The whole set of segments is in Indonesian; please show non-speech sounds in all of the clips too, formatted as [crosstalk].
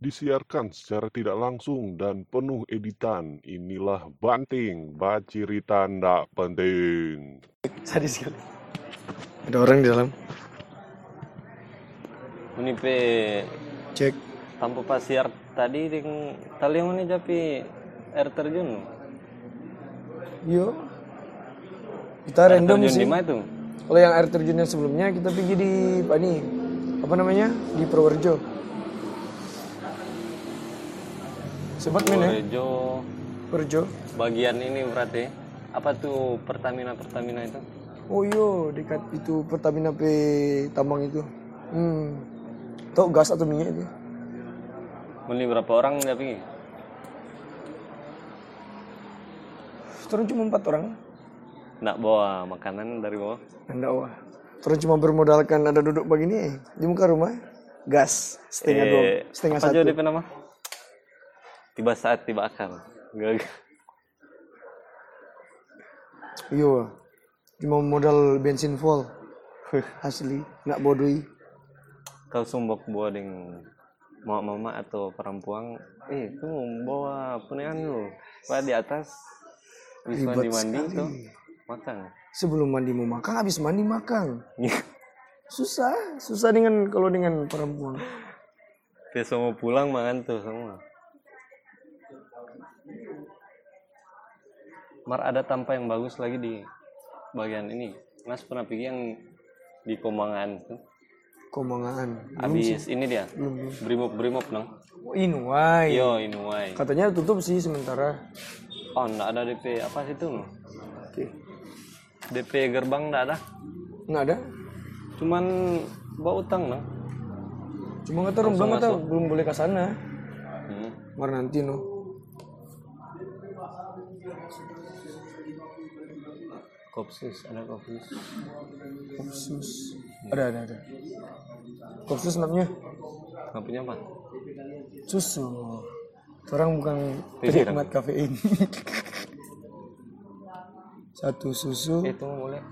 disiarkan secara tidak langsung dan penuh editan. Inilah Banting, Bacirita Ndak Penting. Sadis sekali. Ada orang di dalam. Ini pe Cek. tanpa pasir tadi ding tali ini tapi air terjun. Yuk. Kita Air random terjun sih. di mana itu? Kalau yang air terjun yang sebelumnya kita pergi di apa nih? Apa namanya? Di Purworejo. Sebat men ya? Rejo Purworejo. bagian ini berarti apa tuh Pertamina Pertamina itu? Oh iyo, dekat itu Pertamina P Tambang itu. Hmm. Tok gas atau minyak itu? Beli berapa orang tapi Turun cuma empat orang. ndak bawa makanan dari bawah. Anda wah. Turun cuma bermodalkan ada duduk begini di muka rumah. Gas setengah dua, Eh, setengah apa satu. jadi apa nama? Tiba saat tiba akal. Gagal. Iya. Cuma modal bensin full. Asli, nak bodoi. Kau sumbok bawa dengan mama mama atau perempuan eh itu bawa punian lu Pak di atas habis Ribet mandi mandi sekali. itu makan Sebelum mandi mau makan, habis mandi makan. Susah, susah dengan kalau dengan perempuan. [laughs] dia semua pulang makan tuh semua Mar ada tampa yang bagus lagi di bagian ini Mas pernah pergi yang di Komangan tuh Komangaan. habis ini dia Belum, belum. brimob brimob dong Oh, Inuai. yo inuai Katanya tutup sih sementara. oh nggak ada DP apa sih tuh Oke. DP gerbang nggak ada Nggak ada. cuman bawa utang dong Cuma kata orang belum kata belum boleh ke sana. hmm. Mar nanti no. kopsus ada kopsus Kopsus. Ada ada ada. Kopsus namanya ngapainnya apa susu. Orang bukan Pikiran. penikmat kafein. [laughs] Satu susu. eh tunggu boleh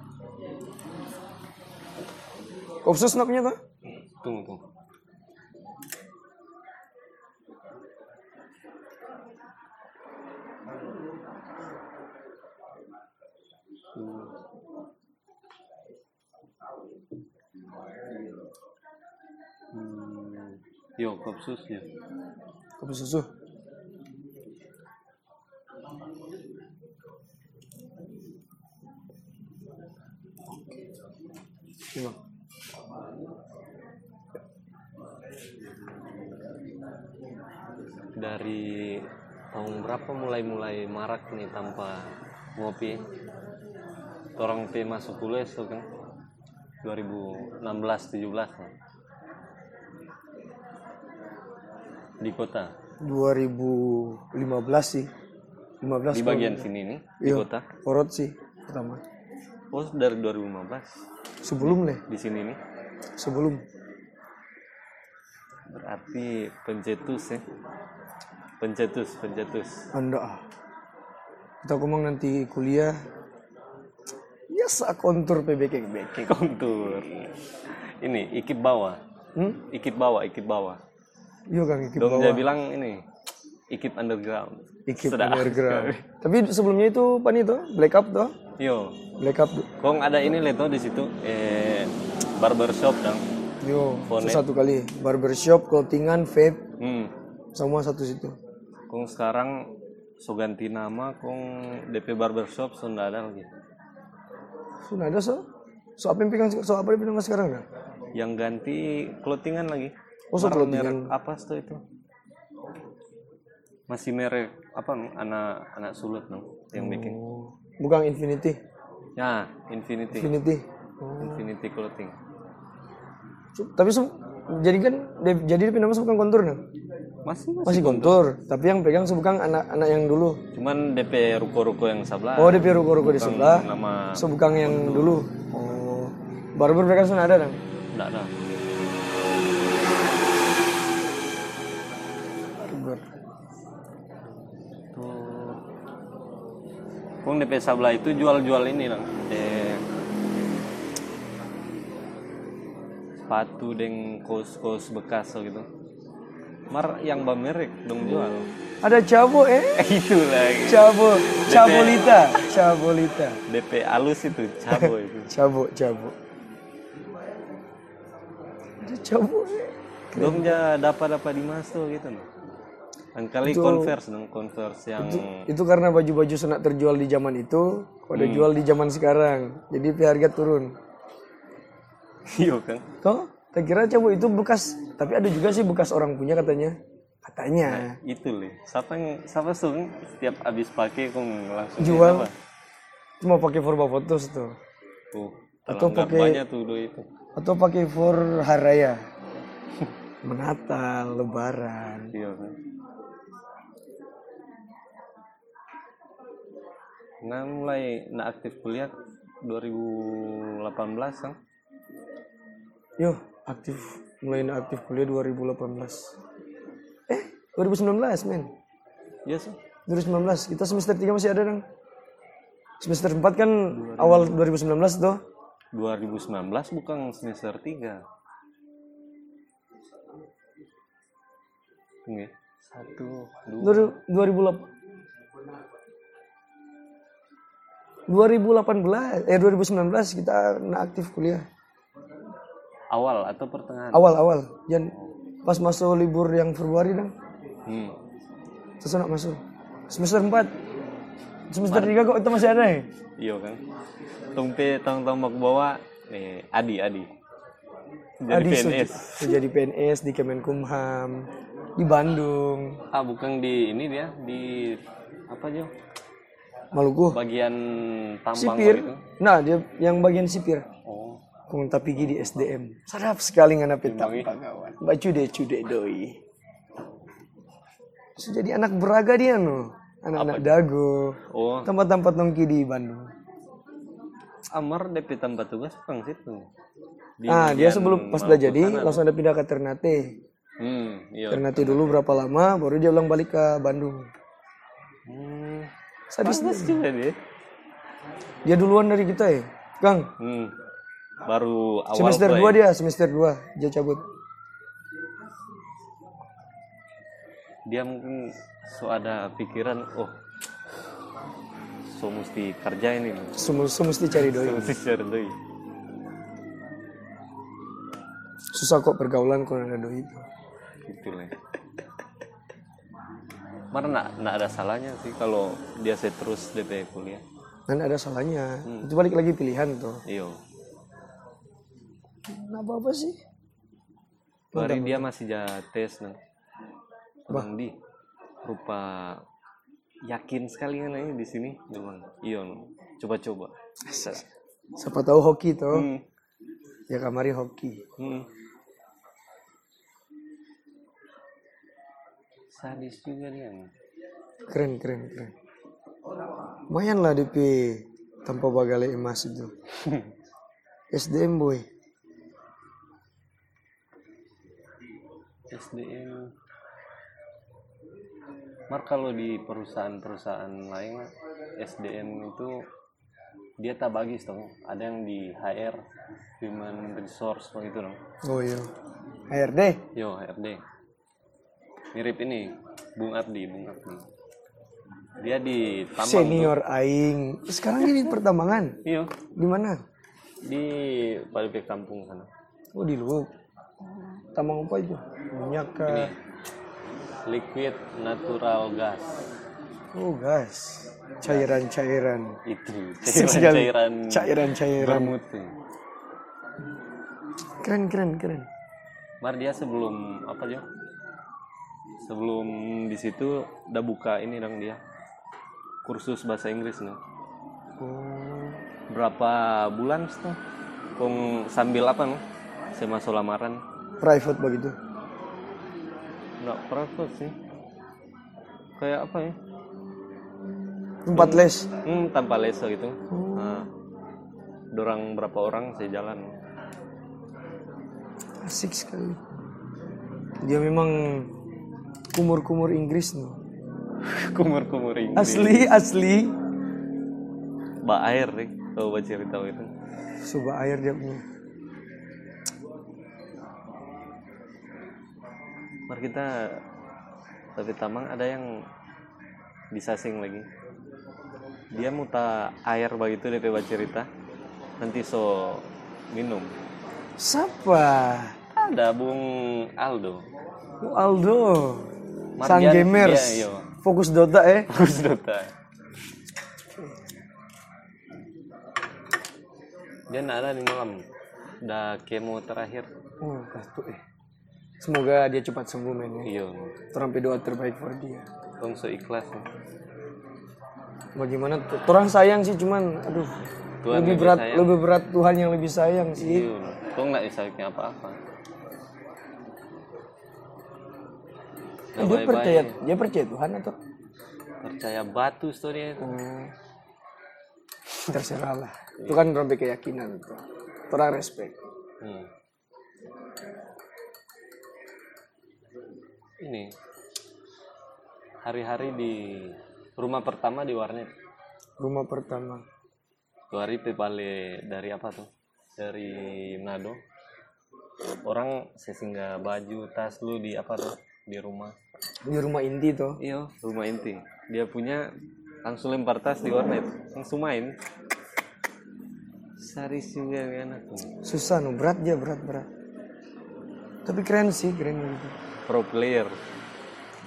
Kopsus namanya tuh? tunggu tunggu Hmm. Yo, kopsus ya. Kopi susu. Gimana? Dari tahun berapa mulai-mulai marak nih tanpa ngopi? Torang P masuk kuliah itu kan 2016 17 lah. Di kota, 2015 sih. 15 di bagian sini nih, di Iya. kota. Korot sih pertama. Oh, dari 2015 Sebelum deh, di sini nih. sebelum. Berarti pencetus ya. Pencetus, pencetus. Anda ah. Kita ngomong nanti kuliah. Biasa kontur PBK-PBK. Kontur. Ini ikip bawah, Hmm? ikip bawah, ikip bawah. Iya Kang Iki Dong bawa. dia bilang ini ikip underground. Iki Sedap underground. [laughs] sekali. Tapi sebelumnya itu pan itu black up tuh. Yo, Black up tuh. kong ada ini leto di situ eh barbershop dong. Yo, Bonet. itu satu kali barbershop, clothingan, vape, Hmm. semua satu situ. Kong sekarang so ganti nama kong DP barbershop so nggak ada lagi. Sudah ada so. So apa yang pegang so apa yang pegang sekarang dah? Yang ganti clothingan lagi. Oh, so Merek- clothingan. merek apa tuh itu? Masih merek apa no? anak anak sulut no? yang bikin. Oh. Bukan Infinity. Ya, Infinity. Infinity. Infinity clothing. So- tapi so, jadi kan de- jadi dia nama so bukan kontur nah. Masih masih. Masih kontur, tapi yang pegang so bukan anak-anak yang dulu. Cuman DP ruko-ruko yang sebelah. Oh, iya. DP ruko-ruko di sebelah. nama So bukan yang dulu. Oh. Barber mereka sudah ada kan? enggak ada tuh kong DP sebelah itu jual-jual ini lah eh, sepatu deng kos-kos bekas so gitu Mar yang merek dong jual. Ada cabo eh? itu lagi. Cabo, cabolita, cabolita. DP alus itu cabo [laughs] itu. Cabo, cabo. Ada cabo eh? dong ja dapat dapat di masuk gitu loh. Dan kali converse dong converse yang Itu karena baju-baju senak terjual di zaman itu, kok ada jual di zaman sekarang. Jadi harga turun. [laughs] iyo kan. Toh, tak kira cabo itu bekas, tapi ada juga sih bekas orang punya katanya. Katanya. Itu leh. Siapa yang siapa sung setiap habis pakai kong langsung Jual. ini apa? Cuma pakai forma fotos tuh. Tuh. Atau Atau pakai- banyak tuh dulu itu. Atau pakai for haraya. Menatal, lebaran. Iya kan. Nah mulai nah aktif kuliah 2018 kan. Yo, aktif mulai nak aktif kuliah 2018. Eh, 2019, men. Iya sih. 2019. Kita semester 3 masih ada, Dang. Semester 4 kan awal 2019 tuh. 2019 bukan semester 3. Tunggu ya. Satu, dua. Dua- 2008. 2018 eh 2019 kita nak aktif kuliah. Awal atau pertengahan? Awal-awal. Jan pas masuk libur yang Februari, Dang. Hmm. Terus nak masuk. Semester 4. Semester 3 kok itu masih ada ya? Iya kan. Tungpe tang-tang mak bawa eh Adi Adi. Jadi Adi Suci- PNS. Jadi PNS di Kemenkumham di Bandung, Ah bukan di ini dia di apa aja? Maluku. Bagian tambang Sipir. gitu. Nah, dia yang bagian sipir. Oh. Komunitas gigi di SDM. Sadap sekali ngana pita. Bangi. Mbak cude cude doi. So, jadi anak beraga dia no. Anak-anak dago. Oh, Tempat-tempat nongki di Bandung. Amar DP tambah tugas kang situ. Di Nah, dia bagian sebelum pas Maluku udah jadi sana. langsung ada pindah ke Ternate. Hmm, iya. Ternate dulu berapa lama baru dia ulang balik ke Bandung. Hmm. Sadis Pantes juga dia. dia duluan dari kita ya. Kang, Hmm. Baru awal semester play. 2 dia, semester 2 dia cabut. dia mungkin so ada pikiran, oh. So mesti kerja ini. Semua mesti So cari doi. [laughs] mesti cari doi. Susah kok pergaulan kalau ada doi. Gitu lah. Mar nak nak ada salahnya sih kalau dia saya terus DP kuliah. Dan ada salahnya. Hmm. Itu balik lagi pilihan tuh. Iyo. Nah, apa-apa sih? Mari dia masih jates nang. Bang di rupa yakin sekali kan ini di sini bilang iya no. coba-coba Siapa tahu hoki tuh. hmm. Ya kamari hoki. hmm. sadis juga dia no. Keren, keren, keren. Lumayan lah DP tanpa bagale emas [laughs] itu. SDM boy. SDM Mar kalau di perusahaan-perusahaan lain SDM itu dia tak bagi dong ada yang di HR human resource begitu dong Oh iya. HRD. Yo, HRD. Mirip ini, Bung Abdi, Bung Abdi. Dia di tambang. Senior aing. Sekarang ini pertambangan. Iya, Di mana? di Palembang Kampung sana. Oh di Luwuk. Tambang apa itu? Minyak kah? Liquid natural gas. Oh guys, cairan-cairan. Itu Asik sekali. cairan-cairan Cairan-cairan. bermut tuh. Keren keren keren. Mar dia sebelum apa Jo? Sebelum di situ udah buka ini dong dia. Kursus bahasa Inggris nih. Oh, Berapa bulan tuh? Kong sambil apa nih? Saya masuk lamaran. private begitu. nggak private sih kayak apa ya Tempat les. hmm tanpa laser gitu nah, dorang berapa orang saya jalan [laughs] Asik sekali. Dia memang kumur-kumur Inggris no. kumur kumur ini Asli asli. mbak air nih kalau baca cerita itu Coba air dia punya. Mari kita tapi tamang ada yang disasing lagi. Dia muta air begitu DP baca cerita. Nanti so minum. Siapa? Ada Bung Aldo. [laughs] Bu Aldo. Marjan, Sang gamers. iya, iya. Fokus Dota eh. Bagus Dota. Dia nak ada di malam. Dah kemo terakhir. Oh, kartu eh. Semoga dia cepat sembuh men ya. Iya. Terang doa terbaik buat dia. Tong so ikhlas. ya. Bagaimana? tuh? Orang sayang sih cuman, aduh. Tuhan lebih lebih berat, sayang. lebih berat Tuhan yang lebih sayang sih. Eh, Iya. Tong nggak bisa bikin apa-apa. Nggak dia baik-baik. percaya, dia percaya Tuhan atau? percaya batu story itu. Hmm. Terserah lah. Itu kan rompi keyakinan tuh. Orang respect. Hmm. Ini hari-hari di rumah pertama di warnet. Rumah pertama. Dua hari pe balik dari apa tuh? Dari Manado. Orang saya singgah baju, tas lu di apa tuh? Di rumah. Di rumah inti tuh. Iya, rumah inti. Dia punya langsung lempar tas di warnet, langsung main. Sari singgah anak. Susah no, berat dia berat berat. Tapi keren sih, keren gitu. Pro player.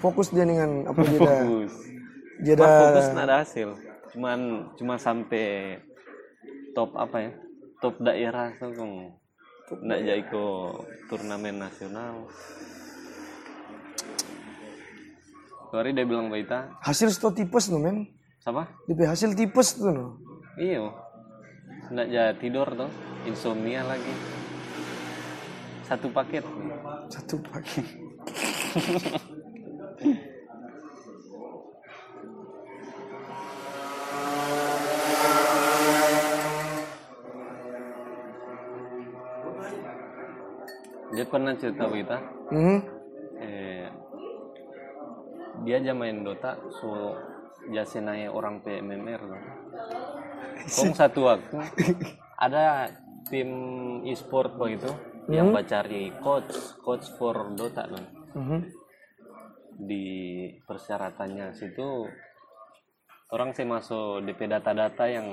Fokus dia dengan apa [laughs] dia dah- Bagus. dia Cuma dah- fokus nah. nggak ada hasil. Cuman cuma sampai top apa ya? Top daerah tuh kan. Nggak jadi ke turnamen nasional. Kemarin dia bilang Baita, hasil sto tipes no men. sama? Dia hasil tipes tuh no. Iyo. Iya, oh. Nggak jadi tidur tuh, insomnia lagi. Satu paket. Satu pagi. Dia pernah cerita Baita, Hmm. eh, dia aja main Dota, so jasenai orang PMMR [laughs] tuh. Kong satu waktu ada tim e-sport begitu yang Hmm? bacari coach coach for Dota kan. Mhm. Di persyaratannya situ orang saya masuk DP data-data yang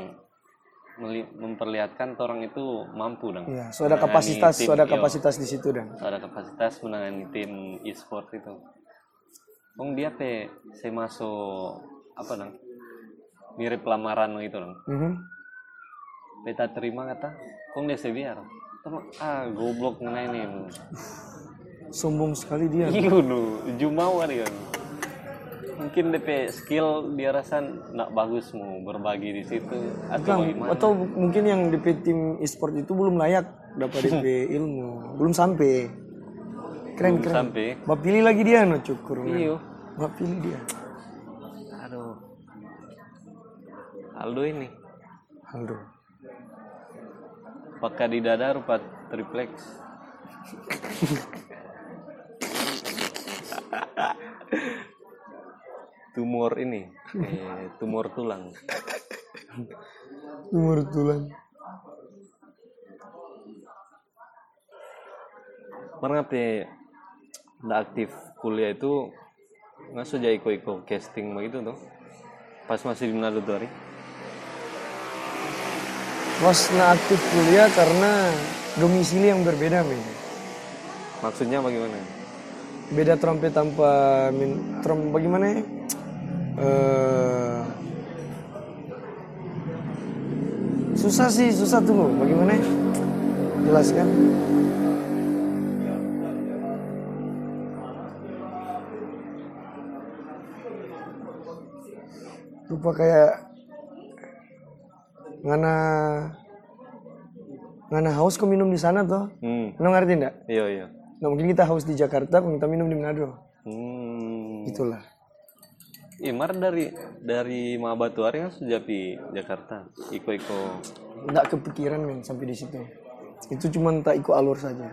meli- memperlihatkan orang itu mampu dong. iya. Iya, so ada kapasitas, so ada kapasitas di situ dan. ada kapasitas menangani tim e-sport itu. Kong dia pe saya masuk apa dong? Mirip lamaran gitu dong. Mhm. Beta terima kata, kong dia biar. Teman, ah goblok ngenainin. Sombong sekali dia. Iya nu, jumawa dia. Mungkin DP skill dia rasa nak bagus mau berbagi di situ atau Bukan, bagaimana? atau mungkin yang DP tim e-sport itu belum layak dapat DP ilmu, belum sampai. Keren Belum keren. sampai. Mbak pilih lagi dia no cukur. men. Iya. Mbak pilih dia. Aduh. Aldo ini, Aldo. pakai di dada rupa triplex. tumor ini, eh, tumor tulang. Nomor tulang. pernah pe nggak aktif kuliah itu nggak saja iko-iko casting begitu tuh pas masih di Manado tuh hari Wasna nah, aktif kuliah karena domisili yang berbeda men. maksudnya bagaimana Beda trompet tanpa min, trom bagaimana ya? Eh, susah sih, susah tunggu. Bagaimana? ya? kan? Jelaskan. Rupa kayak ngana ngana haus kok minum di sana tuh. hmm Lo ngerti enggak? iya iya Nah mungkin kita haus di Jakarta, kok kita minum di Manado. hmm Itulah. Imar dari dari Maba tuh hari kan sudah di Jakarta iko-iko Nggak kepikiran men sampai di situ. Itu cuman tak ikut alur saja.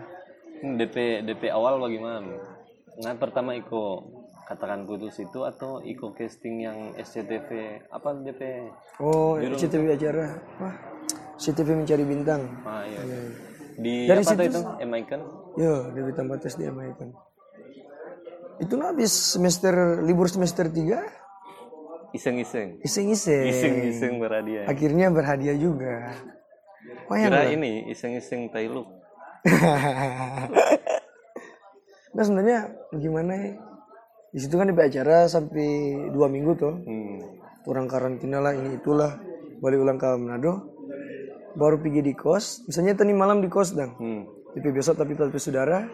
Hmm, DP DP awal bagaimana nah pertama iko katakan putus itu atau iko casting yang SCTV apa DP Oh, Iya CTV acara. Wah, CTV mencari bintang. ah iya di Dari apa tuh situ- itu M Icon Yo, lebih tambah tes di Amerika. Itu nah habis semester libur semester 3 Iseng-iseng. iseng-iseng. Iseng-iseng berhadiah. Akhirnya berhadiah juga. Lumayan Kira lah. ini iseng-iseng tai lu. [laughs] nah sebenarnya gimana ya? Di situ kan di acara sampai dua minggu tuh. Hmm. Kurang karantina lah ini itulah. Balik ulang ke Manado. Baru pergi di kos. Misalnya tadi malam di kos dang. Hmm. Tapi besok tapi tapi saudara.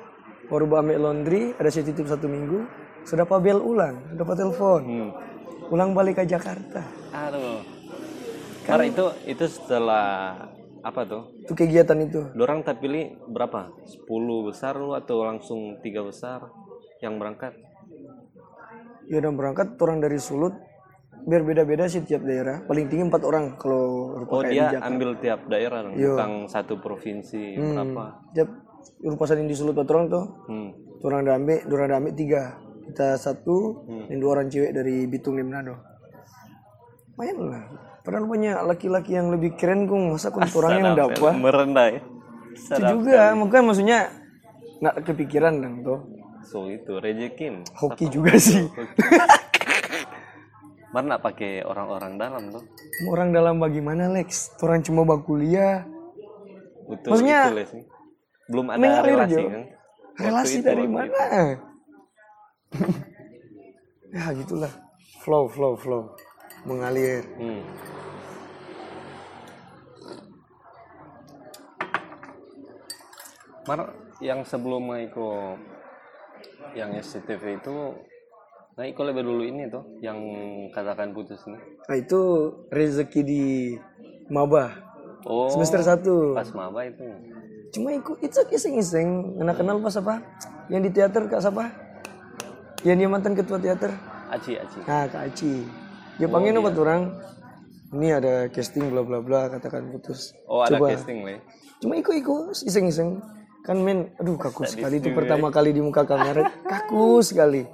Baru ambil laundry. Ada saya titip satu minggu. Sudah pabel ulang. Dapat telepon. Hmm. Ulang balik ke Jakarta. Aduh. Kan- Karena itu itu setelah apa tuh? Itu kegiatan itu. Dorang tak pilih berapa? 10 besar lu atau langsung tiga besar yang berangkat? Ya udah berangkat orang dari Sulut berbeda-beda sih tiap daerah. Paling tinggi empat orang kalau Oh rupa dia ambil tiap daerah dong, bukan satu provinsi Hmm. berapa? tiap rupasan yang di Sulut empat orang tuh. Hmm. Orang ada ambil, orang ada ambil tiga. Kita satu, Hmm. yang dua orang cewek dari Bitung di Manado. Main lah. Padahal punya laki-laki yang lebih keren kung masa kun orang yang dapat. Merendah ya. Itu juga, mungkin maksudnya nggak kepikiran dong tuh. So itu rejekin. Hoki juga sih. Mana pakai orang-orang dalam tuh? Orang dalam bagaimana Lex? Orang cuma baku kuliah, Betul Maksudnya- itu les. gitu Belum ada mengalir, relasi Jo. kan? relasi itu, dari waktu mana? [laughs] ya gitulah. Flow, flow, flow. Mengalir. Hmm. Mar, yang sebelum Iko yang SCTV itu Nah, Iko lebih dulu ini tuh yang katakan putus ini. Nah, itu rezeki di maba Oh, semester 1. pas maba itu. Cuma ikut itu iseng-iseng, kenal kenal pas apa? Yang di teater Kak siapa? Yang dia mantan ketua teater. Aci, aci. Nah, Kak Aci. Dia panggil obat orang. Ini ada casting bla bla bla katakan putus. Oh, ada Coba. casting lah. ya. Cuma ikut-ikut iseng-iseng. Kan men, aduh kaku sekali itu pertama kali di muka kamera. Kaku sekali.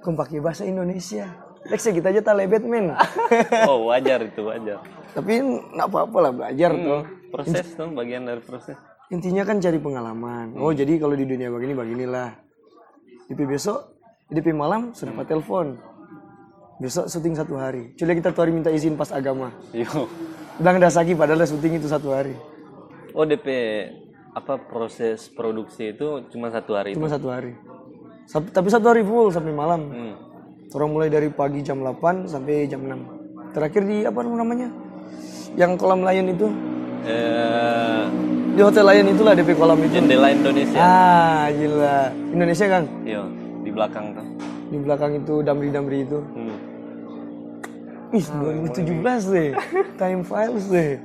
Kau pakai bahasa Indonesia. Lex ya kita aja tak lebet men. Oh, wajar itu, wajar. Tapi nggak apa-apa lah belajar tuh. Proses tuh bagian dari proses. Intinya kan cari pengalaman. Oh jadi kalau di dunia begini beginilah. DP besok, DP malam sudah dapat telepon. Besok syuting satu hari. Coba kita tuh hari minta izin pas agama. Yo. Bilang dasaki padahal syuting itu satu hari. Oh, DP apa proses produksi itu cuma satu hari itu. Cuma satu hari. Sab- Tapi satu hari full sampai malam. Hmm. Orang mulai dari pagi jam 8 sampai jam 6. Terakhir di apa namanya? Yang kolam layan itu, Eh, di hotel layan itulah DP kolam itu. jendela Indonesia. Ah, gila. Indonesia, Kang. Yo, di belakang tuh. Di belakang itu damri-damri itu. Hmm. Ih, 2017 [laughs] deh. Time files deh.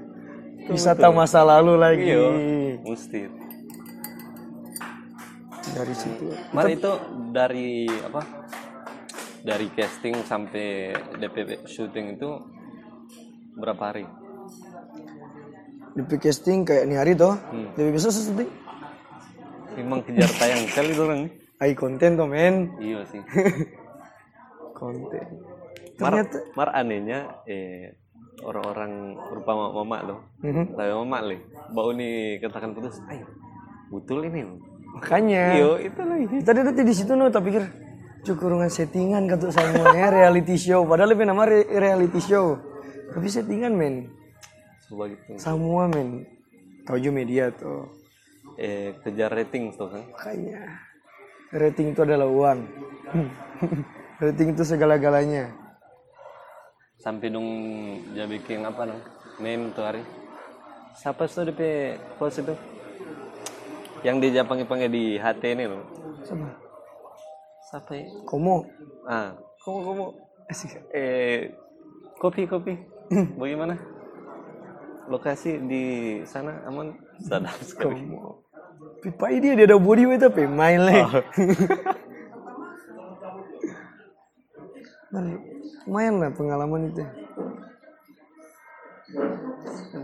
Wisata masa lalu lagi. Yo, mesti. Dari situ. Mar itu dari apa? Dari casting sampai DP syuting itu berapa hari? DP casting kayak nih hari toh. DP besok syuting. Memang kejar tayang kali orang. nih. Ai konten toh, men. Iya sih. Konten. Mar, Ternyata mar anehnya eh orang-orang rupa mama loh. Mhm. Tapi mama leh. Bau nih katakan putus. Ay, betul ini. loh." makanya. Yo, Iya, itu lagi. Tadi ada di situ no, tapi pikir cukurungan settingan kata sama ya reality show. Padahal lebih nama re- reality show. Tapi settingan men, Coba gitu. semua men. Kau juga media tuh. Eh kejar rating tuh kan. Makanya rating itu adalah uang. [laughs] rating itu segala-galanya. sampai dong dia bikin apa dong meme tuh hari siapa sih tuh DP host itu yang dia panggil panggil di HT ini loh Sama. siapa ya? Komo. ah kamu kamu eh kopi kopi [laughs] bagaimana lokasi di sana aman [laughs] sadar sekali Komo. Pipa ini dia ada body weight tapi main lah. Oh. [laughs] Ber- Lumayan lah pengalaman itu.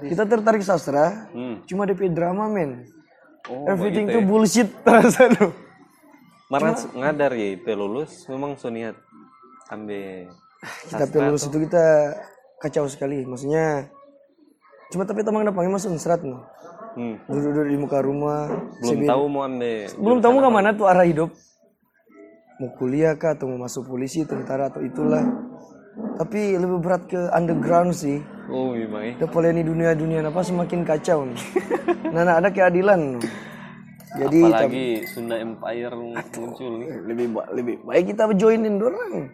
Kita tertarik sastra, hmm. cuma DP drama men. oh Everything begitu tuh ya. bullshit [laughs] terasa tuh. Marah ngadar ya pe lulus memang suniat ambil [laughs] Kita pelus itu kita kacau sekali, maksudnya cuma tapi teman depannya masuk serat no. hmm. Duduk-duduk di muka rumah, belum tahu mau ambil belum tahu ke mana tuh arah hidup mau kuliah kah atau mau masuk polisi tentara atau itulah tapi lebih berat ke underground sih Oh, memang eh. udah paling ini dunia dunia apa semakin kacau nih nah, nah, ada keadilan jadi Apalagi Sunda Empire muncul nih. [laughs] lebih ba- lebih baik kita joinin dorang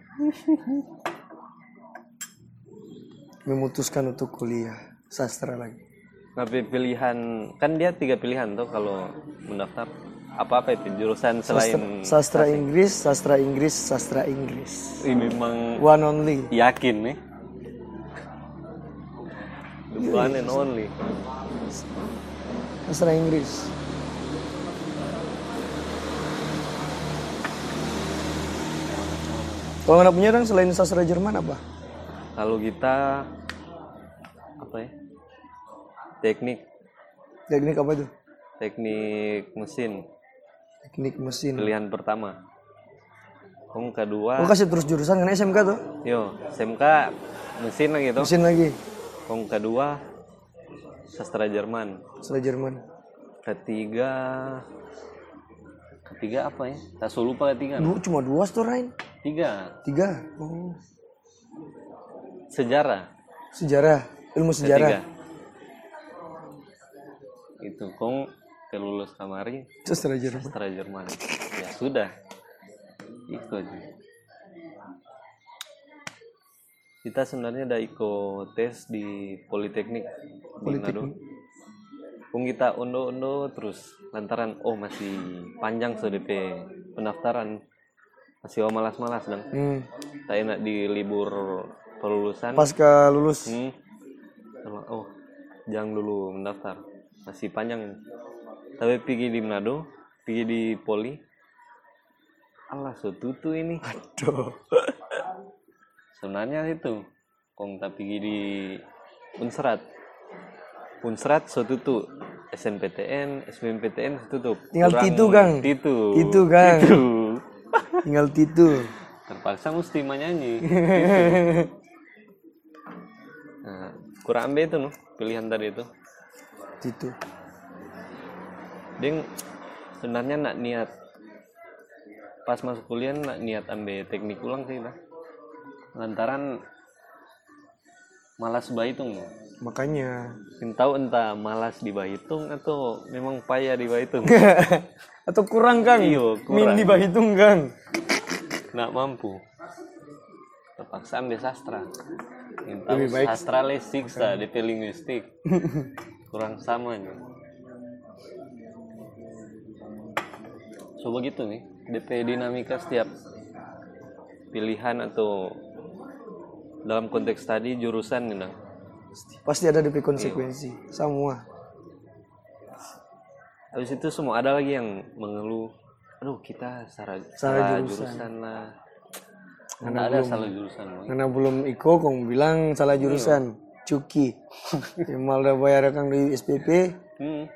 memutuskan untuk kuliah sastra lagi Tapi pilihan kan dia tiga pilihan tuh kalau mendaftar apa-apa itu jurusan sastra, selain sastra Inggris sastra Inggris sastra Inggris ini memang one only yakin nih. The one and only. sastra Inggris kalau nggak punya orang selain sastra Jerman apa Kalau kita apa ya? Teknik teknik apa itu teknik mesin teknik mesin pilihan pertama. Yang kedua, Gua kasih terus jurusan karena SMK tuh yo SMK mesin lagi tuh. mesin lagi Yang kedua sastra Jerman. sastra Jerman ketiga ketiga apa ya tak so lupa ketiga Dua, cuma dua store Rain tiga tiga oh sejarah sejarah ilmu ketiga sejarah itu kong kelulus kamari terus sejarah sastra Jerman ya sudah itu aja kita sebenarnya ada ikut tes di Politeknik di Politeknik. Nado. Kung kita undo-undo terus lantaran oh masih panjang DP pendaftaran masih oh malas-malas dan hmm. tak enak di libur pelulusan pasca lulus Hmm. Sama- oh jangan dulu mendaftar masih panjang ini tapi pergi di Manado pergi di Poli Allah so tutu ini aduh sebenarnya itu kong tak pergi di Unsrat Unsrat so tutu SNPTN SBMPTN so tutup Tinggal Kurang Titu, Kang. Titu Titu, Kang. Titu. tinggal titu [laughs] terpaksa mesti [laughs] menyanyi nah, kurang ambil itu noh pilihan tadi itu titu Ding sebenarnya nak niat pas masuk kuliah nak niat ambil teknik ulang sih lah. Lantaran malas bahitung. makanya Entah entah malas di bahitung atau memang payah di [laughs] bahitung. [laughs] atau kurang kang Iyo, Iya, kurang. min di bahitung kang nak mampu. Terpaksa ambil sastra. Entah Lebih baik- sastra les siksa di linguistik. Kurang sama nih. So begitu gitu nih, DP dinamika setiap pilihan atau dalam konteks tadi jurusan nih, Nang. pasti ada DP konsekuensi semua Habis itu semua ada lagi yang mengeluh, aduh kita salah, Salah salah jurusan. lah. Nggak ada salah jurusan. Bang. karena belum iko kong bilang salah Iya. jurusan cuki [laughs] mal udah bayar kang di SPP Hmm.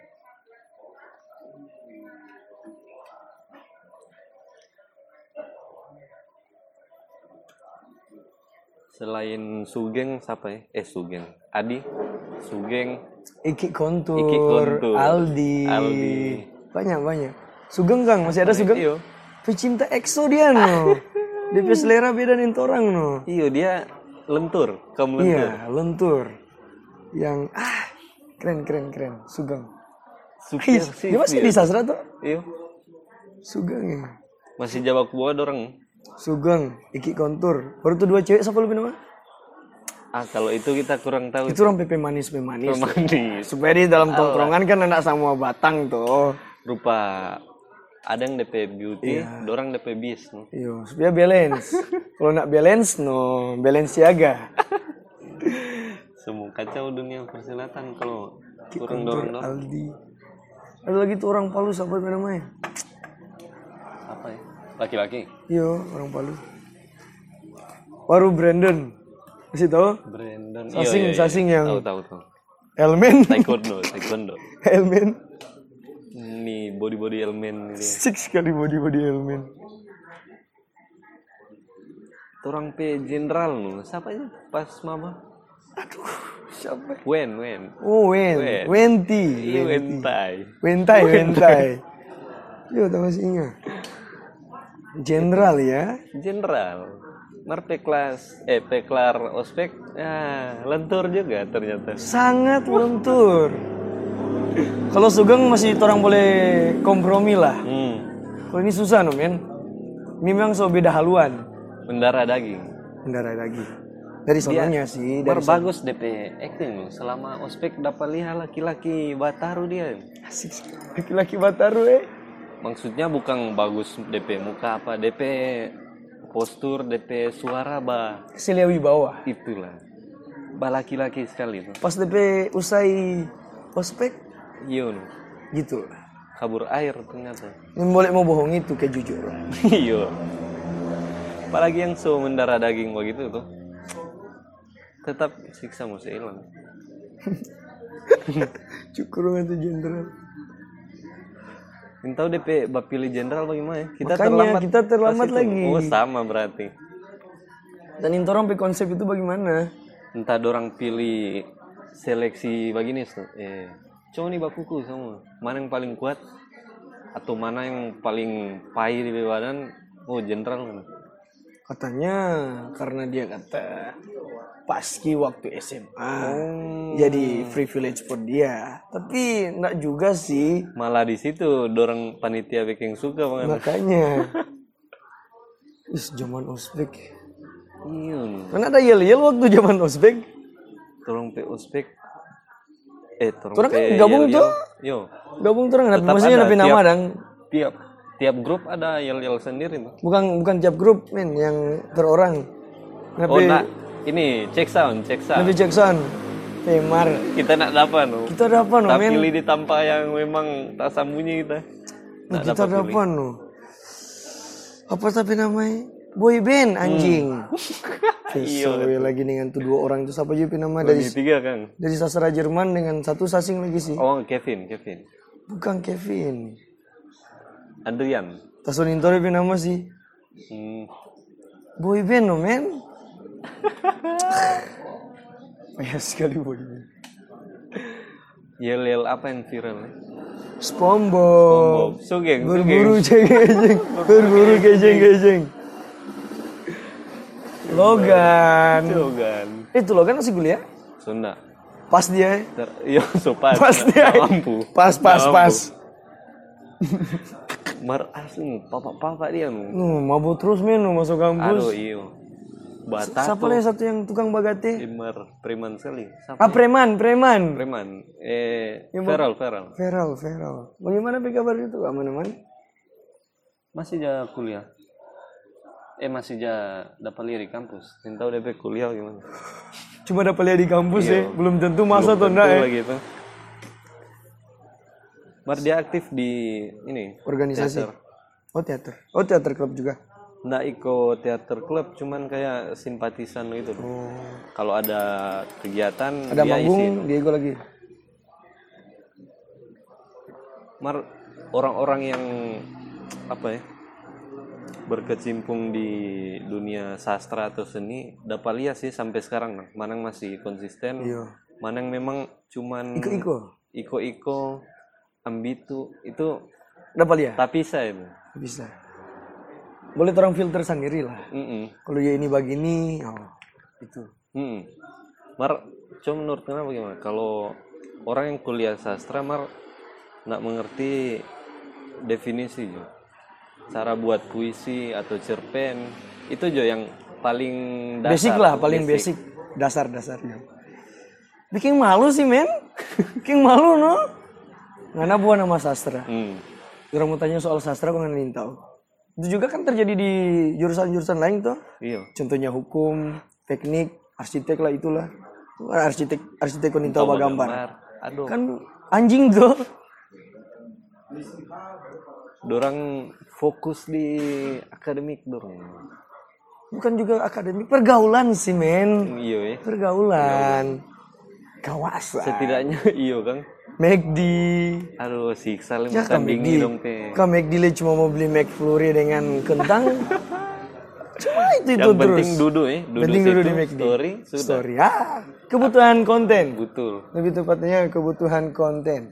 Selain Sugeng siapa ya? Eh Sugeng. Adi, Sugeng, Iki kontur, Iki Kontur, Aldi. Aldi. Iya. banyak banyak Sugeng kang masih ada Sugeng Iyo. pecinta EXO dia [laughs] no DP selera beda nih orang no Iyo dia lentur, kamu lentur. iya lentur yang ah keren keren keren Sugeng Sugeng Ih, sih Iya, dia masih dia. di sastra tuh Iyo. Sugeng ya Masih Jawa Kuwa dorong. Sugeng Iki kontur baru tuh dua cewek siapa lebih nama Ah kalau itu kita kurang tahu. itu orang PP manis PP manis Manis. supaya di dalam tongkrongan kan anak sama batang tuh Rupa ada yang DP beauty, dorang DP bis. Iya, supaya balance. Kalau nak balance, no balance siaga. Semua kacau dunia persilatan kalau kurang dorong dorong. Aldi. Ada lagi tuh orang Palu siapa yang namanya? apa ya laki-laki Yo, Iya, orang Palu. Baru Brandon. Masih tahu? Brandon Iya, Sasing, iya, iya. sasing yang tahu tahu [laughs] tahu Elmen, taekwondo taekwondo Elmen. ini body body elemen ini Six kali body body Elmen. orang p jenderal nu siapa aja pas mama Aduh, siapa? Iya, wen wen Oh, Wen. Wen. Iya, Wenti. Ih, wentai Wentai, Wentai. Yo, tak masih ingat. General ya. General. Merpeklas, eh peklar ospek, ah, lentur juga ternyata. Sangat lentur. Kalau Sugeng masih orang boleh kompromi lah. Hmm, Kalau ini susah no men. Memang so beda haluan. bendara daging. Mendarai lagi. Dari sononya sih. Dari Berbagus DP acting loh. Selama ospek dapat lihat laki-laki Bataru dia. Asik. Laki-laki Bataru eh. Maksudnya bukan bagus DP muka apa, DP postur, DP suara bah Seliawi bawah. itulah. Bah laki-laki sekali tuh. Pas DP usai ospek Yun, gitu. Iya, kabur air ternyata. [laughs] Yang boleh mau bohong itu kejujuran. Iya. Apalagi yang so mendarah daging begitu tuh. Tetap siksa mesti hilang. Cukur itu jenderal. Minta DP bab pilih jenderal bagaimana ya? Kita Makanya, terlambat. kita terlambat pas itu. lagi. Oh, sama berarti. Dan intorong pe konsep itu bagaimana? Entah dorang pilih seleksi begini tuh. Eh, cowok nih bakuku semua. Mana yang paling kuat atau mana yang paling pahit di badan? Oh, jenderal kan. Katanya karena dia kata paski waktu SMA. Oh. Jadi privilege for dia. Tapi enggak juga sih. Malah di situ dorang panitia bikin suka banget. Makanya. Ih, zaman ospek. Iya. nih. Mana ada yel-yel waktu zaman ospek? Tolong pe ospek. Eh, tolong Orang kan pe gabung yel-yel. tuh. Yo, Gabung terang kenapa? Tetap Maksudnya ada, tapi nama tiap- dang. tiap tiap grup ada yel-yel sendiri tuh. Bukan bukan tiap grup men yang terorang. Oh, Nabi nak ini check sound, check sound. Nabi Jackson, Temar. Kita nak dapat no. Kita ada apa no Tak men? pilih di tampah yang memang tak sambunyi kita. Nah, kita ada apa no? Apa tapi namanya? Boy band [laughs] anjing. Pisau ya lagi dengan tuh dua orang itu siapa aja pi nama dari Di tiga kan. dari sastra Jerman dengan satu sasing lagi sih. Oh, Kevin, Kevin. Bukan Kevin. Adrian. Tasun Intore pi nama sih. Hmm. Boy band no [laughs] men. Payah sekali boy band. Yel-yel Ya, apa yang viral? SpongeBob. Oh, sugeng, sugeng. Berburu gejeng-gejeng. [laughs] Berburu gejeng-gejeng. Logan. Jogan. Itu Logan masih kuliah? Sunda. Pas dia. Ter yo sopan. Pas dia. Tak mampu. Pas, pas, Tak mampu. pas. Mar asing, papa-papa dia nu. Nuh, mabuk terus men nuh masuk Aduh, iya. kampus. iyo. Siapa Batato. lagi satu yang tukang bagate? Immer preman sekali. Siapa? Ah, preman, preman. Preman. Eh, Feral, Feral. Feral, Feral. Bagaimana pi kabar itu? Aman-aman? Masih ja kuliah. Eh masih ja dapat lirik kampus. Nah, Tidak tahu DP kuliah gimana. Cuma dapat lihat di kampus Iya. ya. Belum tentu masa atau enggak Itu ya. lagi itu. Mar dia aktif di ini. Organisasi. iya. Teater. Oh, teater. Oh, teater klub juga. Nggak ikut teater klub, cuman kayak simpatisan gitu. Kalau ada kegiatan Oh. Ada dia isi. manggung, Diego lagi. Mar orang-orang yang apa ya berkecimpung di dunia sastra atau seni dapat lihat sih sampai sekarang nah. mana yang masih konsisten Iya. mana yang memang cuman Iko. iko-iko ambitu itu Dapat lihat? tak bisa itu Bisa. Boleh orang filter sendiri lah. Mm-mm. Kalau ya ini begini, oh, itu. Mm-mm. Hmm. mar cuma menurut kenapa bagaimana kalau orang yang kuliah sastra mar nggak mengerti definisi Jo. cara buat puisi atau cerpen itu jo yang paling dasar basic lah, paling basic. Dasar-dasarnya. Bikin malu sih, men. [laughs] Bikin malu, no. Ngana buah nama sastra. Mm. Orang mau tanya soal sastra, kok nggak tahu. Itu juga kan terjadi di jurusan-jurusan lain tuh. iya Contohnya hukum, teknik, arsitek lah itulah. Arsitek, arsitek kau nintahu bah gambar. Mar, aduh Kan anjing tuh. dorang fokus di akademik dorang Bukan juga akademik, pergaulan sih, men. iya ya pergaulan kawasan setidaknya [laughs] iyo kang McD aduh siksa lima ya kan tandingi McD dong teh kan McD le cuma mau beli McFlurry dengan [laughs] kentang cuma itu itu yang terus penting duduk ya duduk Penting duduk situ, di McD. story sudah story ah kebutuhan konten betul lebih tepatnya kebutuhan konten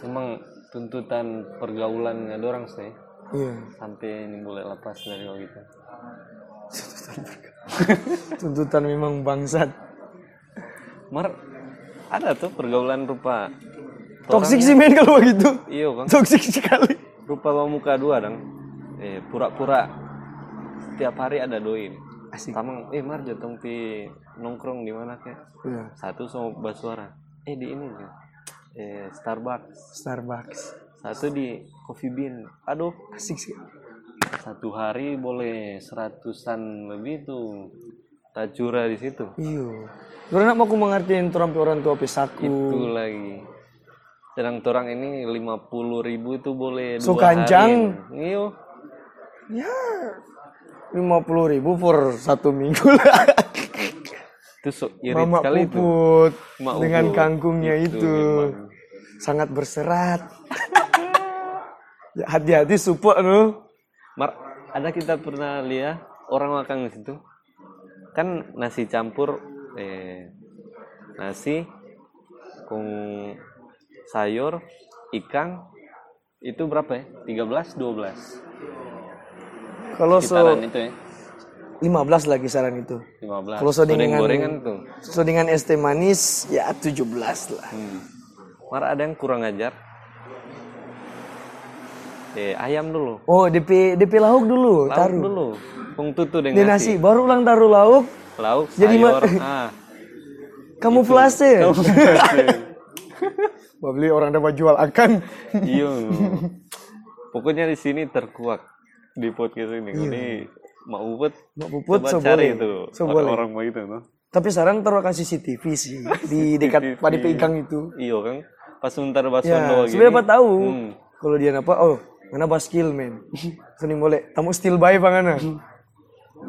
emang tuntutan pergaulannya dorang sih Iya. sampai ini boleh lepas dari lo gitu Tuntutan memang bangsat. Mar ada tuh pergaulan rupa Toksik sih men kalau begitu. iyo bang Toksik sekali. rupa muka dua dong eh pura-pura setiap hari ada doin Asik. tamang eh Mar jatong pi nongkrong di mana kek Iya. satu sama Basuara eh di ini gitu. eh Starbucks Starbucks. satu di Coffee Bean aduh Asik sih. satu hari boleh seratusan lebih tuh tajura di situ Iyo. Iya. Karena mau aku mengertiin terampi orang itu tua pesaku. lagi sedang torang ini 50.000 ribu itu boleh dua Sukancang. hari Iya. iyo Ya. Lima puluh ribu for satu minggu lah. [laughs] itu so irit Mama sekali itu Gitu, puput Mak dengan Ubud. kangkungnya Itu itu, memang. sangat berserat. [laughs] ya, hati-hati support lu. Mar, ada kita pernah lihat orang makan di situ. Kan nasi campur eh nasi kung sayur, ikan itu berapa ya? 13 12. Kalau so Kisaran itu ya. 15 lah kisaran itu. 15. Kalau so dengan- gorengan tuh. So dengan es teh manis ya 17 lah. Hmm. Mar ada yang kurang ajar. Eh, ayam dulu. Oh, DP DP lauk dulu, Lauk taruh. dulu. Kung tutu Di dengan nasi, baru ulang taruh lauk, Lauk, Jadi, Mar- sayur. [laughs] ah. kamu [laughs] flase. Kamu [laughs] kasih. Beli orang dapat jual akan. Iya. Pokoknya di sini terkuak di podcast ini. Ini mau Ubud, Iya. Mak Puput, coba so cari boleh. itu So boleh. orang-orang mau itu. No? Tapi sekarang taruh akan CCTV sih di dekat pada pegang itu. Iya kan? Pas sebentar bahas Ya, Sunda sebenarnya gini, apa tahu hmm, kalau dia apa? Oh, mana bas skill man. Seni boleh. Tamu still bae pangana.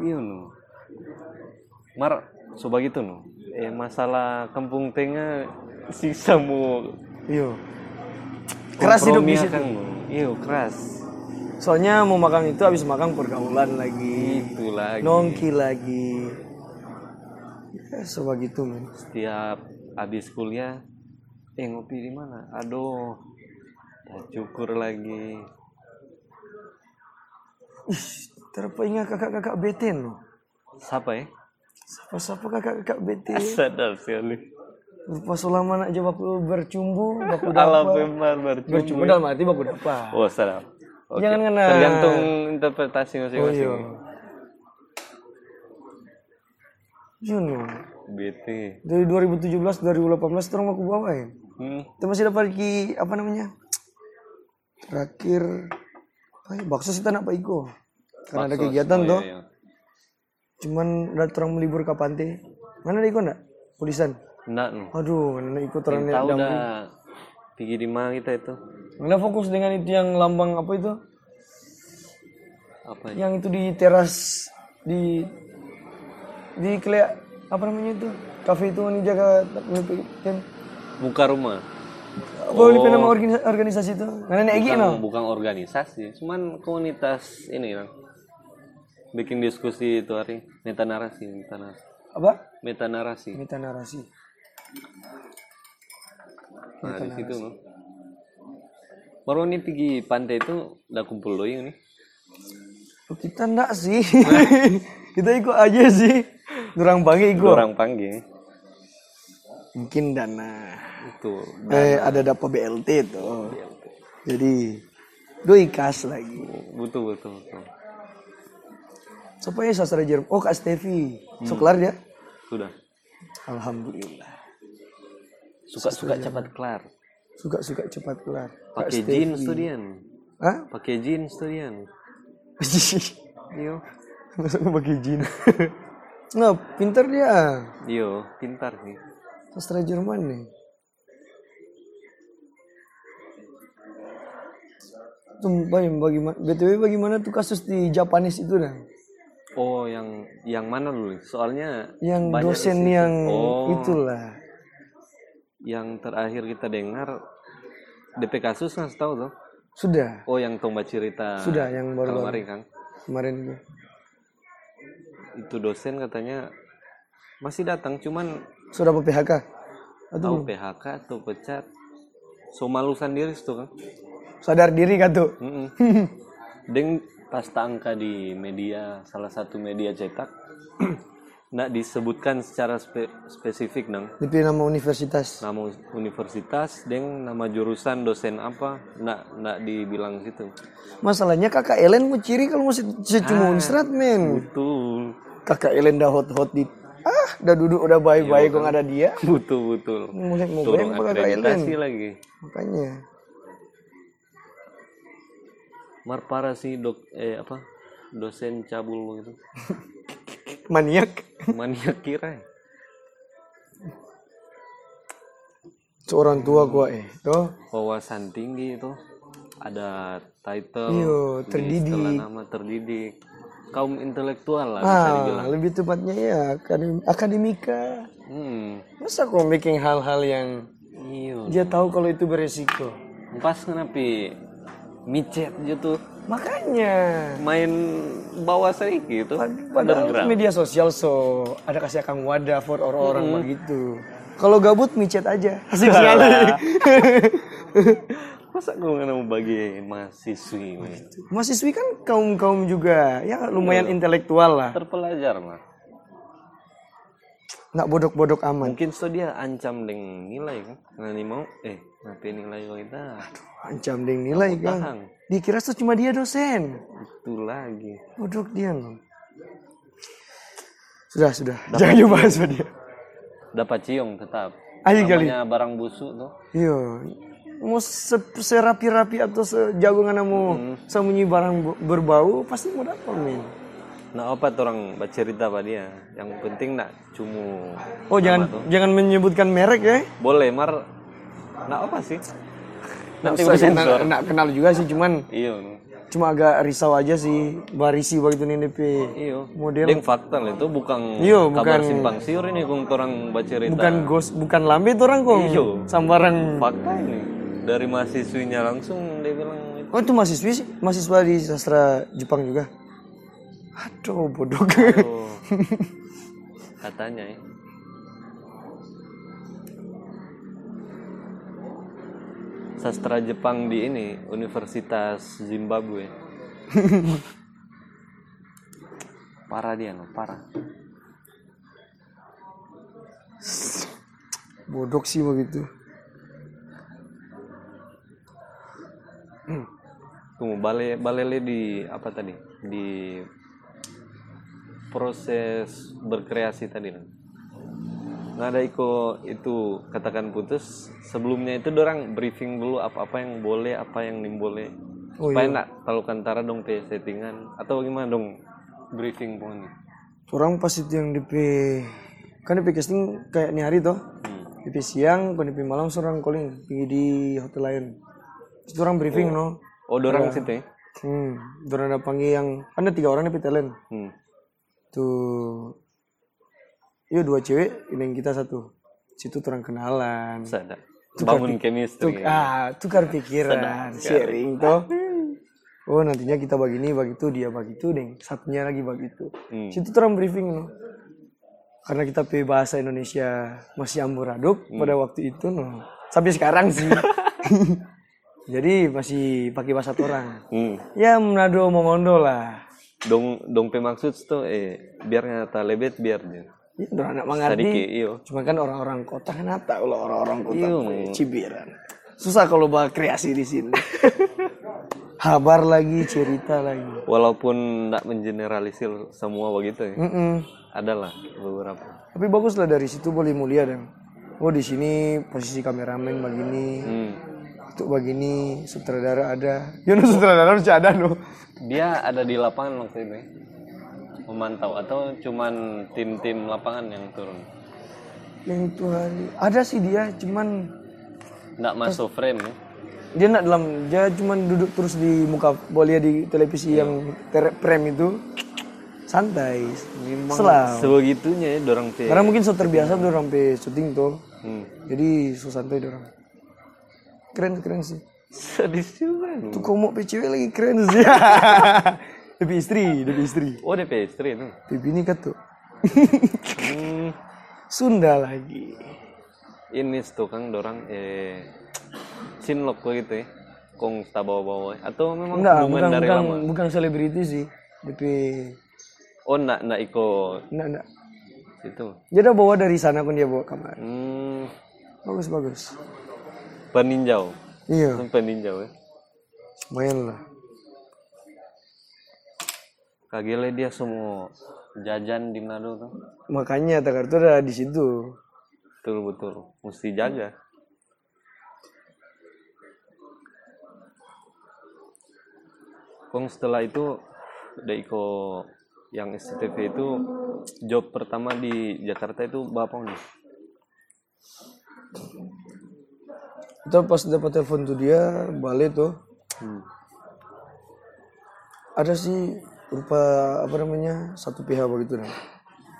Iya no. Mar, coba gitu no. Eh masalah kampung tengah [laughs] siksa mu Iyo. Keras hidup di kompromi situ. akan, no. Iya keras. Soalnya mau makan itu habis makan pergaulan lagi, Itu Gitu lagi. nongki lagi. Ya, coba gitu men. setiap habis kuliah eh ngopi di mana aduh ya cukur lagi Terpeingat kakak-kakak beten loh. siapa ya [laughs] Siapa-siapa kakak-kakak beten. sadar sekali Rupa sulama nak je baku bercumbu, baku alam dapat. memang bercumbu Bercumbu dalam arti baku dapat. oh salah Oke. Jangan kena. tergantung interpretasi Oh masing-masing iya. Jun BT Dari 2017 2018 terus aku bawain. hmm. Itu masih dapat ki apa namanya? Terakhir apa ya? Bakso sih tanah Pak Iko. Karena ada Bakso, kegiatan oh, tuh. iya, iya. Cuman ada orang melibur ke pantai. Mana ada Iko enggak? Tulisan. Nggak, no. Aduh, mana Iko terang Yang tahu dah pergi di mana kita itu Mana fokus dengan itu yang lambang apa itu? apa ya? Yang itu di teras di di kele apa namanya itu? Kafe itu yang jaga kan muka rumah apa oh. nama organisa- organisasi itu? Mana nek iki bukan, no? bukan organisasi cuman komunitas ini kan bikin diskusi itu hari meta narasi meta narasi Apa? meta narasi Meta narasi. nah di situ no. baru ini pergi pantai itu udah kumpul doi ini Oh, kita enggak sih. [laughs] kita ikut aja sih. Durang bangi ikut. orang panggil Mungkin dana. itu Eh ada dapat BLT itu. Jadi doi kas lagi. butuh butuh butuh Siapa ya sastra Jerman? Oh, Kak Stevi. So kelar dia? sudah Alhamdulillah. suka suka cepat kelar Suka-suka cepat kelar. Kak pakai Stevi. jeans studian Hah? [laughs] pakai jeans studian iyo Masuk pakai jin. [laughs] Nah, pinter dia. iyo pintar sih Sastra Jerman nih. Sumpah yang bagaimana BTW bagaimana tuh kasus di Japanis itu dah. oh yang yang mana dulu soalnya Yang banyak dosen isu. yang Oh. itulah. yang terakhir kita dengar DP kasus kan tahu tuh Sudah oh yang tomba cerita Sudah, yang baru-baru. kemarin kan kemarin tuh. itu dosen katanya masih datang cuman Sudah apa PHK? Atau tahu PHK atau pecat so malu sendiri itu kan [laughs] sadar diri kan tuh. Mm-mm. Deng pas tak angka di media salah satu media cetak [clears throat] nak disebutkan secara spe- spesifik nang Dipilih nama universitas. nama universitas deng nama jurusan dosen apa nak nak dibilang situ Masalahnya kakak Ellen mau ciri kalau masih Ah. cuma unsrat men. betul Kakak Ellen dah hot-hot di ah udah duduk udah bye-bye gua nggak ada dia. betul betul Mulai Iya, mau kan. turun bayang apa kakak Ellen. akreditasi lagi Makanya marpara si dok eh apa dosen cabul gitu. begitu maniak maniak kira seorang tua gua eh tuh. wawasan tinggi itu ada title Iyo, di Iya, terdidik. setelah nama terdidik kaum intelektual lah bisa dibilang Ah, lebih tepatnya ya akadem- akademika. hmm Masa kau bikin hal-hal yang iyo dia tahu kalau itu beresiko. pas kenapa micet gitu Makanya main bawah sedikit gitu Padahal media sosial so ada kasih akang wadah for orang-orang begitu. Kalau gabut micet [laughs] aja. Asik sekali. [laughs] masa gue nggak mau bagi mahasiswi men? Mahasiswi kan kaum-kaum juga ya Iya. lumayan intelektual lah. terpelajar mah Nggak bodok-bodok aman. mungkin so dia ancam dengan nilai kan nanti mau eh nanti nilai kita Ancam ding nilai kan. hang Dikira tuh cuma dia dosen. itu lagi Bodok dia loh. Sudah, sudah. Jangan dibahas sama dia. dapat ciong tetap Ayo kali. namanya barang busuk tuh Iya. Mau se- serapi-rapi atau sejagongan kamu sembunyi barang bu- berbau pasti mau dapat men. nah apa tuh orang baca cerita apa dia yang penting nak cumu Oh jangan jangan menyebutkan merek ya. boleh mar nah apa [laughs] sih nanti gue Nggak usah, sensor Iya. nggak- nggak kenal juga sih cuman iyo cuma agak risau aja sih barisi begitu nih DP. iyo Model- Deng Iya. fakta lah itu bukan Iyo, kabar bukan- simpang siur ini kung orang baca cerita Bukan gos bukan lambe tuh orang kok. Iyo. Sambarang. fakta ini dari mahasiswinya langsung dia bilang itu Oh itu mahasiswi sih? mahasiswa di sastra Jepang juga. Aduh bodoh. Oh. katanya ya sastra Jepang di ini Universitas Zimbabwe parah dia loh parah bodoh sih begitu. tunggu bale balele di apa tadi di proses berkreasi tadi Nan. nggak ada iko itu katakan putus sebelumnya itu dorang briefing dulu apa apa yang boleh apa yang nim boleh Oh, supaya nak terlalu kantara dong pe settingan atau gimana dong briefing pun Orang pas itu yang DP kan DP casting kayak nih hari toh. DP siang, kan DP malam seorang calling pergi di hotel lain. Itu orang briefing no. oh dorang situ ya Hmm, dorang ada panggil yang ada tiga orang DP talent. hmm. tuh iya dua cewek ini yang kita satu situ terang kenalan Sada. bangun chemistry Tuk- ah tukar pikiran sharing tuh oh nantinya kita bagi ini bagi itu dia bagi itu deng satunya lagi bagi itu Hmm. situ terang briefing no karena kita pe bahasa Indonesia masih amburadul pada waktu itu no sampai sekarang sih jadi masih pakai bahasa orang hmm. ya Manado Mongondo lah dong dong pe maksud tuh eh biar ngata lebet biar dia ya, dorang anak tadi mengerti iyo Cuma kan orang-orang kota kan nata kalau orang-orang kota Iya, tuh, Mang. cibiran. Susah kalau bawa kreasi di sini. [laughs] Habar lagi, cerita lagi. walaupun tidak mengeneralisir semua begitu ya Mm-mm. adalah beberapa Tapi bagus lah dari situ boleh mulia dan oh di sini posisi kameramen begini, Hmm. itu begini, sutradara ada. Ya no, sutradara harus ada no. dia ada di lapangan waktu itu ya? memantau atau cuman tim-tim lapangan yang turun Yang itu hari ada sih dia, cuman tidak masuk frame ya dia nak dalam dia cuman duduk terus di muka bolia di televisi yang ter- prem itu santai selam sebegitunya ya dorang teh Karena mungkin so terbiasa tuh orang pe syuting tuh. hmm. Jadi so santai dia orang. Keren keren sih. sadis juga lu. Tuh kau mau pe cewek lagi keren [laughs] sih. Tapi istri, tapi istri. oh DP istri tuh Tapi ini kan kata hmm. Sunda lagi. ini tuh kang dorang eh cinlok gitu ya kong tak bawa-bawa atau memang Enggak, hubungan bukan Oh, dari bukan lama bukan selebriti sih. DP oh nak nak ikut enggak enggak. itu Dia udah bawa dari sana pun dia bawa kamar. hmm, Bagus bagus. peninjau Iya, Itu peninjau ya main lah. kagile dia semua jajan di Manado tuh Makanya Takar tuh ada di situ. betul betul mesti jaga Kong setelah itu Deiko yang SCTV itu job pertama di Jakarta itu bapak nih Itu pas dapat telepon tuh dia balik tuh hmm. ada sih rupa apa namanya satu pihak begitu nah.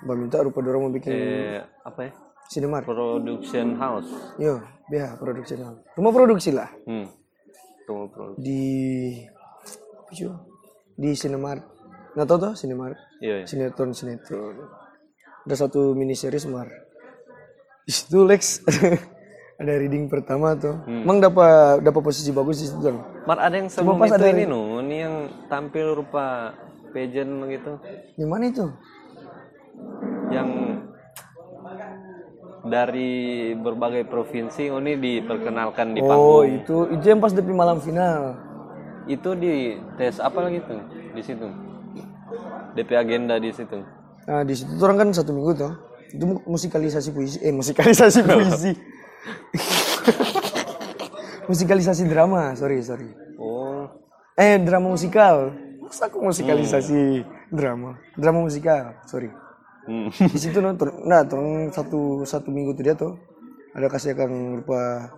Mbak minta rupa dorong mau bikin eh, apa ya sinemar. production house Yo, BH produksi lah. Rumah produksi lah hmm. Tunggu production di apa sih? di Cinemark. Nggak tahu tuh Cinemark. iya iya. Sinetron sinetron. Ada satu mini series Mar. Di situ Lex [laughs] ada reading pertama tuh. Hmm. Emang dapat dapat posisi bagus di situ kan. Mar ada yang sebelum pas itu ada- ini no, ini yang tampil rupa pageant gitu, Yang mana itu? yang dari berbagai provinsi oh, ini diperkenalkan di Oh, panggung. itu itu yang pas depi malam final. Itu di tes apa lagi tuh di situ? DP agenda di situ. Nah, di situ tuh orang kan satu minggu tuh. Itu mu- musikalisasi puisi, eh [laughs] musikalisasi puisi. musikalisasi drama, sorry, sorry. Oh, Eh, drama musikal. Masa aku musikalisasi drama? Drama musikal, sorry. hmm. Di situ nonton, nah, turun satu satu minggu tuh dia tuh ada kasih akan lupa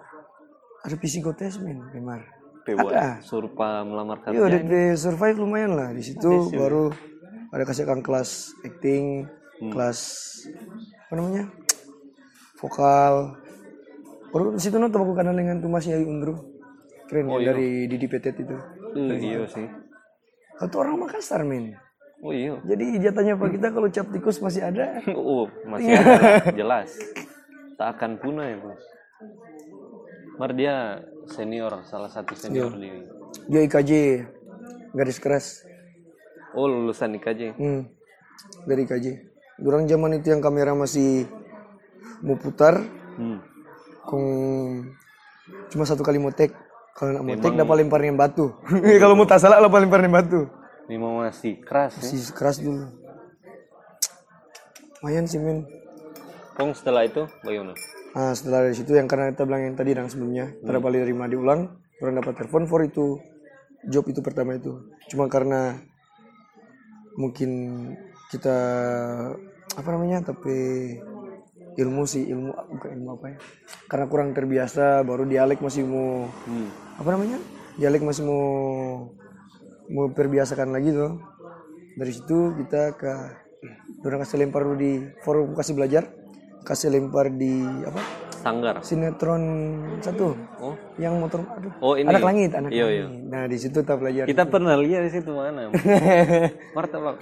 ada psikotes men, memang. Pewa surpa melamar Yo, kerja. DP Iya, survive lumayan lah di situ baru ada kasih kan kelas acting, kelas apa namanya? vokal. Baru di situ nonton aku kenal dengan Tumas Yai Undru. Keren ya, dari Didi Petet itu. Eh, iya sih. Satu orang Makassar, men. Oh iya. [laughs] Jadi ijatanya apa kita kalau cap tikus masih ada? Oh, masih ada lah, jelas. Tak akan punah ya, Bos. Mar dia senior, salah satu senior di Dia IKJ garis keras. Oh, lulusan IKJ. Hmm. Dari IKJ. Durang zaman itu yang kamera masih mau putar, Hmm. Kung cuma satu kali mau take. Kalau nak mau take dapat lempar dengan batu. [laughs] Kalau mau tak salah dapat lempar dengan batu. Memang masih keras ya. Si keras dulu. Lumayan sih men. Kong setelah itu bagaimana? Nah, setelah dari situ yang karena kita bilang yang tadi yang sebelumnya, hmm. balik dari Madi ulang, orang dapat telepon for itu job itu pertama itu. Cuma karena mungkin kita apa namanya tapi ilmu sih ilmu bukan ilmu apa ya karena kurang terbiasa baru dialek masih mau Hmm. apa namanya dialek masih mau mau perbiasakan lagi tuh dari situ kita ke orang kasih lempar dulu di forum kasih belajar kasih lempar di apa Sanggar. sinetron satu Oh, yang motor aduh oh ini. anak langit anak Iya, langit iya. nah di situ kita belajar Kita pernah lihat di situ [laughs] mana? Marta Bang.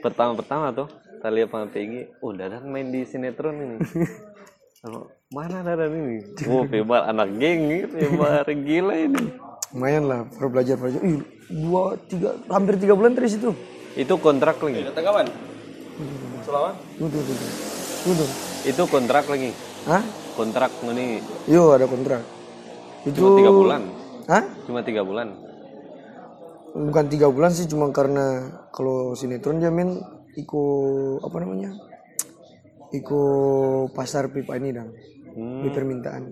Pertama-pertama tuh, kita lihat sama PG. Oh, Dadan main di sinetron [laughs] ini. Lalu, mana Dadan [laughs] ini? Oh, Febar anak geng, Febar gila ini. [laughs] lumayan lah baru belajar belajar Ih, dua tiga hampir tiga bulan dari situ Itu kontrak lagi. tuh tuh tuh tuh, tuh, tuh. Itu kontrak lagi. Hah? Kontrak ini yo ada kontrak itu cuma tiga bulan. Hah? Cuma tiga bulan. bukan tiga bulan sih cuma karena kalau sinetron dia main iko apa namanya iko pasar pipa ini dong Hmm. di permintaan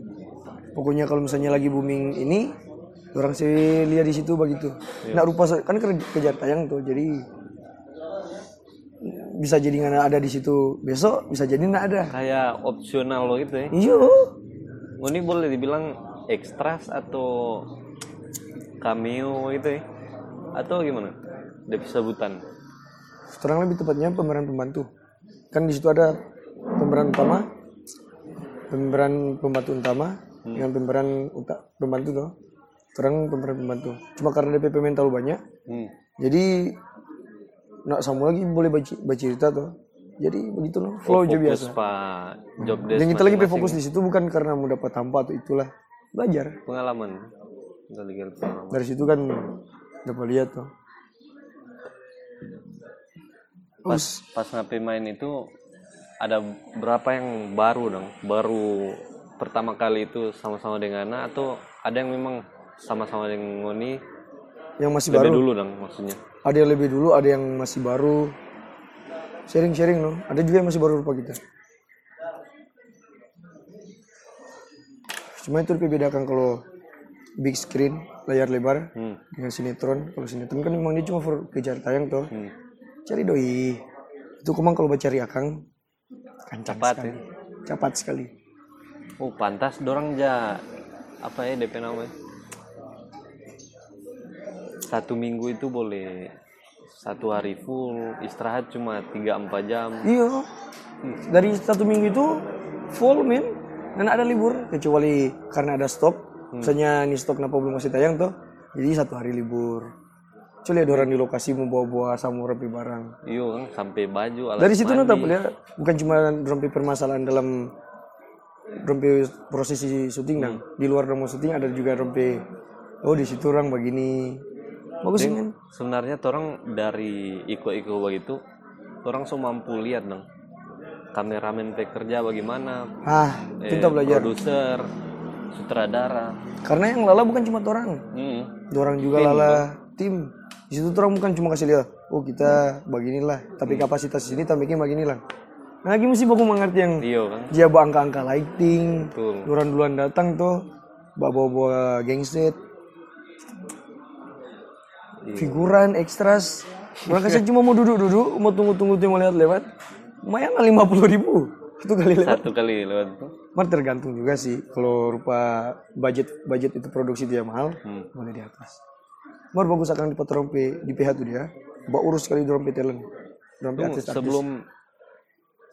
pokoknya kalau misalnya lagi booming ini orang sih lihat di situ begitu nak rupa se- kan kerja, kejar tayang tuh jadi bisa jadi nggak ada di situ besok bisa jadi nggak ada Iya, Kayak opsional lo itu ya. iyo Oh, ini boleh dibilang ekstras atau cameo gitu ya. Atau gimana? Dari sebutan. terang lebih tepatnya pemeran pembantu kan di situ ada pemeran utama pemeran pembantu utama Hmm. dengan pemeran uta- pembantu tuh terang pemeran pembantu cuma karena DP pemain terlalu banyak Hmm. jadi nak sama lagi boleh baca, baca cerita tuh jadi begitu loh flow aja Oh, biasa Hmm. Fokus pak job desk dan kita lagi masing-masing. ya. berfokus di situ bukan karena mau dapat hampa atau itulah belajar pengalaman. dari Garut Paranormal. dari situ kan dapat lihat tuh Oh, pas pas ngapain main itu ada berapa yang baru dong baru pertama kali itu sama-sama dengan Ana atau ada yang memang sama-sama dengan Ngoni yang masih lebih baru dulu dong maksudnya ada yang lebih dulu ada yang masih baru sharing sharing loh ada juga yang masih baru lupa kita cuma itu dibedakan kalau big screen layar lebar hmm. dengan sinetron kalau sinetron kan memang dia cuma for kejar tayang tuh hmm. cari doi itu kumang kalau baca cari akang kancang Cepat, ya. sekali cepat sekali oh pantas dorang ja apa ya DP namanya satu minggu itu boleh satu hari full istirahat cuma 3-4 jam iya dari satu minggu itu full men dan ada libur kecuali karena ada stok misalnya ini stok kenapa belum masih tayang tuh jadi satu hari libur Coba lihat orang di lokasi mau bawa-bawa samu rapi barang iyo kan sampai baju alat dari situ mandi. nanti ya bukan cuma rompi permasalahan dalam rompi prosesi syuting nang di luar drama syuting ada juga rompi oh di situ orang begini bagus sih men sebenarnya orang dari iko-iko begitu orang so mampu lihat dong kameramen pekerja bagaimana ah eh, kita belajar produser sutradara karena yang lala bukan cuma orang Mm. orang juga lala tim di situ orang bukan cuma kasih lihat oh kita beginilah tapi kapasitas ini tampaknya beginilah nah lagi mesti baku mengerti yang Iya kan dia bawa angka-angka lighting betul orang duluan datang tuh bawa-bawa gangset figuran ekstras orang kasih cuma mau duduk-duduk mau tunggu-tunggu tuh mau lihat lewat lumayan lah lima puluh ribu itu kali lewat satu kali lewat tuh Mar tergantung juga sih kalau rupa budget budget itu produksi dia mahal Hmm. boleh di atas Mar bagus akan di rompi di PH tuh dia Mbak urus sekali di rompi talent rompi Tuh, artis artis sebelum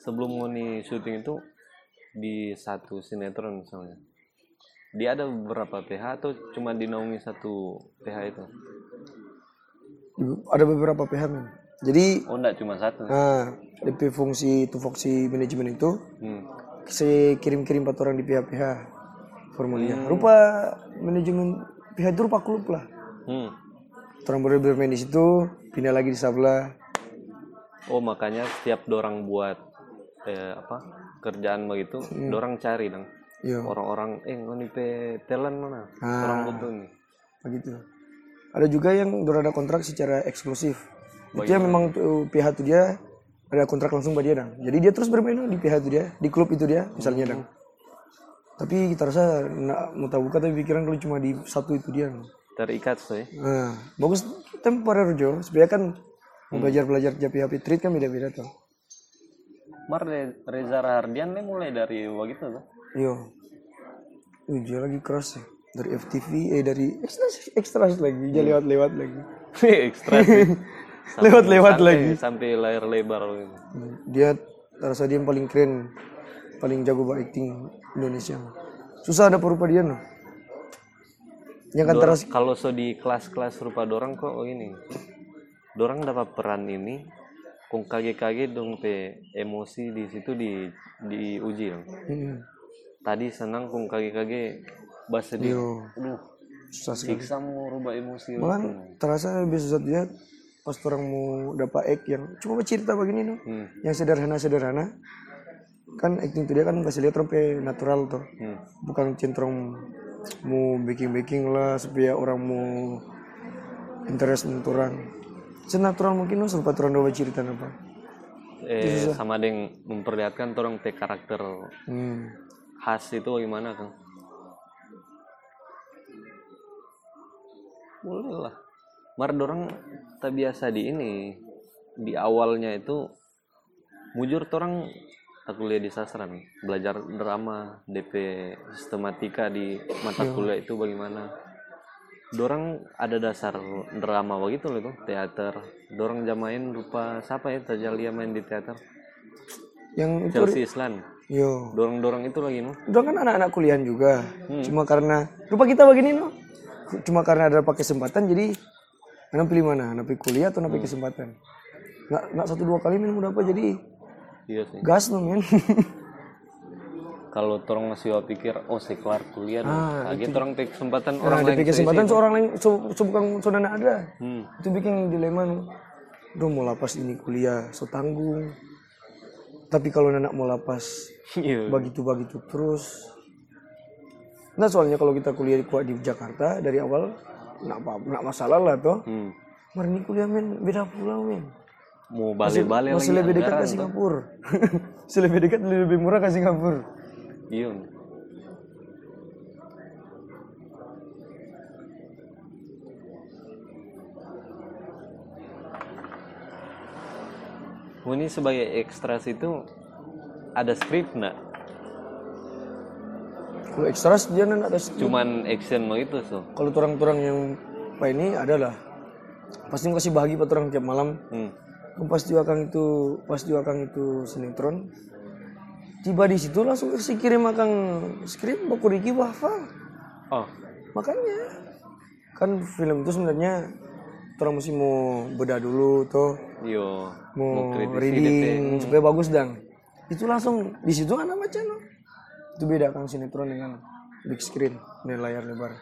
sebelum ngoni syuting itu di satu sinetron misalnya dia ada beberapa PH atau cuma dinaungi satu PH itu ada beberapa PH men jadi oh enggak cuma satu nah, DP fungsi itu fungsi manajemen itu Hmm. saya kirim-kirim empat orang di PH-PH formulirnya. Rupa manajemen PH itu rupa klub lah. Hmm. Orang baru bermain di situ, pindah lagi di Sabla. Oh makanya setiap dorang buat eh, apa kerjaan begitu, Iya. dorang cari dong Yo, orang-orang eh ngoni pe talent mana, Ah. orang butuh nih. begitu. Ada juga yang berada kontrak secara eksklusif. Oh, Itu iya. yang memang tuh, PH itu dia ada kontrak langsung sama dia dang. Jadi dia terus bermain di PH itu dia, di klub itu dia misalnya Hmm. dang. Tapi kita rasa nak mau tahu buka tapi pikiran kalau cuma di satu itu dia. Dang. Terikat sih. Nah, bagus temporer Jo. Sebenarnya kan Hmm. mau belajar-belajar tiap tiap treat kan beda-beda tuh. Mar Re- Reza Rahardian nih mulai dari begitu tuh. Yo. Iya. Wih, dia lagi keras ya. Dari FTV, eh dari ekstras, ekstras lagi. Dia lewat-lewat lagi. [laughs] Ekstra sih. [laughs] Iya. Lewat-lewat Sampai- lagi. sampai layar lebar gitu. Dia terasa dia yang paling keren, paling jago buat acting Indonesia. Susah ada perupa dia no. Yang kan terasa Dorang- kalau so di kelas-kelas rupa dorang kok oh ini. Dorang dapat peran ini kung kage-kage dong pe emosi di situ di diuji dong. Hmm, Tadi senang kung kage-kage bahasa dia. yo, Aduh, susah sekali. siksa mau rubah emosi. Malah terasa lebih susah dia pas orang mau dapat act yang cuma cerita begini no. Hmm, yang sederhana-sederhana kan acting itu dia kan kasih lihat rompe natural tuh hmm. bukan centrong mau baking-baking lah supaya orang mau interest untuk orang senatural mungkin lu sempat orang doa cerita apa Eh, sama ada yang memperlihatkan orang pe karakter hmm. khas itu bagaimana kang? Boleh lah. Mar dorang tak biasa di ini di awalnya itu mujur orang tak kuliah di sastra nih belajar drama DP sistematika di mata kuliah itu bagaimana dorang ada dasar drama begitu loh itu teater dorang jamain rupa siapa ya Tajalia main di teater yang itu Chelsea Islan yo dorong-dorong itu lagi no itu kan anak-anak kuliahan juga cuma karena lupa kita begini no cuma karena ada pakai kesempatan jadi anak pilih mana anak pilih kuliah atau anak pilih kesempatan nggak nggak satu dua kali minum udah apa jadi [laughs] iya sih gas no men kalau torang masih pikir oh saya kelar kuliah nih. Ah, lagi torang pe kesempatan Nah, orang dia lain pikir saya kesempatan isi. seorang lain so, so bukan so nana ada. Hmm. Itu bikin dilema. nu. Duh mau lapas ini kuliah so tanggung. Tapi kalau anak mau lapas [laughs] Iya. begitu-begitu terus. Nah soalnya kalau kita kuliah di, kuat di Jakarta dari awal nak apa nak masalah lah toh. Hmm. Mari ini kuliah men beda pulau men. mau balik-balik lagi Masih lebih dekat anggaran ke tuh. Singapura. [laughs] Masih lebih dekat lebih murah ke Singapura. iya Oh, ini sebagai ekstras itu ada skrip nak Kalau ekstras dia nak ada Hmm. cuman action mau itu so kalau turang-turang yang apa ini adalah pasti kasih bahagi pak turang tiap malam hmm. pas diwakang itu pas diwakang itu sinetron tiba di situ langsung kasih kirim akang skrip buku Riki Wafa oh makanya kan film itu sebenarnya turang mesti mau bedah dulu tuh yo mau, Iya. kritisi reading supaya bagus dang itu langsung di situ anak baca no itu beda kang sinetron dengan big screen dengan layar lebar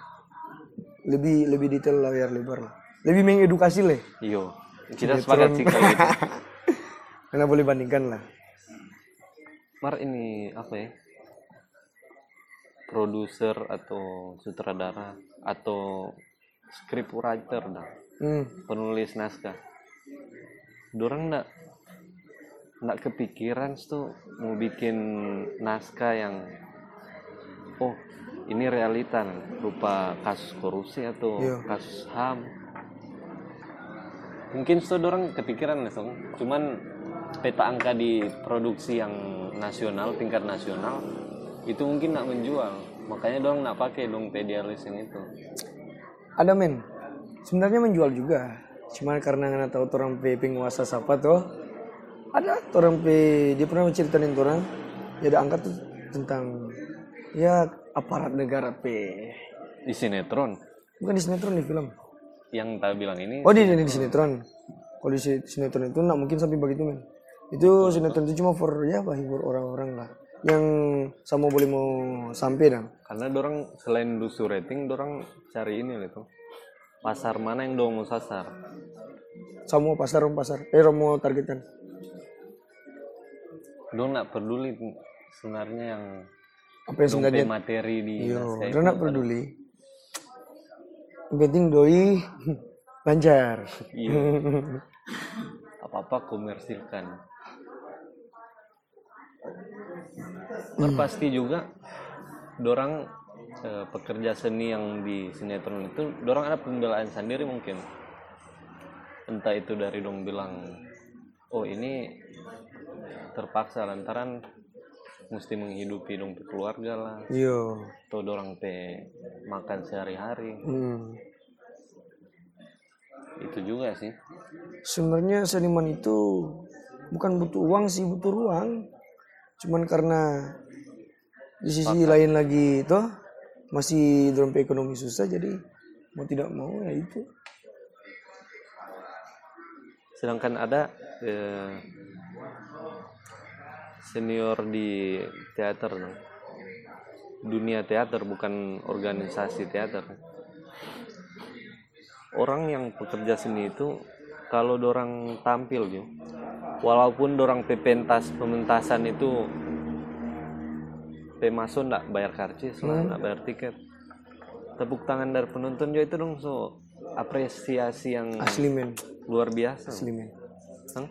lebih lebih detail layar lebar lah lebih mengedukasi leh yo Iya. kita sepakat sih kalau [laughs] gitu karena boleh bandingkan lah Mar ini apa ya? Produser atau sutradara atau scriptwriter dah, hmm. penulis naskah. Dorang ndak ndak kepikiran tuh mau bikin naskah yang oh ini realita nih, berupa kasus korupsi atau Iya. kasus ham mungkin itu orang kepikiran langsung cuman peta angka di produksi yang nasional tingkat nasional itu mungkin nak menjual makanya dong nak pakai dong pedialisin itu ada men sebenarnya menjual juga cuman karena nggak tahu orang pe penguasa siapa tuh ada orang pe dia pernah menceritain orang ya ada angkat tuh tentang ya aparat negara pe di sinetron bukan di sinetron di film yang tak bilang ini oh di di, di sinetron kalau di si- sinetron itu nggak mungkin sampai begitu men itu sinetron itu cuma for ya apa hibur orang-orang lah yang sama boleh mau sampai dong karena dorang selain dusu rating dorang cari ini loh itu pasar mana yang dong mau sasar sama pasar rom pasar eh romo targetkan dong nak peduli sebenarnya yang apa yang dong sebenarnya pe materi di Yo, naskah itu. udah nak peduli. Yang penting doi [laughs] lancar. Iya. [laughs] apa apa komersilkan Terpasti juga dorang eh, pekerja seni yang di sinetron itu dorang ada pembelaan sendiri mungkin entah itu dari dong bilang oh ini terpaksa lantaran mesti menghidupi dong pe keluarga lah Yo. atau dorang pe makan sehari-hari Hmm. itu juga sih Sebenarnya seniman itu bukan butuh uang sih, butuh ruang. Cuman karena di sisi lain lagi itu masih dalam ekonomi susah jadi mau tidak mau ya itu. sedangkan ada eh, senior di teater dong. dunia teater bukan organisasi teater orang yang pekerja seni itu kalau dorang tampil gitu walaupun dorang pe pentas pementasan itu pemason ndak bayar karcis lah Hmm. ndak bayar tiket tepuk tangan dari penonton juga itu dong so apresiasi yang Asli men, luar biasa asli men. Hah?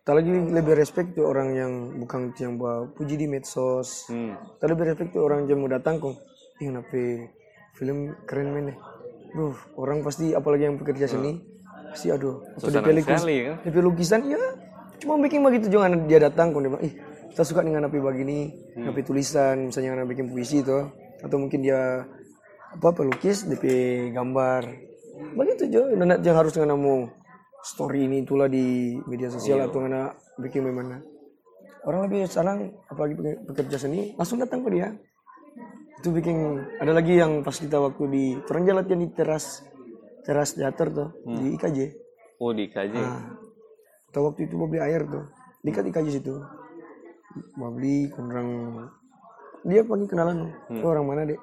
Tak lagi lebih respect tuh orang yang bukan yang buat puji di medsos. Hmm. Tadi berefek tuh orang yang mau datang kok. Ih kenapa film keren men ya. Duh, orang pasti apalagi yang pekerja seni pasti aduh. Atau Susah DP lukis, sekali kan? DP lukisan ya cuma bikin begitu jangan dia datang kok dia bilang, ih kita suka dengan napi begini, napi tulisan, misalnya napi bikin puisi tuh atau mungkin dia apa pelukis DP gambar. Begitu jo, anak yang harus dengan mau story ini itulah di media sosial atau ngana bikin memana orang lebih sekarang apalagi pe- pekerja seni langsung datang ke dia itu bikin ada lagi yang pas kita waktu di orang jalan latihan di teras teras teater tuh di IKJ Oh dikaji. nah atau waktu kan itu mau beli air tuh dekat IKJ situ mau beli kurang dia pagi kenalan "Lu orang mana dek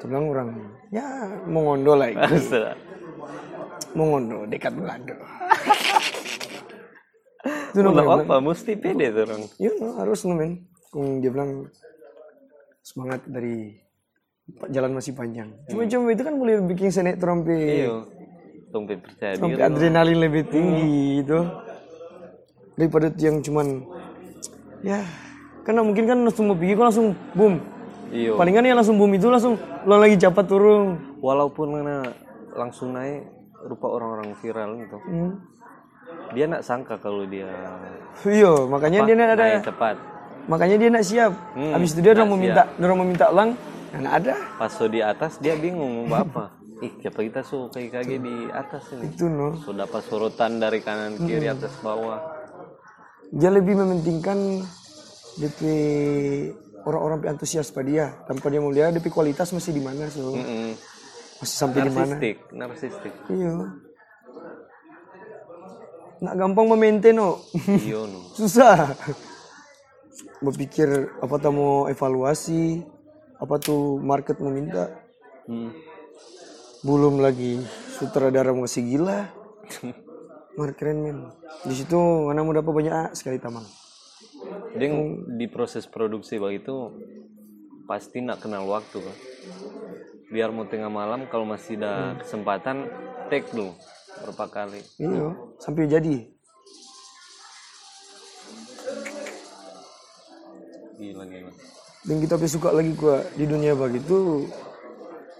Saya bilang orang ya mongondo lah ini. [laughs] Astaga. mongondo dekat belando itu Untuk namanya apa? Mesti pede tuh orang. Iya. ya harus nemen Kung dia bilang semangat dari jalan masih panjang cuma cuma itu kan boleh bikin saya naik trompe Iya. Tumpi percaya diri. sampai adrenalin lebih Iya. tinggi itu daripada itu yang cuman ya karena mungkin kan semua pikir kan langsung boom Iya. palingan ya langsung boom itu langsung ulang lagi cepat turun Walaupun mana langsung naik rupa orang-orang viral gitu. hmm. Dia nak sangka kalau dia iya makanya dia nak ada naik cepat. makanya dia nak siap Hmm, habis itu dia nak udah mau siap. minta dia mau minta ulang dan ada Pas so di atas dia bingung mau apa. Ih, siapa kita so kayak kayak di atas ini. itu no So dapat sorotan dari kanan kiri Hmm. atas bawah. dia lebih mementingkan DP orang-orang yang antusias pada dia tanpa dia mulia DP kualitas masih di mana so Mm-mm. masih sampai di Hmm. mana Narsistik, narsistik. [laughs] Iya. Nak gampang memaintain no. Iya no. [laughs] Susah. Berpikir apa tuh mau evaluasi, apa tuh market meminta. Hmm. Belum lagi sutradara mau kasih gila. Market keren men. Di situ mana mau dapat banyak ah, sekali tamang. Dia ng- di proses produksi begitu pasti nak kenal waktu kan. Biar mau tengah malam kalau masih ada kesempatan take dulu berapa kali. Iya, sampai jadi. Gila gila. Dan kita pun suka lagi gua di dunia begitu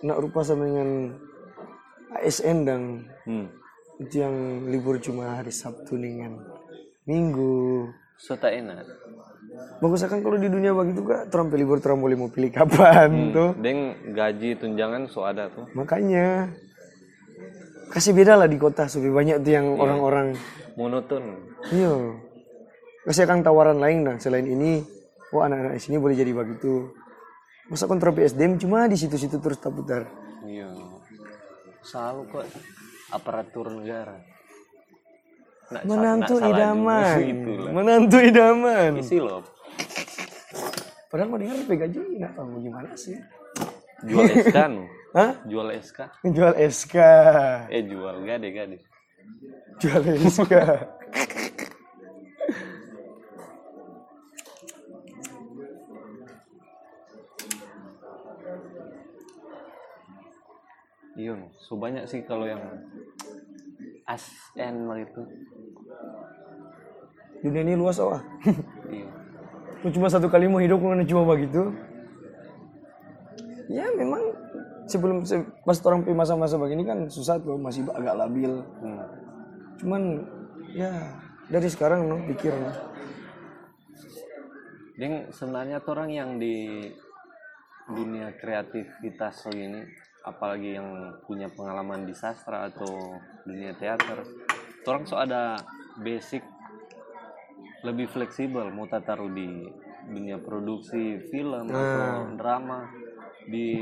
nak rupa sama dengan ASN dan Hmm. itu yang libur cuma hari Sabtu dengan Minggu. So tak enak. Bagus akan kalau di dunia begitu kak, Trump pilih libur Trump boleh mau pilih Hmm. kapan Oh. tuh. Deng gaji tunjangan so ada tuh. Makanya kasih beda lah di kota supaya banyak tuh Iya. yang orang-orang Monoton. iya kasih akan tawaran lain dan selain ini oh anak-anak di sini boleh jadi begitu masa kontrol PSDM cuma di situ-situ terus tak putar Iya. Selalu kok aparatur negara. Nak sa- nak menantu salah idaman dulu. Itulah. menantu idaman Isi loh. padahal mau dengar PKJ nggak tahu gimana sih Jual [laughs] SK no. Hah? Jual SK. jual SK Eh jual gade gade. jual SK Iya no. So banyak sih kalau yang ASN mal itu. [laughs] dunia ini luas oh ah. Iya. Lu cuma satu kali mau hidup karena cuma begitu ya memang sebelum se- pas orang pi masa-masa begini kan susah tuh masih agak labil Hmm. cuman ya dari sekarang no pikir no. Deng sebenarnya tuh orang yang di dunia kreativitas so ini apalagi yang punya pengalaman di sastra atau dunia teater tuh orang so ada basic lebih fleksibel mau tak taruh di dunia produksi film Ah. atau drama di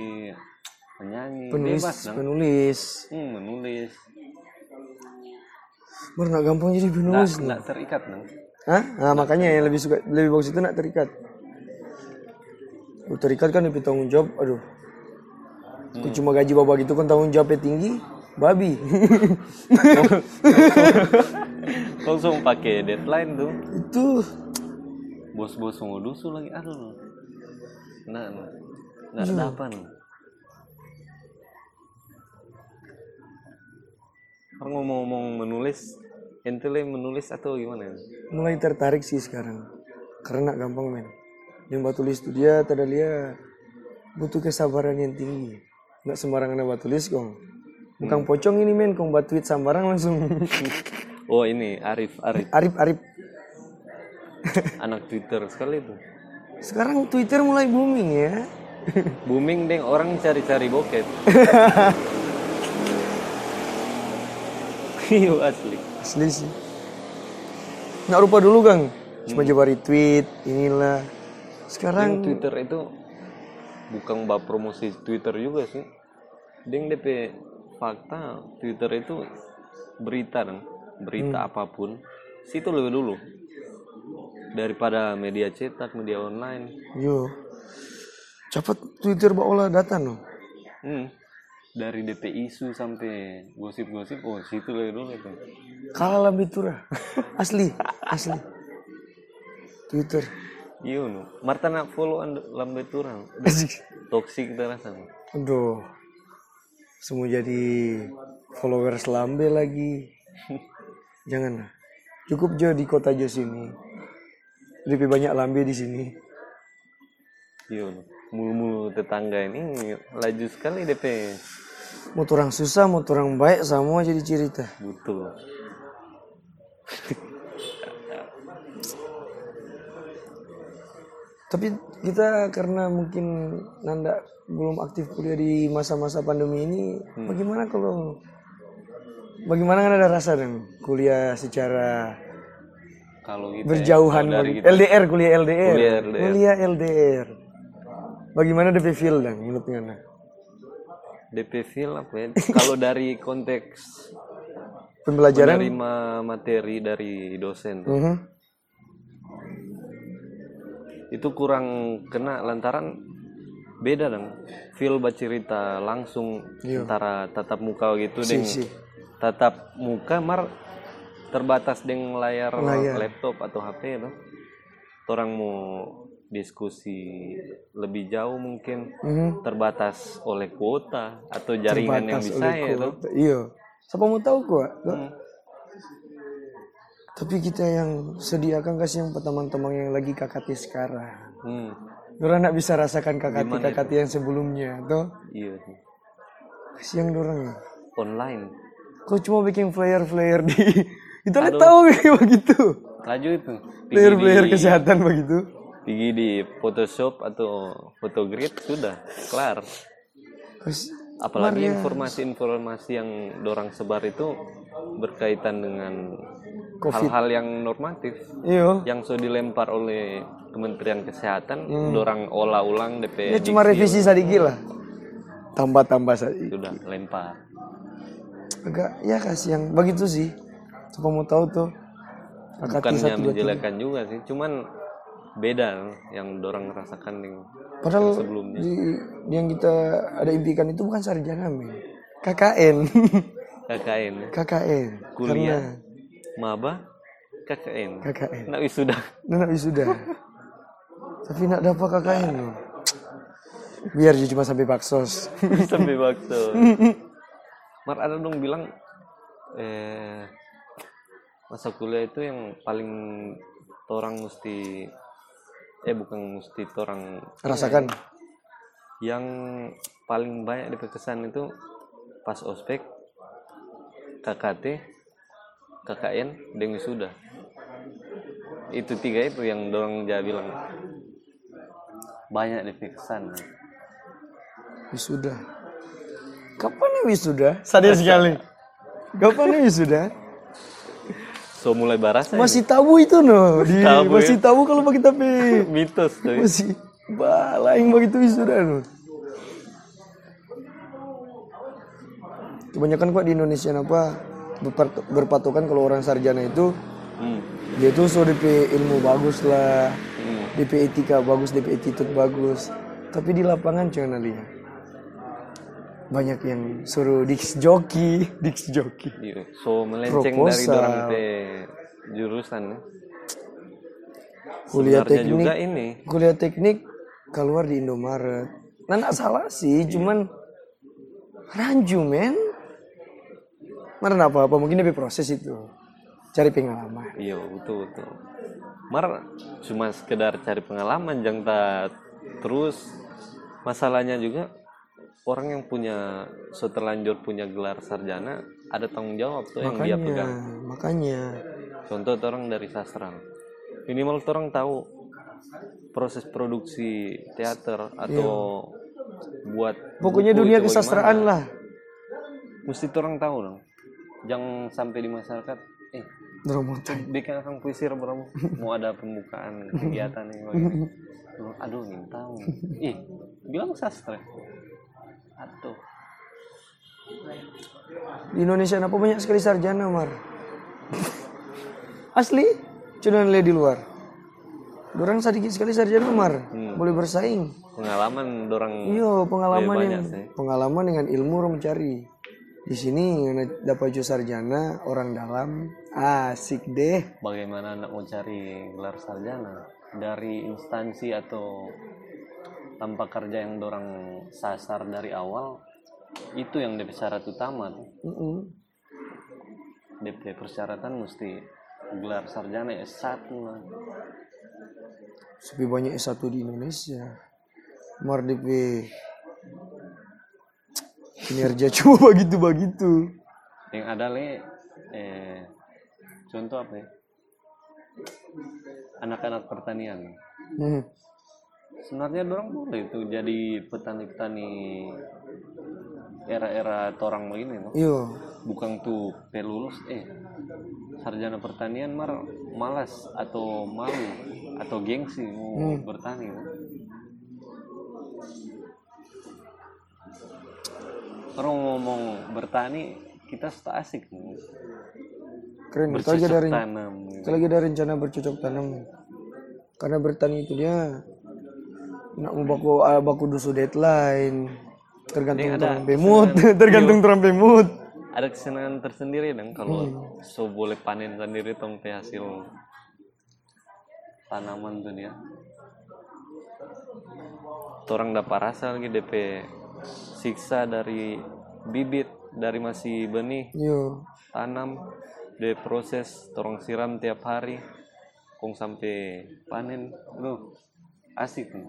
menyanyi penulis bebas dong penulis Hmm, menulis baru nggak gampang jadi nggak penulis no. nggak terikat dong Hah? Nah, makanya yang lebih suka lebih bagus itu nak terikat Lu terikat kan lebih tanggung jawab aduh Ku cuma gaji baba gitu kan tanggung jawabnya tinggi babi [laughs] langsung pakai deadline tuh itu bos-bos mau dusu lagi aduh nah nah nah ada apa nih orang ngomong-ngomong menulis ente le menulis atau gimana ya? mulai tertarik sih sekarang karena gampang men yang buat tulis itu dia tadi dia butuh kesabaran yang tinggi nggak sembarangan buat tulis kong bukan pocong ini men kong buat tweet sembarang langsung [laughs] oh ini Arif Arif [laughs] arif arif anak Twitter sekali itu sekarang twitter mulai booming ya booming deh orang cari-cari bokep [laughs] Iya asli asli sih nggak rupa dulu kang cuma coba retweet inilah Yang sekarang Twitter itu bukan bab promosi Twitter juga sih. Ding DP fakta Twitter itu berita dong, berita apapun situ lebih dulu daripada media cetak, media online. yo Cepat Twitter baola data no. Hmm. Dari DP isu sampai gosip-gosip, oh situ lagi dulu itu. Kalah lah bitura. [laughs] Asli, asli. Twitter. Iya nu, Marta nak follow and lambe turang. Toxic terasa. nu. Aduh. Semua jadi followers lambe lagi. Jangan lah. Cukup jo di kota jo sini. Lebih banyak lambe di sini. Iya nu, Mulu-mulu tetangga ini laju sekali DP. Mau orang susah, mau orang baik, semua jadi cerita. Butuh. Tapi kita karena mungkin Nanda belum aktif kuliah di masa-masa pandemi ini, Hmm. bagaimana kalau bagaimana kan ada rasa dan kuliah secara Kalau gitu. berjauhan bagi- LDR kuliah LDR. Kuliah LDR. Kuliah LDR. Bagaimana DP feel dan menurut Nanda? DP feel apa ya? Kalau dari konteks Pembelajaran? menerima materi dari dosen tuh, Mhm. itu kurang kena lantaran beda dong feel bercerita langsung antara tatap muka gitu Iya. Si, deng si. tatap muka mar terbatas dengan layar, Layar. laptop atau HP dong orang mau diskusi lebih jauh mungkin Mhm. terbatas oleh kuota atau jaringan yang Terbatas bisa oleh ya Hmm. tuh kuota. Iya. Siapa mau tahu kok? Tapi kita yang sediakan kasih yang teman-teman yang lagi KKT sekarang. hmm, Orang nak bisa rasakan kakati-kakati yang sebelumnya tuh. iya tuh. Kasihan dorang. online Kau cuma bikin flyer-flyer di [laughs] kita nggak tahu kayak [laughs] begitu. laju itu Tinggi Flyer-flyer di- kesehatan begitu. Pergi di Photoshop atau Photogrid sudah kelar. Kas- Apalagi ya. informasi-informasi yang dorang sebar itu berkaitan dengan hal-hal yang normatif Iyo. yang sudah dilempar oleh Kementerian Kesehatan, dorang olah ulang DP Hmm. Ya cuma revisi sedikit lah. Tambah-tambah saja. sudah lempar. Agak ya kasihan begitu sih. Coba mau tahu tuh. Kakati Bukannya satu dua tiga. menjelekan juga sih, cuman beda yang dorang rasakan dengan Padahal sebelumnya. di- yang kita ada impikan itu bukan sarjana men. [laughs] KKN. KKN, KKN. kuliah, maba, KKN, Karena KKN. nak wisuda. [laughs] Nak wisuda. Tapi nak dapat KKN lo. Biar dia cuma sampai baksos. sampai waktu Mar ada dong bilang eh masa kuliah itu yang paling orang mesti eh bukan mesti orang Rasakan. yang paling banyak diperkesan itu pas ospek KKT KKN dan wisuda itu tiga itu yang dorong jadi bilang banyak diperkesan Wisuda. Kapan nih wisuda? Sadar sekali. Kapan nih wisuda? so mulai ya? barasa ini. Masih tabu itu no. Di, Tabu, ya. masih tabu kalau bagi tapi mitos tuh masih balaing begitu wisuda no. Kebanyakan kok di Indonesia apa berpat- berpatokan kalau orang sarjana itu Hmm, dia tuh so DP ilmu bagus lah hmm. DP etika bagus, DP attitude bagus. Tapi di lapangan cuman lihat banyak yang suruh diks joki, [laughs] diks joki. Iya, so melenceng dari Proposal. dorang teh jurusan ya. Sebenarnya Kuliah teknik, juga ini kuliah teknik keluar di Indomaret. Nah, nggak salah sih, Iya. cuman ranju men. Mana apa-apa, mungkin lebih proses itu. Cari pengalaman. iya betul betul mar cuma sekedar cari pengalaman jangan tak terus masalahnya juga orang yang punya setelanjur punya gelar sarjana ada tanggung jawab tuh yang dia Makanya, pegang makanya. contoh orang dari sastra minimal orang tahu proses produksi teater atau buat Iya. Pokoknya buku dunia itu bagaimana. kesastraan lah. mesti orang tahu dong jangan sampai di masyarakat eh Dromotan. bikin orang puisi berapa mau ada pembukaan kegiatan yang lain aduh ingin tahu ih bilang sastra aduh Di Indonesia apa banyak sekali [laughs] sarjana, Mar. Asli? Cuma lihat di luar. Dorang sedikit sekali sarjana Umar, Hmm. boleh bersaing. Pengalaman dorang Iyo, pengalaman Lebih yang Iya, banyak sih. pengalaman dengan ilmu orang cari. Di sini ngana- dapat jo sarjana orang dalam. Asik deh. bagaimana anak mau cari gelar sarjana dari instansi atau tanpa kerja yang dorang sasar dari awal itu yang jadi syarat utama tuh. Mm-mm. DP persyaratan mesti gelar sarjana ya S1 lah. Sepi banyak S1 di Indonesia. Mardip kinerja [laughs] cuma begitu begitu. Yang ada le eh, contoh apa ya? Anak-anak pertanian. Hmm. Sebenarnya dorang boleh itu jadi petani-petani era-era torang begini no? Iyo, bukan tuh pelulus eh sarjana pertanian mar malas atau malu atau gengsi mau bertani kan? no? orang ngomong bertani kita sudah asik no? keren. Kita bercocok lagi ada ren- tanam ya. kita lagi ada rencana bercocok tanam. Karena bertani itu dia nak mau baku ah, baku dusu deadline. Tergantung Ini ada terang mood, [laughs] tergantung terang mood. ada kesenangan tersendiri dong kalau so boleh panen sendiri tong teh hasil tanaman tuh dia orang dapat rasa lagi DP siksa dari bibit dari masih benih Yo, tanam de proses torong siram tiap hari kong sampai panen lu asik nih.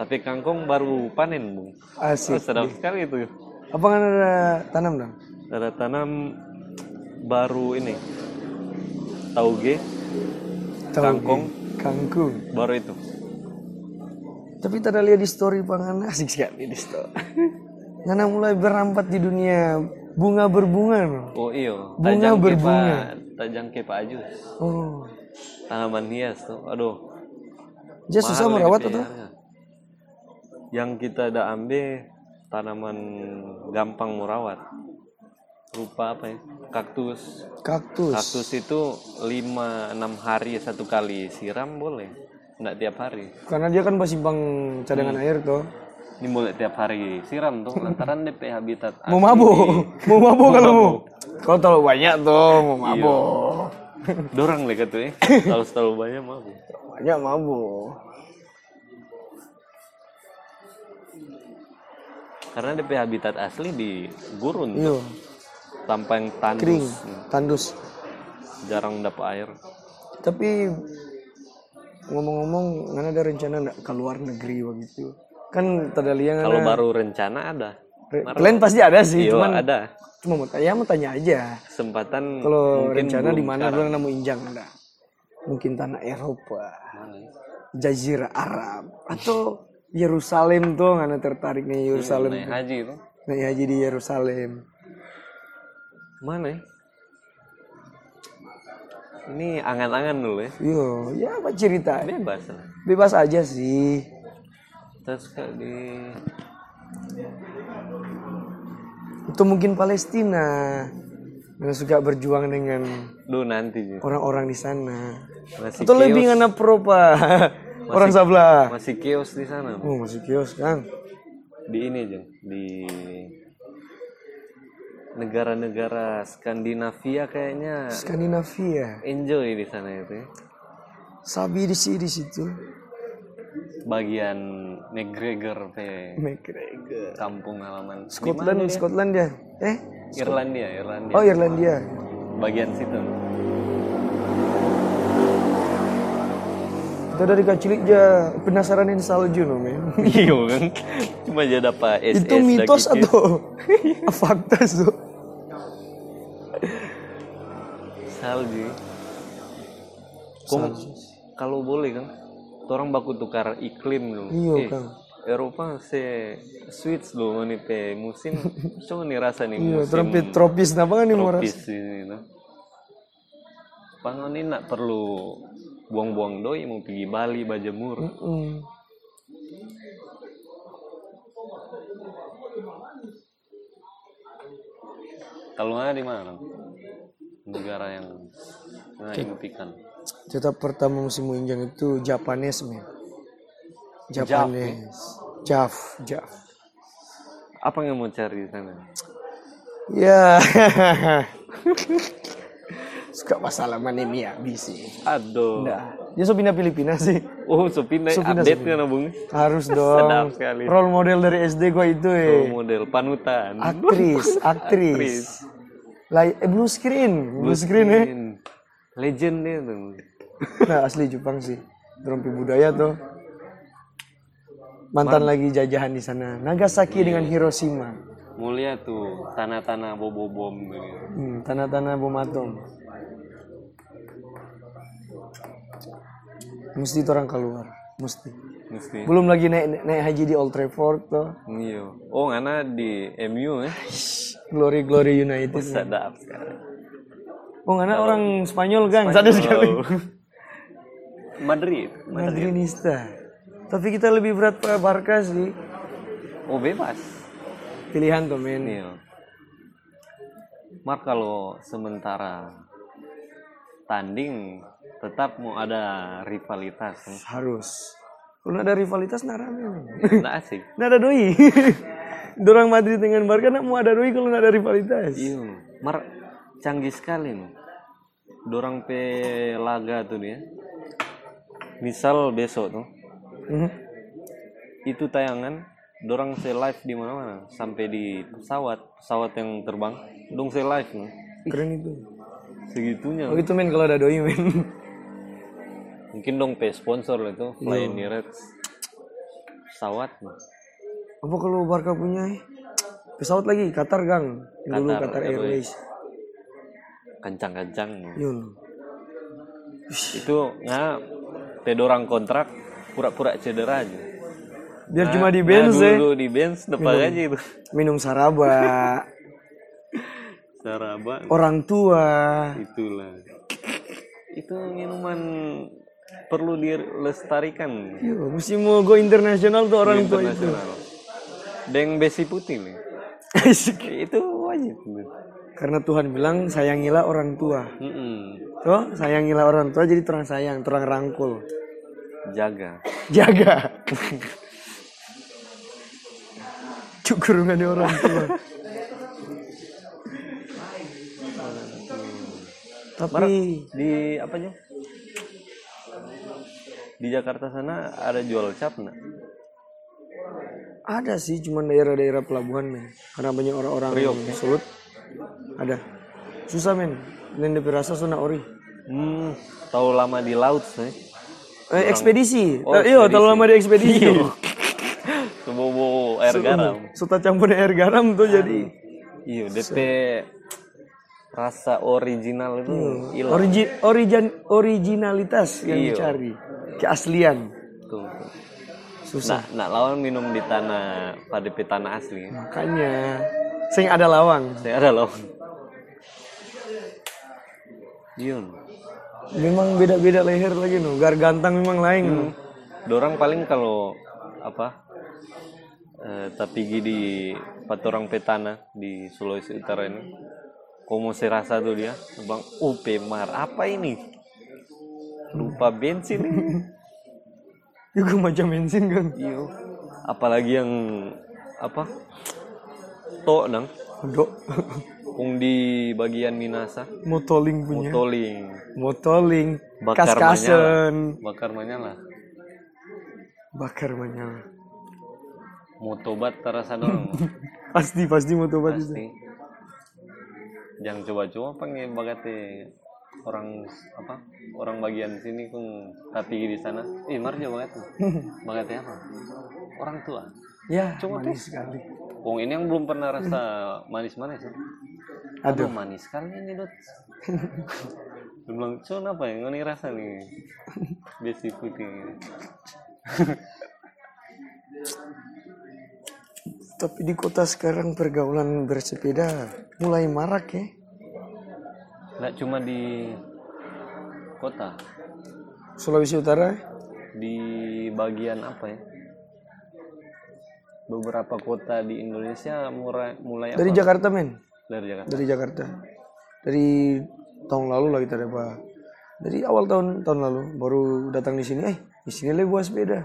tapi kangkong baru panen bung Oh, asik. sedap sekali itu Apa kan ada tanam dong? Ada tanam baru ini tauge Tahu Kangkung. gue. Kangkung. baru itu Tapi tadi lihat di story pangan asik sekali di story. Ngana mulai berampat di dunia bunga berbunga. no. oh iyo Bunga tajang berbunga. kepa tajang kepa aju Oh, tanaman hias tuh aduh dia susah mahal merawat gitu atau? ya. yang kita ada ambil tanaman gampang merawat rupa apa ya kaktus Kaktus. kaktus itu 5 enam hari satu kali siram boleh enggak tiap hari Karena dia kan bang cadangan Hmm. air toh. ini boleh tiap hari siram [laughs] tuh lantaran DP habitat Mau mabuk, mau mabuk kalau mau. Iya. Kau terlalu banyak tuh, mau mabuk. Dorang lah kata eh. Kalau terlalu banyak mah. Banyak mabuk. Karena DP habitat asli di gurun Iyo, tanpa yang tandus. Iya. kering, tandus. Jarang dapat air. Tapi ngomong-ngomong, ngana ada rencana nggak ke luar negeri begitu? Kan tadi lihat Kalau baru rencana ada. plan pasti ada sih, Iya cuman ada. cuma mau tanya, ya mau tanya aja. Kesempatan Kalau mungkin rencana di belum mana sekarang. orang mau injang ada? Mungkin tanah Eropa. Mana ya? Jazirah Arab atau Yerusalem tuh karena tertariknya Yerusalem Naik haji itu. naik haji di Yerusalem Mana ya? Ini angan-angan dulu ya. yo ya apa cerita Bebas lah. bebas aja sih Terus kayak di itu mungkin Palestina karena suka berjuang dengan Duh nanti Ji. orang-orang di sana masih atau lebih chaos. ngana pro Pak? orang sebelah masih chaos di sana. oh masih kios kan di ini Jeng, di negara-negara Skandinavia kayaknya Skandinavia enjoy di sana itu ya. sabi di sini di situ bagian McGregor pe McGregor kampung halaman Di Scotland Scotland ya eh mana? Irlandia Irlandia oh Irlandia bagian situ [laughs] Kita dari kecil aja penasaran yang salju no, men. [laughs] iya kan cuma aja dapat SS Itu mitos daki- atau [laughs] fakta tuh? salju Kong, kalau boleh kan orang baku tukar iklim dulu Iya, Eh, Kang. Eropa se switch dulu nih pe [laughs] musim so nih rasa nih Iya, musim trompet tropis napa kan nih moras? tropis ini no. Pangon ini nak perlu buang-buang doi mau pergi Bali Bajemur Mm. kalau nggak di mana negara nah, yang nggak impikan Tetap pertama musim Muinjang itu Japanese men. Japanese. Jaf, Jaf. Apa yang mau cari di sana? Ya. [laughs] Suka masalah anemia bisi. Aduh. Nah, dia so pindah Filipina sih. Oh, Supinai Supinai, update nya Bung. [laughs] Harus dong. Sedap sekali. Role model dari SD gua itu eh. Oh, model panutan. [laughs] Aktris, aktris. Lai- eh, blue screen, blue screen eh. Legend dia tuh. Nah, asli Jepang sih. Rompi budaya tuh. Mantan lagi jajahan di sana. Nagasaki dengan Hiroshima. Mulia tuh tanah-tanah bobo bom gitu. Hmm, tanah-tanah bom atom. Mesti itu orang keluar, mesti. Mesti. Belum lagi naik naik haji di Old Trafford tuh. Iya. Oh, ngana di MU ya. Glory Glory United. Sedap sekali. Oh, karena orang Spanyol gang, sadar sekali. Oh. Madrid. Madrinista. Tapi kita lebih berat Pak Barca sih. Oh, bebas. Pilihan tuh men. Iya. Mar kalau sementara tanding tetap mau ada rivalitas. nih. Harus. Kalau ada rivalitas nah rame men. Nggak asik. Nah ada doi. [laughs] Dorang Madrid dengan Barca nak mau ada doi kalau nggak ada rivalitas. Iya, mar canggih sekali nih. Dorang pe laga tuh dia. Misal besok tuh, Mhm. itu tayangan dorang se live di mana-mana sampai di pesawat, pesawat yang terbang, dong se live nih. Keren itu. Segitunya. Oh itu men kalau ada doi men. Mungkin dong pe sponsor lah Iya. itu Fly Emirates. Pesawat. nih. Apa kalau Barca punya eh? pesawat lagi Qatar gang. Yang Dulu Qatar eh, Qatar Airways. Airways. Kencang-kencang. nih. Yun. Itu nah pe dorang kontrak pura-pura cedera aja. Biar cuma di Nah, bench eh. dulu di bench depan aja itu. Minum saraba. Saraba. orang tua. Itulah. Itu minuman perlu dilestarikan Yo, mesti mau go internasional tuh orang tua itu. internasional. Deng besi putih [laughs] nih. itu wajib. Karena Tuhan bilang sayangilah orang tua. Mm-mm. Tuh, sayangilah orang tua jadi terang sayang, terang rangkul. [laughs] Jaga. Jaga. [laughs] Cukur dengan orang [laughs] tua. Tapi Di apa aja? Di Jakarta sana ada jual cap nggak? ada sih cuman daerah-daerah pelabuhan men. Karena banyak orang-orang yang sulut. Ada. Susah men. Dan dirasa sona ori. Hmm, tahu lama di laut [laughs] sih. Eh, ekspedisi. Oh, Iya, terlalu ekspedisi. lama di ekspedisi. Sebobo air garam. Serta campur air garam tuh jadi Iya, DP rasa original itu Iya. hilang. origin origin originalitas yang Iya. dicari. Keaslian. Tuh, tuh. Susah. Nah, nak lawan minum di tanah pada di tanah asli. ya. Makanya sing ada lawang. Saya ada lawan. Yun. Memang beda-beda leher lagi nu. Gargantang memang lain. nu. Hmm. Dorang paling kalau apa? Eh, tapi di patorang petana di Sulawesi Utara ini. Komo serasa tuh dia, Bang Upemar, apa ini? Lupa bensin ini. Juga macam bensin kan. Iyo. Apalagi yang apa? Tok nang, Kodok. kung di bagian Minasa, [laughs] Motoling punya. motoling, Motoling. Bakar Kas-kasen. bakar manyala, Bakar menyala. motobat terasa dorong. Pasti pasti motobat itu. Pasti. Jangan coba-coba pengen bagate orang apa? Orang bagian sini kung tapi di sana. Ih, marja banget. tuh. Bagate apa? Orang tua. Ya, Coba manis sekali. Kung ini yang belum pernah rasa manis-manis. ya. Aduh. Aduh, manis sekali ini dot. Dia bilang, "Cun, apa ya? Ini rasa nih. Besi putih. Tapi di kota sekarang pergaulan bersepeda mulai marak ya. Nggak cuma di kota, Sulawesi Utara di bagian apa ya? Beberapa kota di Indonesia mulai mulai dari apa? Jakarta men, Dari Jakarta. dari Jakarta. Dari tahun lalu lah kita ada apa? dari awal tahun tahun lalu baru datang di sini eh di sini lebih buat sepeda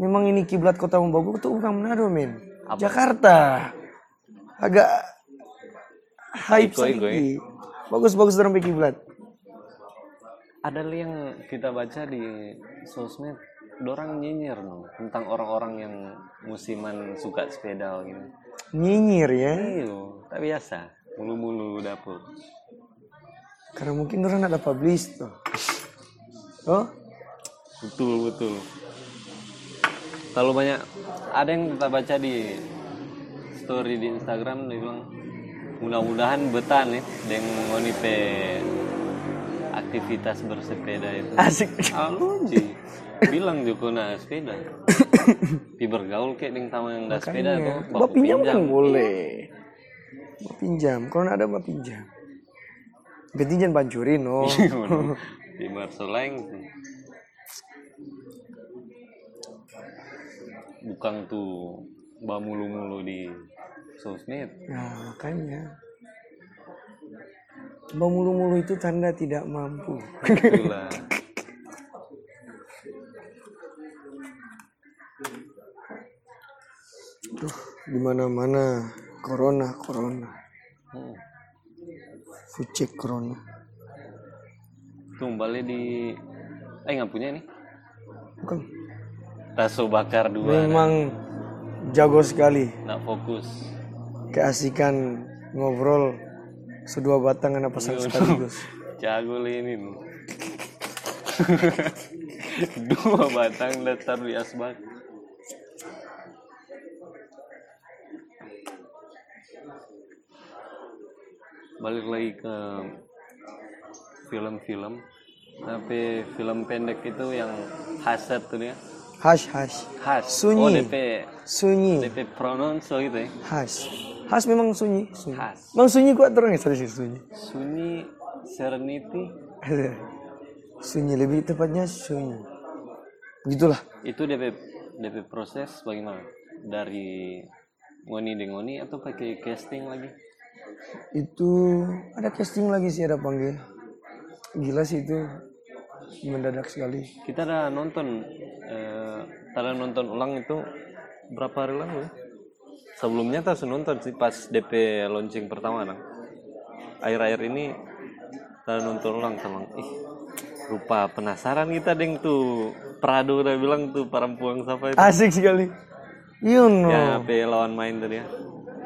memang ini kiblat kota Bogor tuh bukan Manado men Jakarta agak hype Iko, Iko, sedikit bagus bagus orang pakai kiblat ada li yang kita baca di sosmed dorang nyinyir no, tentang orang-orang yang musiman suka sepeda gitu nyinyir ya iyo tak biasa mulu-mulu dapur karena mungkin orang ada publish tuh oh betul betul terlalu banyak ada yang kita baca di story di Instagram dia bilang mudah-mudahan betah nih dengan ngonipe aktivitas bersepeda itu asik Alunji bilang Joko na sepeda. [coughs] Pi bergaul kayak ding taman yang dah sepeda tuh. Makanya, baku bawa pinjam kan boleh. Bawa pinjam, kalau nggak ada bawa pinjam. Ganti jangan pancurin, [laughs] oh. Iya. Di Marsoleng. Bukan tuh bamulu-mulu di sosmed. Nah, makanya. Bawa mulu-mulu itu tanda tidak [laughs] mampu. Itulah. Duh, di mana-mana corona, corona. Hmm. Fucek corona. Tuh balik di eh nggak punya nih. Bukan. Taso bakar dua. Memang jago sekali Nak fokus. keasikan ngobrol sedua batang anak Iya. pasang [laughs] sekaligus. Jago ini [laughs] Dua batang datar di asbak. Balik lagi ke film-film. Tapi film pendek itu yang hasad tuh dia. Hash hash. Khas. Oh, Sunyi. DP Sunyi. DP pronounce gitu ya. Khas. Khas memang sunyi. sunyi. Khas. Memang sunyi kuat terang ya tadi sih sunyi. Sunyi Serenity sunyi lebih tepatnya sunyi. Begitulah. itu DP DP proses bagaimana dari ngoni dengoni atau pakai casting lagi Itu ada casting lagi sih ada panggil. Gila sih itu mendadak sekali. kita ada nonton eh, ada nonton ulang itu berapa hari lalu ya? sebelumnya kita sudah nonton sih pas DP launching pertama nang air-air ini kita nonton ulang sama ih rupa penasaran kita deng tuh Prado udah bilang tuh perempuan siapa itu Asik sekali. You know. ya DP lawan main tadi ya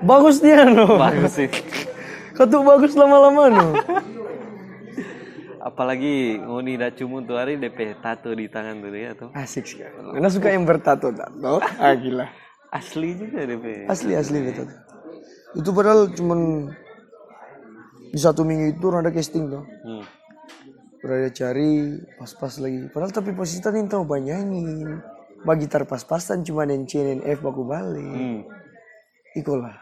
Bagus dia no. bagus sih Kau tuh bagus lama-lama no. Apalagi ngoni dacumu tuh hari DP tato di tangan tuh ya tuh. Asik sekali. Karena suka yang bertato tato. Ah gila. Asli juga DP. Asli asli gitu. Itu padahal cuman di satu minggu itu orang ada casting tuh. Hmm. Berada cari pas-pas lagi. Padahal tapi posisi tadi tahu banyain. Bagi gitar pas-pasan cuma yang C dan F baku balik. Hmm. Iko lah.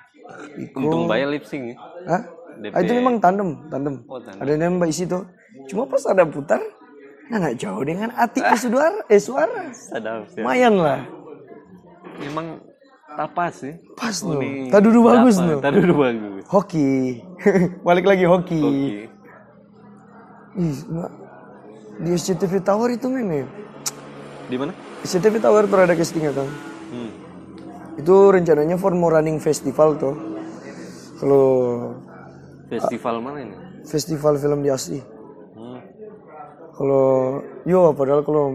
Iko. Untung bayar lip sync ya. Hah? DP. Ah, itu memang tandem, tandem. Oh, tandem. Ada nembak isi tuh. Cuma pas ada putar, nah nggak jauh dengan atik Ah. ke suara, eh suara. Sadar sih. Lumayan lah. ya. Memang tapas sih. Pas tuh. Ngoni- Tadi dulu bagus Tapa, tuh. Tadi dulu bagus. Hoki. [laughs] Balik lagi hoki. Oke. Ih, Mbak. Di SCTV Tower itu ya? meme. Di mana? SCTV Tower tuh ada castingnya kan. Hmm. Itu rencananya for more running festival tuh. Kalau Festival mana ini? festival film di Asli. Hmm. Kalau yo padahal kalau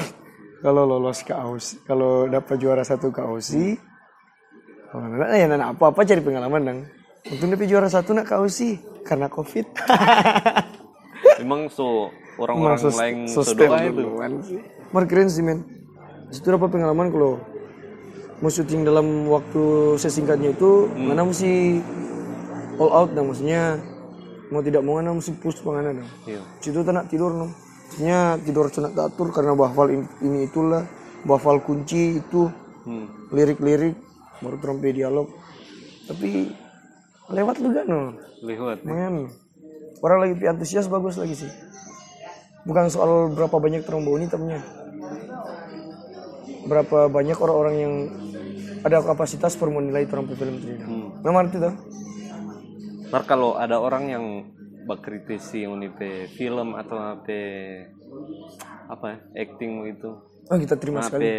[laughs] kalau lolos ke AUS, kalau dapat juara satu ke AUSI, kalau nggak ya nana apa-apa cari pengalaman dong. Untung dapat juara satu nak ke AUSI karena COVID. Memang so Emang orang-orang sus- lain sustain sodoa itu. duluan sih. Mar keren sih men. Itu dapat pengalaman kalau mau syuting dalam waktu sesingkatnya itu, mana mesti all out dan maksudnya mau tidak mau mana mesti push pengana dong. Iya. Situ tak nak tidur no. Maksudnya tidur tak tak atur karena bahval ini, ini itulah, bahval kunci itu, Hmm. lirik-lirik baru terompe dialog. Tapi lewat juga no. Lihat. Men, orang lagi pi antusias bagus lagi sih. Bukan soal berapa banyak tromboni temennya. Berapa banyak orang-orang yang ada kapasitas per menilai trompet film itu. Memang itu tuh. Ntar kalau ada orang yang bakritisi unipe film atau ape apa ya, acting itu Oh kita terima sekali. ape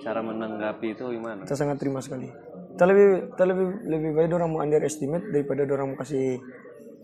cara menanggapi itu gimana Kita sangat terima sekali. Kita lebih kita lebih lebih baik orang mau underestimate daripada orang mau kasih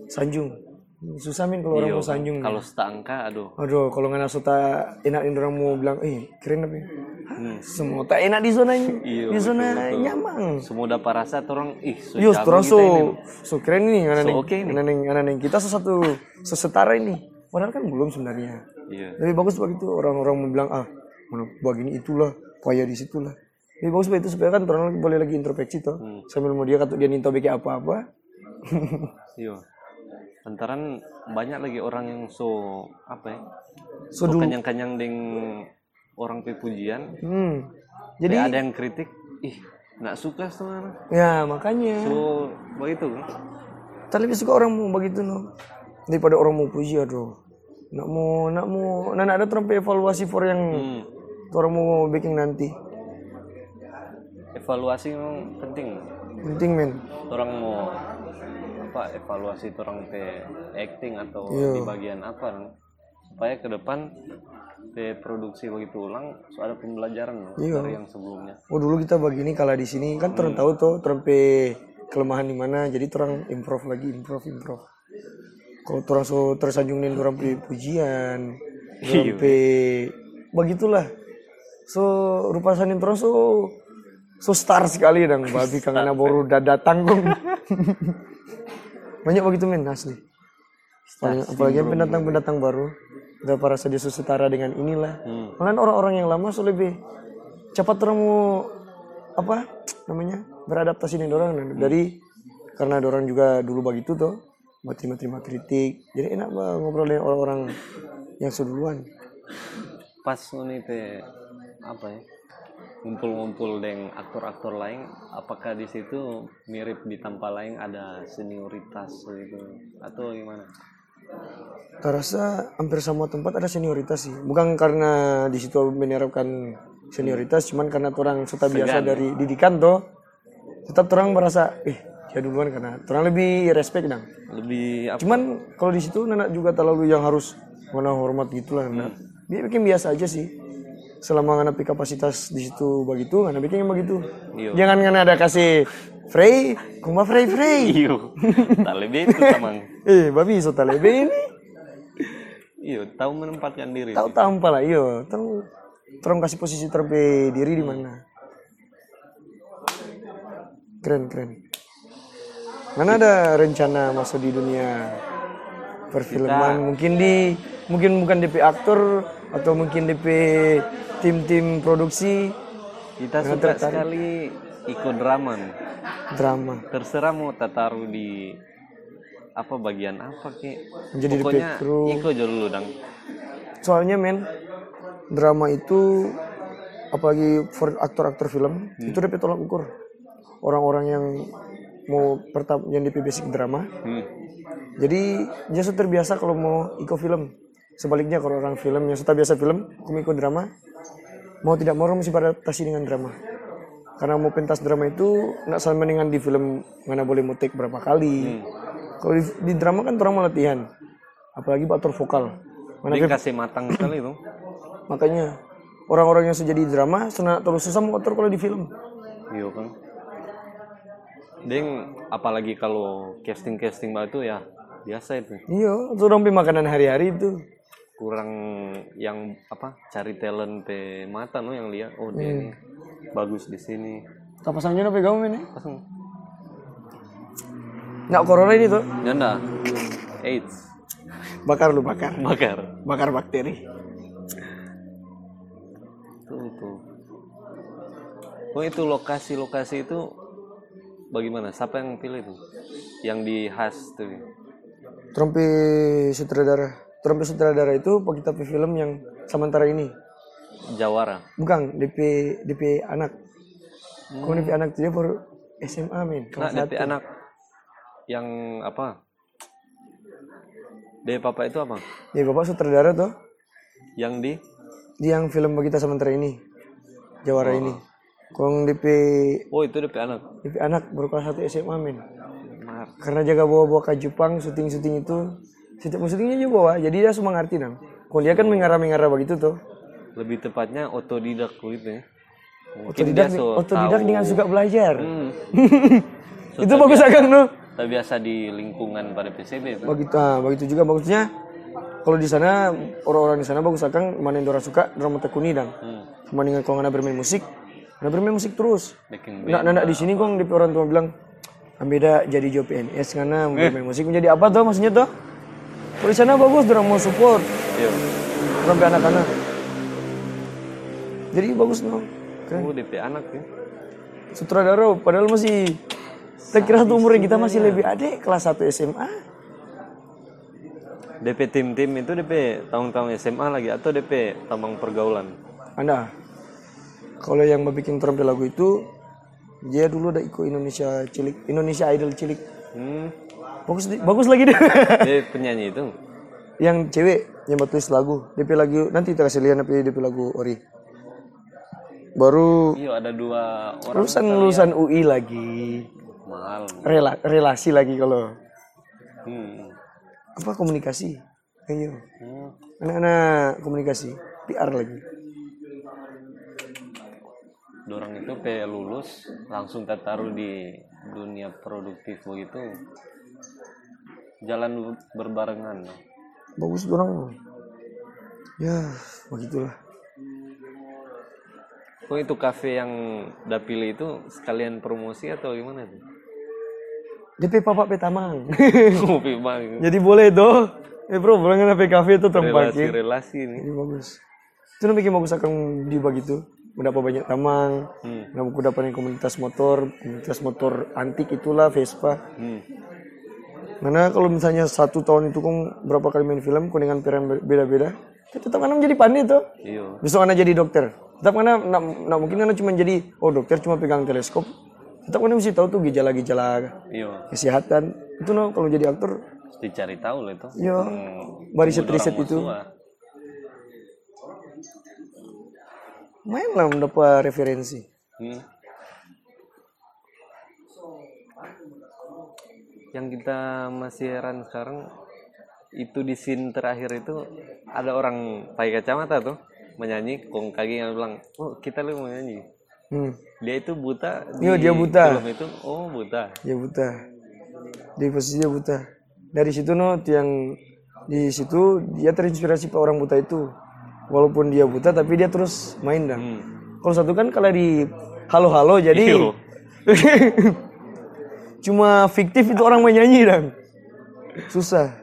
sanjung. Susah min kalau orang Iyo, mau sanjung. Iya, ya. kalau setangka aduh Aduh, kalau nggak nasuta enak orang mau bilang, eh keren tapi hmm. Iya, semua tak enak di zona Iyo, di zona betul-betul. nyaman. semua dapat rasa orang ih so Yo, jago terus kita so, ini. so keren nih, So anak neng, oke nih. anak neng, anak neng kita sesatu sesetara ini. Padahal kan belum sebenarnya. Iya. Lebih bagus begitu orang-orang mau bilang ah, mana begini itulah, payah di situlah. Lebih bagus begitu supaya kan orang boleh lagi introspeksi toh. Hmm. Sambil mau dia kata dia ninto beki apa-apa. Iya. Lantaran banyak lagi orang yang so apa ya? So So dulu. kanyang-kanyang ding orang pe pujian. Hmm. Jadi Jadi ada yang kritik, ih, nggak suka sama anak." ya makanya So begitu kan? Tapi lebih suka orang mau begitu no. Daripada orang mau puji aduh. Nak mau nak mau nak nak ada terus evaluasi for yang Hmm. orang mau bikin nanti. Evaluasi memang penting. Penting men. Orang mau apa evaluasi orang pe acting atau di bagian apa kan? supaya ke depan pe produksi begitu ulang so ada pembelajaran no, dari yang sebelumnya. Oh dulu kita begini kalah di sini kan terus tahu tuh terus kelemahan di mana jadi terang improve lagi improve improve. Kalau terang so tersanjung nih orang pe pujian, orang pe begitulah. So rupa sanin terus so so star sekali dang babi kangen baru dah datang kong. [laughs] Banyak begitu men asli. Apalagi, apalagi yang pendatang-pendatang baru udah para dia setara dengan inilah. Hmm. Malahan orang-orang yang lama so lebih cepat orang mau apa namanya beradaptasi dengan orang Dan dari karena orang juga dulu begitu tuh buat terima-terima kritik jadi enak bah, ngobrol dengan orang-orang yang seduluan pas ini teh apa ya ngumpul-ngumpul dengan aktor-aktor lain apakah di situ mirip di tanpa lain ada senioritas gitu atau gimana Saya rasa hampir semua tempat ada senioritas sih. Bukan karena di situ menerapkan senioritas, cuman karena orang sudah biasa dari didikan toh. Tetap orang merasa, eh dia duluan karena orang lebih respect dong. lebih apa Cuman kalau di situ nenek juga terlalu yang harus mana hormat gitulah. Nah, dia bikin biasa aja sih. Selama ngana pi kapasitas di situ begitu, ngana bikin yang begitu. Iya. Jangan ngana ada kasih Frey, kuma Frey Frey. iyo [laughs] tak lebih itu tamang eh, babi so talebe ini. iyo Iya, tahu menempatkan diri tahu tampal lah iyo tahu terus kasih posisi terpe diri di mana keren keren mana ada rencana masuk di dunia perfilman mungkin di mungkin bukan DP aktor atau mungkin DP tim-tim produksi kita suka sekali ikodraman drama terserah mau tataruh di apa bagian apa ki Menjadi DP pokoknya kru. iko aja dulu dang soalnya men drama itu apalagi for aktor-aktor film itu DP tolak ukur orang-orang yang mau pertama yang DP basic drama hmm. Jadi dia sudah terbiasa kalau mau ikut film. Sebaliknya kalau orang film yang sudah biasa film, kamu ikut drama, mau tidak mau orang mesti beradaptasi dengan drama. Karena mau pentas drama itu nggak sama dengan di film mana boleh mutik berapa kali. Kalau di, di drama kan orang mau latihan, apalagi buat aktor vokal. Mana Dia kasih matang sekali tuh makanya orang-orang yang sudah jadi drama senang terus susah mau aktor kalau di film. Iya kan. Deng, apalagi kalau casting-casting batu ya biasa itu. Iya, itu orang pilih makanan hari-hari itu. Kurang yang apa cari talent pe mata no yang lihat oh Hmm. dia ini bagus di sini. Tak pasangnya apa kamu ini? Pasang. Nggak corona ini tuh, Nyanda. AIDS bakar lu bakar. bakar. bakar bakteri. Tuh tuh. Oh itu lokasi-lokasi itu bagaimana? Siapa yang pilih itu? Yang di khas tuh. Trompi sutradara. Trompi sutradara itu pengitap film yang sementara ini. Jawara. Bukan DP DP anak. Kalau DP anak itu dia baru SMA men. Nah, Kelas DP satu. anak yang apa? DP papa itu apa? Ya bapak sutradara tuh Yang di dia yang film kita sementara ini. Jawara ini. Kalau DP Oh, itu DP anak. DP anak baru kelas 1 SMA men. benar karena jaga bawa-bawa ke Jepang syuting-syuting itu setiap syutingnya juga bawa jadi dia semua ngerti nang kalau dia kan mengarah-mengarah begitu tuh lebih tepatnya otodidak gitu ya Mungkin otodidak dia so otodidak tahu- dengan suka belajar Hmm, [laughs] itu bagus akan tuh tak biasa di lingkungan pada PCB itu begitu ah, begitu juga bagusnya kalau di sana orang-orang di sana bagus akan mana yang orang suka drama tekuni dan hmm, Kemandingan kalau nggak bermain musik nggak bermain musik terus backing band Nah, nah, nah, di sini gua di orang tua bilang, Ambeda jadi job PNS karena Eh. mau main musik menjadi apa tuh maksudnya tuh? Kalau di sana bagus, orang mau support Yo. sampai anak-anak. Jadi bagus no. Keren. Oh, DP anak ya Sutradara padahal masih saya kira tuh umurnya kita masih lebih adek kelas 1 SMA. DP tim-tim itu DP tahun-tahun SMA lagi atau DP tambang pergaulan Anda kalau yang bikin terampil lagu itu dia dulu ada ikut Indonesia Cilik, Indonesia Idol Cilik. hmm, Bagus di- bagus lagi deh. dia penyanyi itu [laughs] yang cewek yang buat tulis lagu DP lagu nanti kita kasih lihat tapi DP lagu ori baru iya ada dua orang lulusan lulusan UI lagi mahal Rela- relasi lagi kalau hmm. apa komunikasi ayo Hmm. anak-anak komunikasi PR lagi dorong itu pe lulus langsung tertaruh di dunia produktif begitu jalan berbarengan bagus orang ya begitulah kok Oh, itu kafe yang udah pilih itu sekalian promosi atau gimana tuh DP Papa Petamang [laughs] kopi bang [laughs] jadi boleh doh eh bro boleh nggak DP kafe itu tempat relasi relasi ini Ini bagus. Itu nama bikin bagus akan di begitu. Mendapat banyak tamang, Hmm. nama kuda panen komunitas motor, komunitas motor antik itulah Vespa. hmm. Karena kalau misalnya satu tahun itu kong berapa kali main film, kong dengan peran be- beda-beda, ya tetap anak menjadi pandai tuh. iyo Besok anak jadi dokter. Tetap anak, nak, nak mungkin anak cuma jadi, oh dokter cuma pegang teleskop. Tetap anak mesti tahu tuh gejala-gejala iyo kesehatan. Itu no, kalau jadi aktor, Mesti cari tahu lah itu Yo. Hmm. bariset-riset Orang Iya. itu. tua. Mainlah mendapat referensi. Hmm. Yang kita masih heran sekarang itu di scene terakhir itu ada orang pakai kacamata tuh menyanyi kong kaki yang bilang oh kita lu menyanyi Hmm. dia itu buta di Yo, Iya, dia buta. film itu oh buta dia buta di posisi dia buta dari situ no yang di situ dia terinspirasi pak orang buta itu walaupun dia buta tapi dia terus main dan hmm. Iya. kalau satu kan kalau di halo halo jadi Iyo. [laughs] cuma fiktif itu orang menyanyi dan susah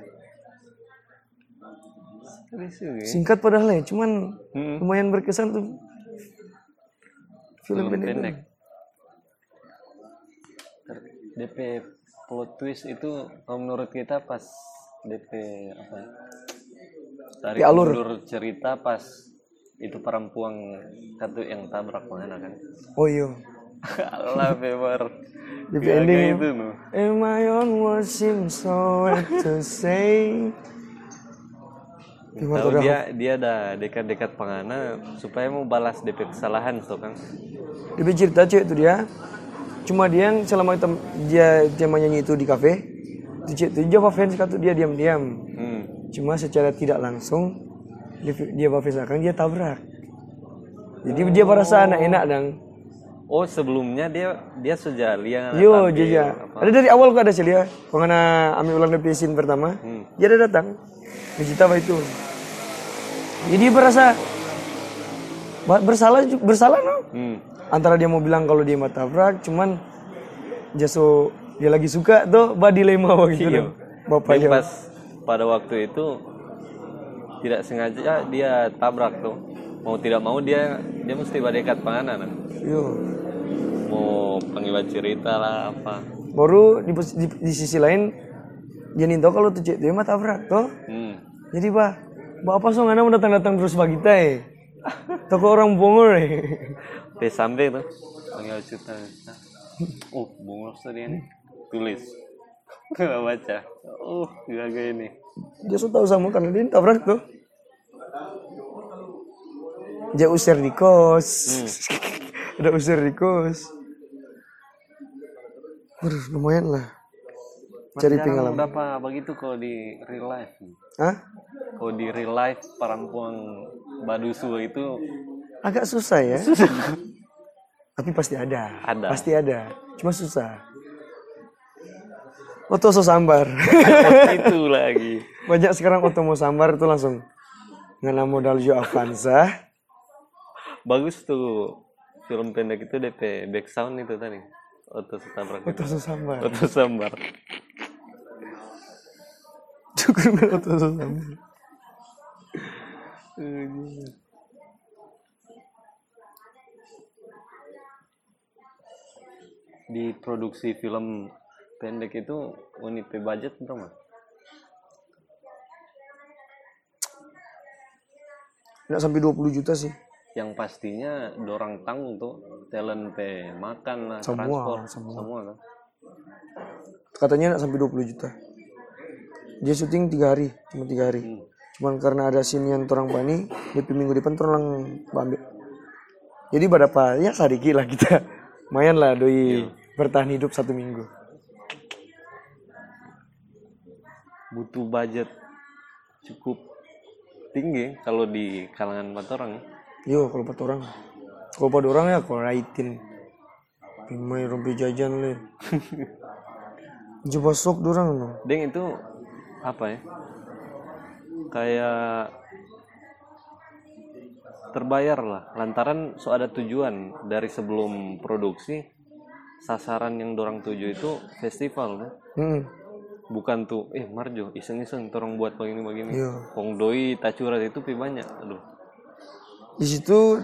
Serius juga ya? singkat padahal ya cuman Hmm. lumayan berkesan tuh film, film pendek, itu. pendek. Ter- DP plot twist itu kalau menurut kita pas DP apa? ya, Tarik Di alur. ulur cerita pas itu perempuan satu yang tabrak mana kan? [laughs] oh iya Allah bebar. DP ending ya. Iya, itu no. Am I on what seems so hard to say? Gimana Tahu udah? dia dia ada dekat-dekat pangana supaya mau balas DP kesalahan tuh kan? Dia cerita cewek itu dia. Cuma dia yang selama itu dia dia nyanyi itu di kafe. Itu cewek itu dia fans kata dia diam-diam. Hmm. Cuma secara tidak langsung dia dia fans akan dia tabrak. Jadi dia merasa anak enak dang. Oh sebelumnya dia dia sudah lihat Yo tampil jaja. apa. Ada dari awal kok ada sih dia. Pengana ambil ulang dari scene pertama. Hmm. Dia ada datang. Vegeta apa itu. Jadi berasa ba- bersalah ju- bersalah no. Hmm. Antara dia mau bilang kalau dia mata tabrak, cuman jaso dia lagi suka tuh bah dilema Iya. begitu. dong. Bapak Yang yo. pas pada waktu itu tidak sengaja dia tabrak tuh. Mau tidak mau dia dia mesti berdekat panganan. Yo. Mau pengibah cerita lah apa. Baru di, pos- di, di sisi lain dia ninto kalau tuh cek dia mata tabrak tuh. Hmm. Jadi bah, bah apa so ngana mau datang-datang terus bagi kita eh. Toko orang bongor eh. Pesambe tuh. Pengibah cerita. Oh, bungkus tadi ini. Tulis. baca. Oh, gagal ini. Dia so tahu sama karena dia tabrak tuh. Dia usir di kos. Hmm. [laughs] Ada usir di kos. Waduh, lumayan lah. Cari jarang pengalaman. berapa begitu kalau di real life Hah? kalau di real life perempuan badusu [laughs] itu Agak susah ya. Tapi pasti ada. Ada. Pasti ada. Cuma susah. Oto so sambar. [laughs] itu lagi Banyak sekarang oto mau sambar itu langsung ngana modal jo Avanza. bagus tuh film pendek itu DP back sound itu tadi Oto Setabrak Oto so [laughs] sambar. Oto Sambar Cukur dengan oto so sambar. di produksi film pendek itu unit budget berapa? Nggak sampai 20 juta sih. yang pastinya dorang tanggung tuh talent pe makan lah Semua, transport semua. kan? Katanya nggak sampai 20 juta. Dia syuting tiga hari, cuma tiga hari. Hmm. Cuman karena ada scene yang torang pani, DP minggu depan torang ambil. Jadi berapa? Ya sedikit lah kita. [laughs] Mayan lah doi bertahan hidup satu minggu. butuh budget cukup tinggi kalau di kalangan empat orang ya. Yo kalau empat orang, kalau empat orang ya kalau raitin, main rompi jajan le. Coba sok dorang dong. Deng itu apa ya kayak terbayar lah lantaran so ada tujuan dari sebelum produksi sasaran yang dorang tuju itu festival kan? Hmm, bukan tuh eh Marjo iseng-iseng torong buat begini begini Iya. Kong doi tacuran itu pi banyak aduh di situ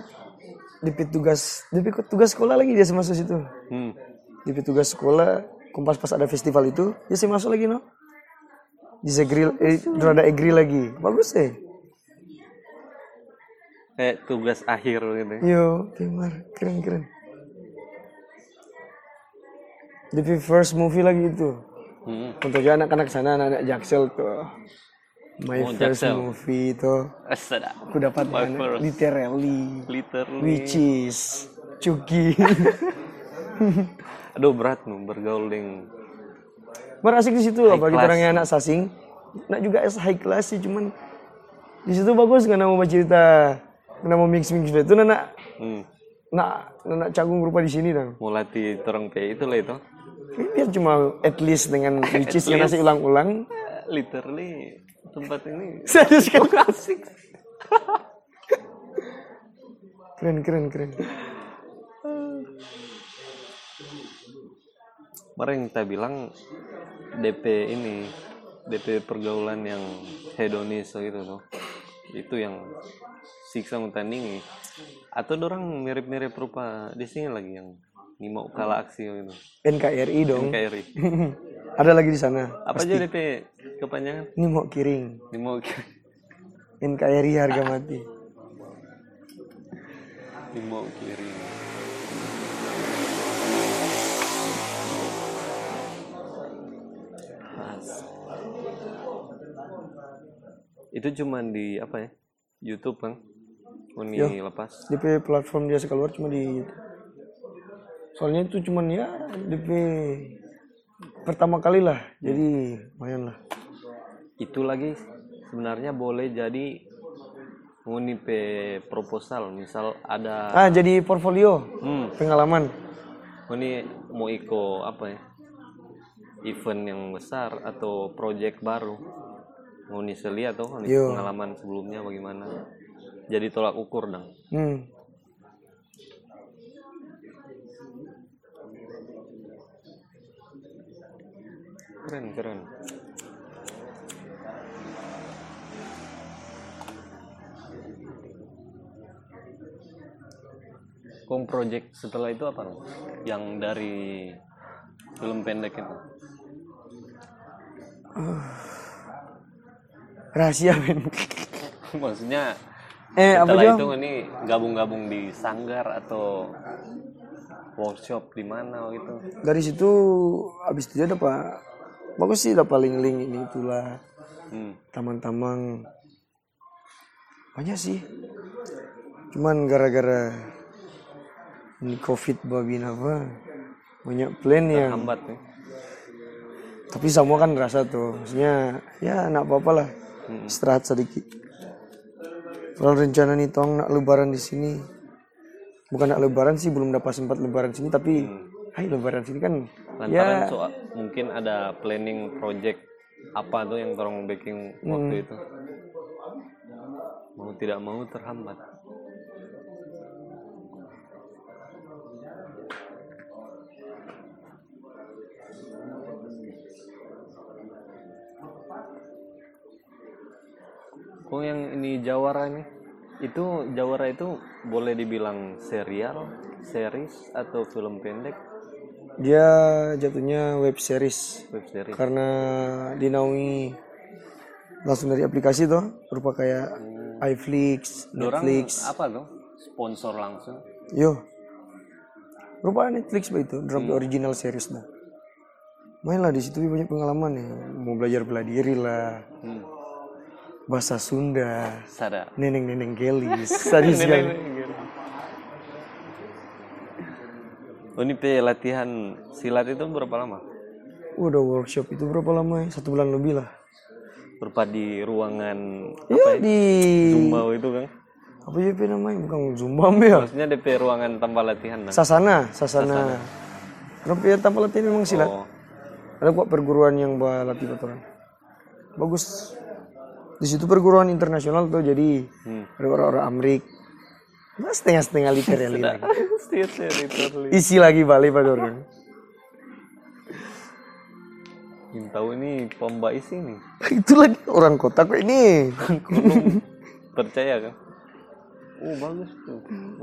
DP tugas, DP ke- tugas sekolah lagi dia masuk situ. hmm. DP tugas sekolah, kompas pas ada festival itu, dia sih masuk lagi no. Di segril, eh, dorang ada egri lagi, bagus eh. sih. kayak tugas akhir gitu ya. Yo, Timar, keren keren. DP first movie lagi itu. hmm. Tentunya anak-anak sana, anak-anak Jaksel tuh. My Oh, first Jaksel. movie itu Astaga. aku dapat My anak first. Hmm. literally literally which is Cuki. [laughs] aduh berat nu bergaul dengan Bar asik di situ High apalagi class. orangnya anak sasing. Nak juga as- high class sih cuman di situ bagus karena mau cerita karena mau mix mix itu nana hmm. nak nak canggung rupa di sini dong. mulati torong pe itu lah itu Dia cuma [laughs] at least dengan which is karena saya ulang-ulang. Eh, literally tempat ini [laughs] Serius kan? klasik Keren keren keren. kemarin kita bilang DP ini DP pergaulan yang hedonis gitu tuh itu yang siksa mutandingi atau dorang mirip-mirip rupa di sini lagi yang nima ukala aksi gitu NKRI dong. KRI [laughs] Ada lagi di sana. apa aja DP kepanjangan Ini mau kiring. nima NKRI harga mati. nima kiri itu cuman di apa ya YouTube kan Uni lepas DP platform dia keluar cuma di soalnya itu cuman ya DP pertama kali lah jadi lumayan lah itu lagi sebenarnya boleh jadi Uni pe proposal misal ada ah jadi portfolio hmm, pengalaman Uni mau iko apa ya event yang besar atau project baru Uni selia tuh Uni Yo. pengalaman sebelumnya bagaimana jadi tolak ukur dong hmm. keren keren Kom project setelah itu apa Rom? yang dari film pendek itu [laughs] rahasia men [laughs] maksudnya eh apa setelah Jo? itu ini gabung-gabung di sanggar atau workshop di mana gitu dari situ habis itu dia dapat bagus sih dapat link-link ini itulah hmm. taman-taman banyak sih cuman gara-gara ini covid babi apa banyak plan yang hambat nih tapi semua kan ngerasa tuh maksudnya ya nak apa-apa lah Hmm. istirahat sedikit kalau rencana nih tong nak lebaran di sini bukan nak lebaran sih belum dapat sempat lebaran sini tapi hai lebaran sini kan Hmm. Lantaran soal- mungkin ada planning project apa tuh yang orang baking waktu itu. Mau tidak mau terhambat. Oh yang ini Jawara nih. Itu Jawara itu boleh dibilang serial, series atau film pendek, dia jatuhnya web series web series. karena dinaungi langsung dari aplikasi tuh berupa kayak iFlix, Hmm. Dorang Netflix, apa tuh? Sponsor langsung. yo berupa Netflix begitu, drop Hmm. the original series dah. Mainlah di situ banyak pengalaman ya, mau belajar bela diri lah, Hmm. bahasa Sunda, Sada. neneng-neneng [laughs] gelis, sadis sekali. Oh, ini pe latihan silat itu berapa lama? Udah workshop itu berapa lama ya? Satu bulan lebih lah. Berapa di ruangan Ya di Zumba itu kan? apa ya Pi, namanya bukan Zumba Mbak, ya? Maksudnya DP ruangan tambah latihan [laughs] nah. Sasana, sasana. Karena ya tanpa latihan memang silat. Oh, Ada kok perguruan yang buat latih kotoran. Bagus. Di situ perguruan internasional tuh jadi Hmm. ada orang-orang Amrik. Nah, setengah-setengah liter ya Lin. Theater literally. Isi lagi balik pada orang. Yang tahu ini pomba isi nih. [laughs] Itu lagi orang kota kok ini. Kurung percaya kan? Oh bagus tuh. Oh,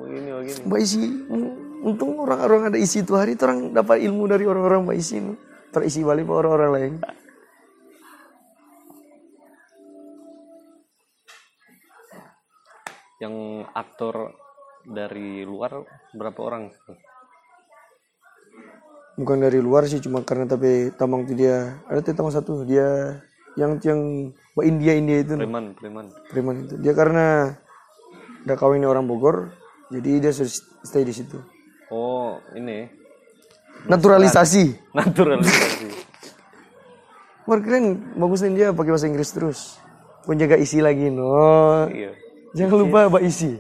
Begini begini. Mbak Isi, mm, untung orang-orang ada isi itu hari, itu orang dapat ilmu dari orang-orang Mbak Isi ini. Terisi balik sama orang-orang lain. yang aktor dari luar berapa orang Bukan dari luar sih, cuma karena tapi tamang itu dia, ada tuh tamang satu, dia yang yang Mbak India India itu. nah. preman preman Preman itu. Dia karena udah kawin orang Bogor, jadi dia sudah stay di situ. oh ini Naturalisasi. naturalisasi Wah keren, bagusnya dia pakai bahasa Inggris terus. Penjaga isi lagi, no. iya Jangan lupa Mbak Isi.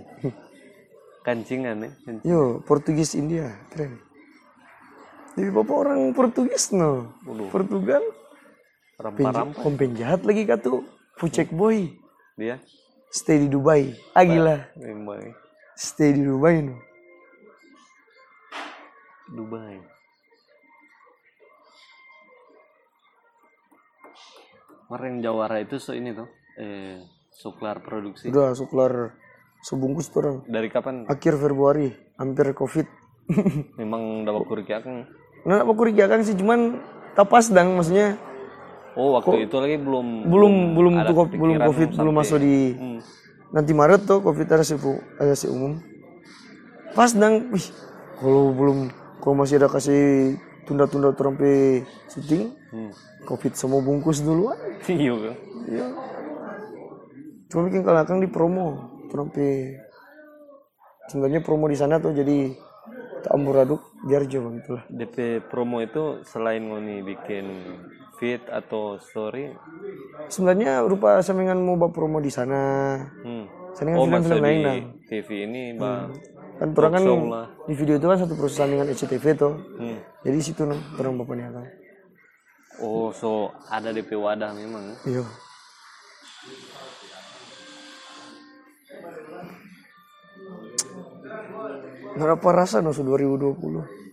kancingan ya kancing. Yo, Portugis India, keren. Jadi bapak orang Portugis no. Portugal, rempah-rempah penjahat, penjahat lagi katu. Pucek boy, dia ya. stay di Dubai. Agila, Dubai stay di Dubai no. Dubai Kemarin Jawara itu so ini tuh eh suklar produksi Udah, suklar sebungkus tuh orang. dari kapan Akhir Februari, hampir COVID. [laughs] memang udah waktu kan Nah, aku kurijakan sih, cuman tapas dang maksudnya oh waktu itu lagi belum belum belum ada tuh ko- belum kepikiran covid belum sampai- masuk di Hmm. nanti Maret tuh covid ada sih ada sih umum pas dang wih kalau belum kalau masih ada kasih tunda-tunda terompe syuting hmm. covid semua bungkus duluan Iya, kan? ya cuma bikin kalakang di promo terompe sebenarnya promo di sana tuh jadi tak amburaduk biar jauh gitu gitulah DP promo itu selain ngoni bikin feed atau story, sebenarnya rupa semengan mau buat promo di sana hmm. semengan oh film-film masuk lain di lah TV ini bang, kan orang kan Show lah. di video itu kan satu perusahaan dengan SCTV tuh Hmm. jadi situ no, orang bapaknya kan Oh so ada DP wadah memang. iya Nggak apa rasa no, su 2020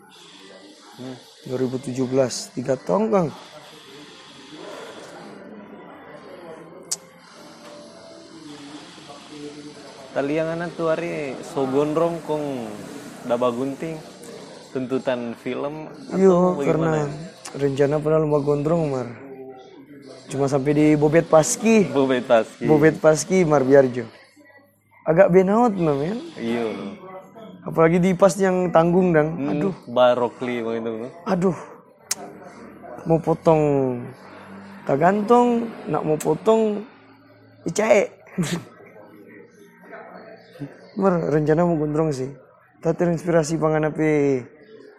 Hmm. 2017 tiga tahun kang Taliangan tuh hari so gondrong kong daba gunting tuntutan film iya atau bagaimana? karena rencana pernah lomba gondrong mar cuma sampai di bobet paski Bobet Taski. bobet paski mar biarjo agak benaut no, men Iya. apalagi di pas yang tanggung dang Aduh. Barokli begitu. aduh mau potong tak gantong nak mau potong icae [laughs] mer rencana mau gondrong sih tak terinspirasi pangan api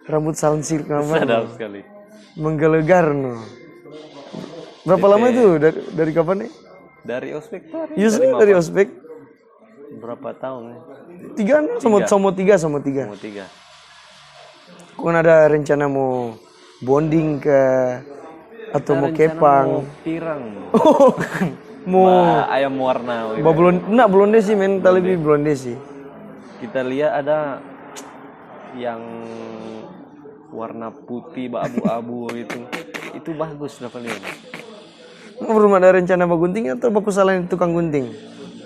rambut sansir kamar Sadap sekali. menggelegar no Berapa lama itu dari, dari kapan nih? Dari ospek tuh ada Yusuf Iya. dari ospek berapa tahun ya? tiga enam sama sama tiga sama tiga. Mau tiga. Kau ada rencana mau bonding ke atau mau kepang? Mau pirang. [laughs] mau Wah, ayam warna. weh. bah, belum enggak blonde sih men, tak lebih blonde sih. Kita lihat ada yang warna putih abu-abu itu. Itu bagus ya. dapat lihat. Mau belum ada rencana mau gunting atau baku salahin tukang gunting?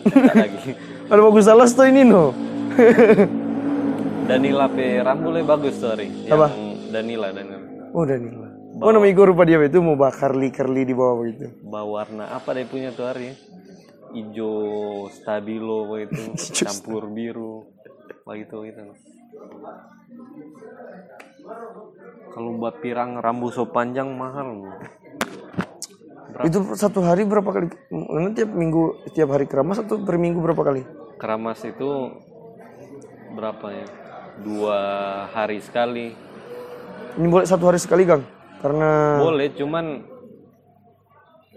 Tidak lagi. Ada baku salah tuh ini no. [laughs] Danila P rambutnya bagus tuh hari. Yang Danila Danila. oh Danila. Oh nama Igor rupa dia itu mau bakar li kerli di bawah begitu. Bawa warna apa dia punya tuh hari? Ijo stabilo begitu, campur biru, begitu gitu. Kalau buat pirang rambu so panjang mahal loh. Itu satu hari berapa kali? Mana tiap minggu tiap hari keramas atau per minggu berapa kali? Keramas itu berapa ya? Dua hari sekali. Ini boleh satu hari sekali Kang. Karena Boleh, cuman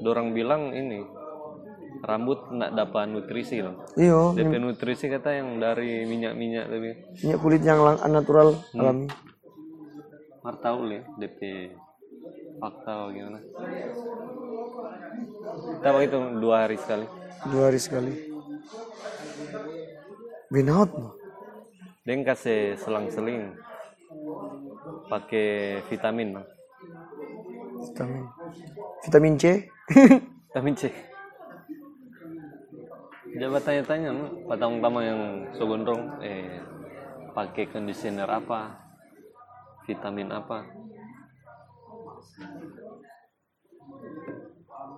dorang bilang ini rambut nak dapat nutrisi loh. iyo DP nutrisi kata yang dari minyak-minyak lebih. minyak kulit yang lang- natural alami. Martaul ya, DP fakta atau gimana? Kita begitu dua hari sekali. Dua hari sekali. Binaut no. Dia yang kasih selang-seling pakai vitamin, no? Vitamin. Vitamin C. [laughs] vitamin C. Coba tanya-tanya, no? patang-patang yang sogondrong, eh pakai conditioner apa, vitamin apa?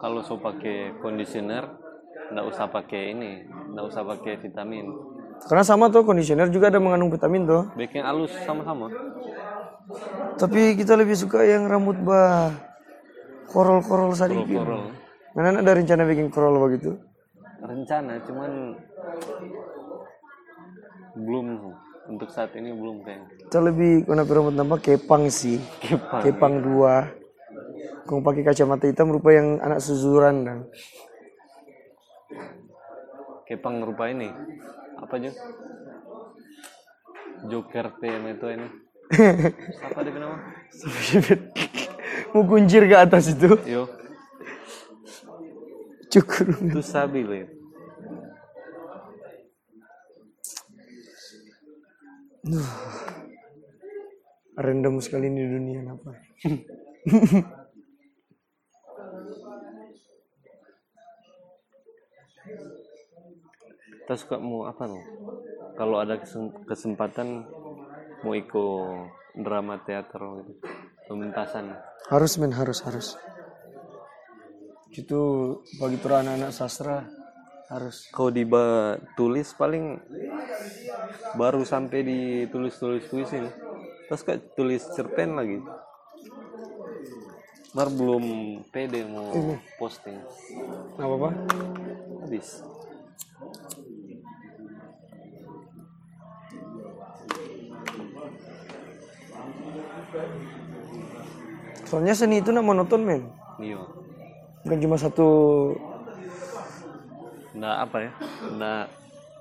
Kalau so pakai conditioner, nggak usah pakai ini, nggak usah pakai vitamin. Karena sama tuh conditioner juga ada mengandung vitamin tuh. Baiknya halus sama-sama. Tapi kita lebih suka yang rambut bah korol-korol sadikin. Korol. Mana ada rencana bikin korol begitu? Rencana cuman belum untuk saat ini belum kayak Kita lebih kenapa rambut nambah kepang sih. kepang. Kepang dua. Kau pakai kacamata hitam rupa yang anak suzuran dan Kepang rupa ini apa aja? Joker PM itu ini. Siapa dia nama? mau kuncir ke atas itu Yo, cukur itu sabi loh. ya. random sekali di dunia apa Kita suka mau apa loh? Kalau ada kesem- kesempatan mau ikut drama teater gitu. Pementasan. harus men harus harus itu bagi tur anak-anak sastra harus Kau di ba- tulis paling baru sampai di tulis-tulis puisi nih. Terus kayak tulis cerpen lagi. Mar belum pede mau posting. apa apa Habis. soalnya seni itu nak monoton men Iya. bukan cuma satu Nggak apa ya? Nggak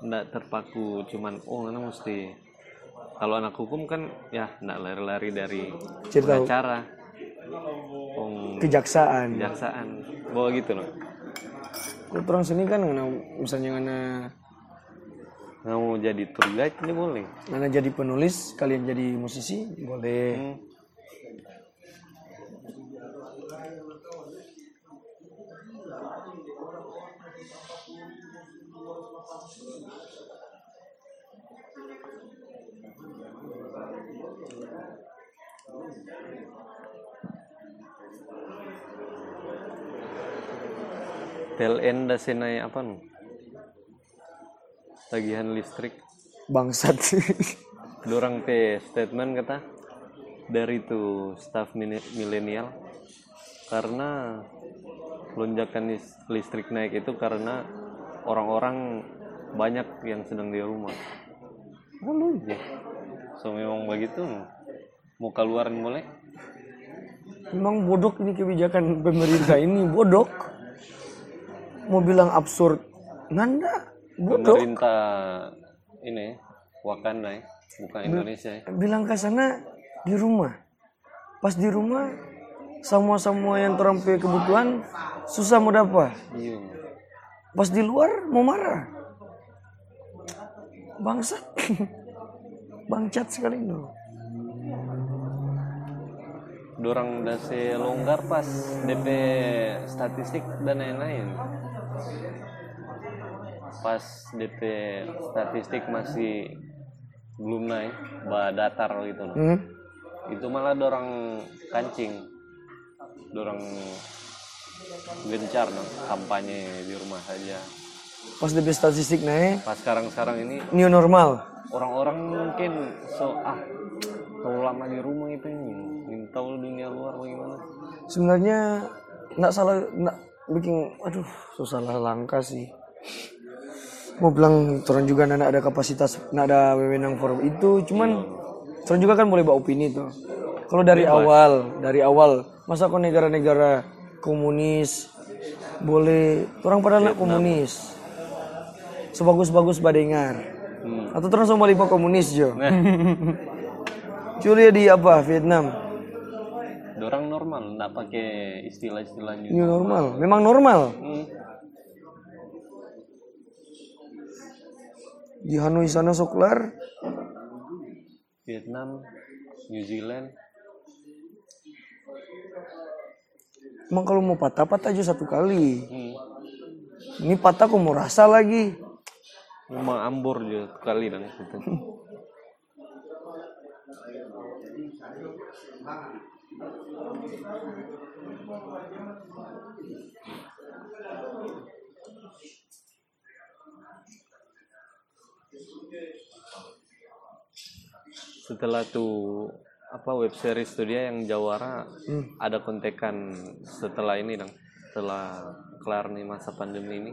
nggak terpaku cuman oh karena mesti kalau anak hukum kan ya nggak lari-lari dari Cerita hu- pengacara. Om kejaksaan Iya. kejaksaan. Bawa gitu loh. Kalau orang seni kan ngana, misalnya ngana Nggak mau jadi tour guide ini boleh. ngana jadi penulis kalian jadi musisi boleh Hmm. PLN dah senai apa nu? Tagihan listrik. bangsat [laughs] Dorang pe statement kata dari itu staff mini- milenial karena lonjakan lis- listrik naik itu karena orang-orang banyak yang sedang di rumah. Iya. Lalu ya. So memang begitu. Mau keluarin boleh? Memang bodoh ini kebijakan pemerintah ini bodoh. Mau bilang absurd, nganda bodoh. pemerintah ini Wakanda ya, bukan Indonesia ya. Bilang ke sana di rumah. Pas di rumah semua-semua yang orang punya kebutuhan susah mau dapat. Iya. Pas di luar mau marah. Bangsat. [laughs] Bangcat sekali dulu. Dorang dasi longgar pas DP statistik dan lain-lain. Pas DP statistik masih belum naik, bah datar gitu loh. Hmm? Itu malah dorang kancing. Dorang gencar no, kampanye di rumah saja. Pas DP statistik naik, Pas sekarang-sekarang ini new normal. orang-orang mungkin so ah terlalu lama di rumah itu ini ingin tahu dunia luar bagaimana sebenarnya nggak salah nggak bikin aduh susah lah langkah sih mau bilang turun juga nana ada kapasitas nggak ada wewenang forum itu cuman turun juga kan boleh bawa opini tuh kalau dari awal dari awal masa kok negara-negara komunis boleh orang pada nak komunis sebagus-bagus badengar Hmm. atau terus mau balik ke komunis jo [laughs] Curia di apa Vietnam orang normal nggak pakai istilah-istilah new new normal memang normal Hmm, di Hanoi sana soklar Vietnam New Zealand emang kalau mau patah patah aja satu kali hmm. ini patah kok mau rasa lagi rumah Ambor juga sekali dan itu setelah tuh apa web series tuh dia yang jawara ada kontekan setelah ini dong setelah kelar nih masa pandemi ini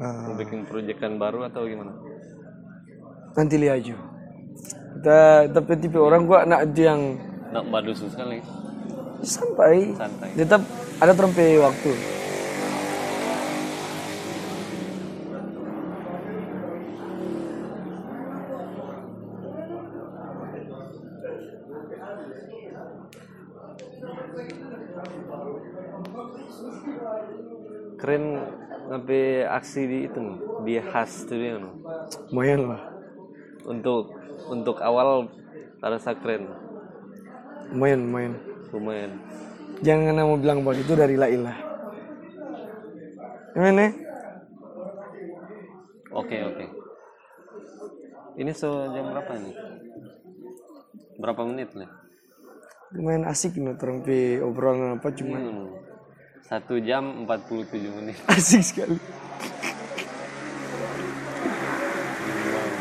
nah, mau bikin proyekan baru atau gimana? nanti lihat aja kita tapi tipe orang gua anak dia yang Nak madu sekali, santai santai. tetap ada trompe waktu Keren sampai aksi di itu nih, di khas studio nih. lumayan lah Untuk untuk awal rasa keren, lumayan lumayan lumayan. jangan mau bilang buat itu dari la ilah gimana Oke oke. Ini so jam berapa nih? Berapa menit nih? lumayan asik nih trompe obrolan apa cuma Hmm. Satu jam 47 menit. asik sekali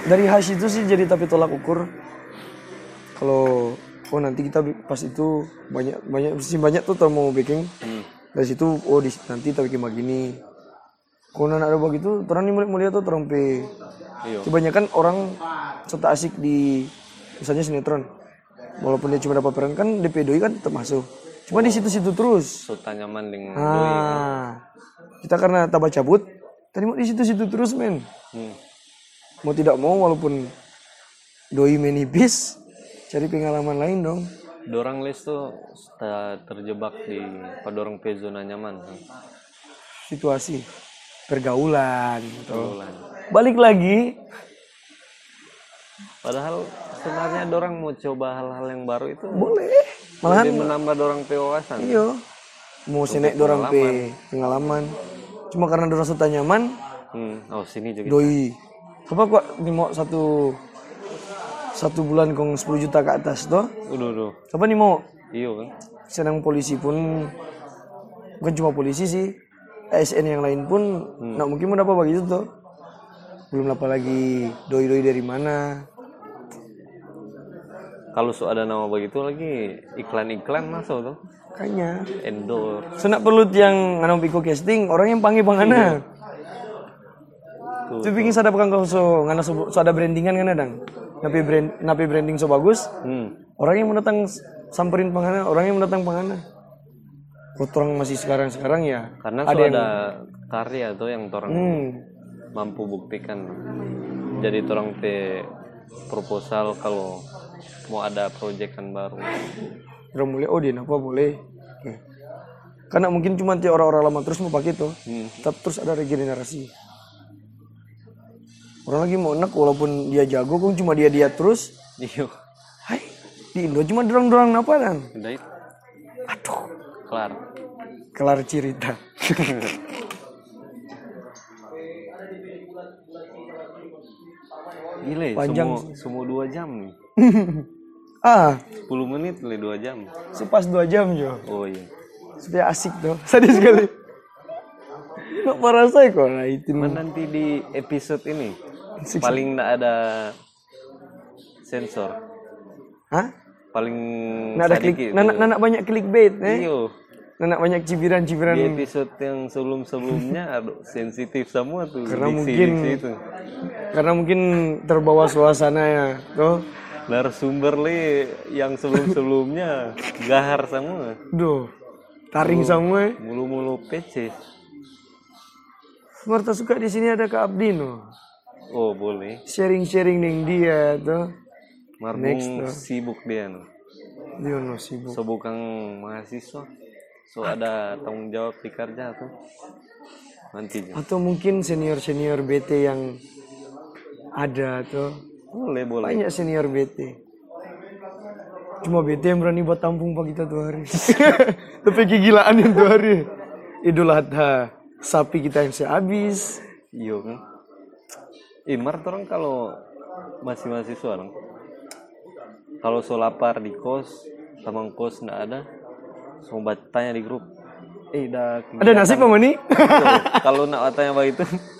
dari hash itu sih jadi tapi tolak ukur kalau oh nanti kita bi- pas itu banyak banyak sih banyak tuh tau mau baking Hmm. dari situ oh di nanti tapi kayak begini kalau anak ada begitu orang ini mulai mulia tuh orang pe Iya. kebanyakan orang serta asik di misalnya sinetron walaupun dia cuma dapat peran kan DP doi kan tetap masuk cuma di situ-situ terus So tanya manding. Ah, kita karena tambah cabut, tadi mau di situ-situ terus men. Hmm. Mau tidak mau walaupun doi menipis, cari pengalaman lain dong. Dorang les tuh ter- terjebak di pada orang pe zona nyaman. kan. Situasi pergaulan gitu. Bulan. Balik lagi, Padahal sebenarnya dorang mau coba hal-hal yang baru itu boleh. lebih Malahan menambah dorang pe wawasan. iyo. Mau sinek dorang pe pengalaman. Cuma karena dorang sudah nyaman, Hmm. Oh sini juga. doi. Apa kok ini mau satu satu bulan kong 10 juta ke atas toh? Udah udah. Apa nih mau Iyo kan. senang polisi pun bukan cuma polisi sih ASN yang lain pun nggak mungkin mau dapat begitu tuh belum apa lagi doi doi dari mana Kalau so ada nama begitu lagi iklan-iklan masuk tuh. kayaknya Endorse. senak perlu yang nganong piko casting orang yang panggil bang ana Tuh. tapi pingin sadap kang kau so ngana so, so ada brandingan kan adang napi brand napi branding so bagus Hmm. orang yang mau datang s- samperin pangana orang yang mau datang pangana Kalau orang masih sekarang-sekarang ya Karena Ada ada, yang- ada karya tuh yang orang hmm, mampu buktikan. Jadi orang te proposal kalau mau ada proyekan baru. orang boleh oh dia apa boleh. Oke. Karena mungkin cuma nanti orang-orang lama terus mau pakai itu. Hmm. Tetap terus ada regenerasi. Orang lagi mau enak walaupun dia jago kok cuma dia-dia terus. Iyo, Hai, di Indo cuma kan? dorong-dorong apa dan? udah itu, Aduh, kelar. kelar cerita. [laughs] Gile, Panjang semua semua ya, dua jam nih. ah, 10 menit le dua jam. sepas dua jam jo. Oh iya. Supaya asik tuh. [laughs] Sadis sekali. Nggak merasa kok nah itu. Cuman nanti di episode ini Six- paling nggak ada sensor, Hah? paling Nah, ada klik, sedikit nah, tuh. nah, nah, banyak clickbait, eh? Iyo, Nah, nah, banyak cibiran-cibiran. di episode yang sebelum-sebelumnya aduh sensitif semua tuh Karena diksi, mungkin- diksi itu. Karena mungkin terbawa suasana ya, tuh. narasumber le yang sebelum-sebelumnya gahar semua, Duh, taring semua. mulu-mulu PC. Marta suka di sini ada Kak Abdi no. Oh boleh, Sharing-sharing dengan dia tuh. Marbung sibuk dia no. Dia no sibuk. So bukan mahasiswa, so ada tanggung jawab di kerja tuh. Nanti je. Atau mungkin senior-senior BT yang ada tuh. boleh boleh. Banyak senior BT. Cuma BT yang berani buat tampung pak kita tuh hari. [laughs] Tapi kegilaan yang tuh hari. Idul Adha. Sapi kita yang sehabis. Iya kan. Imar orang kalau masih mahasiswa orang. Kalau so lapar di kos, taman kos ndak ada. So bat- tanya di grup. Eh dah Ada nasi Pak Mani? [laughs] kalau nak tanya apa itu. [laughs]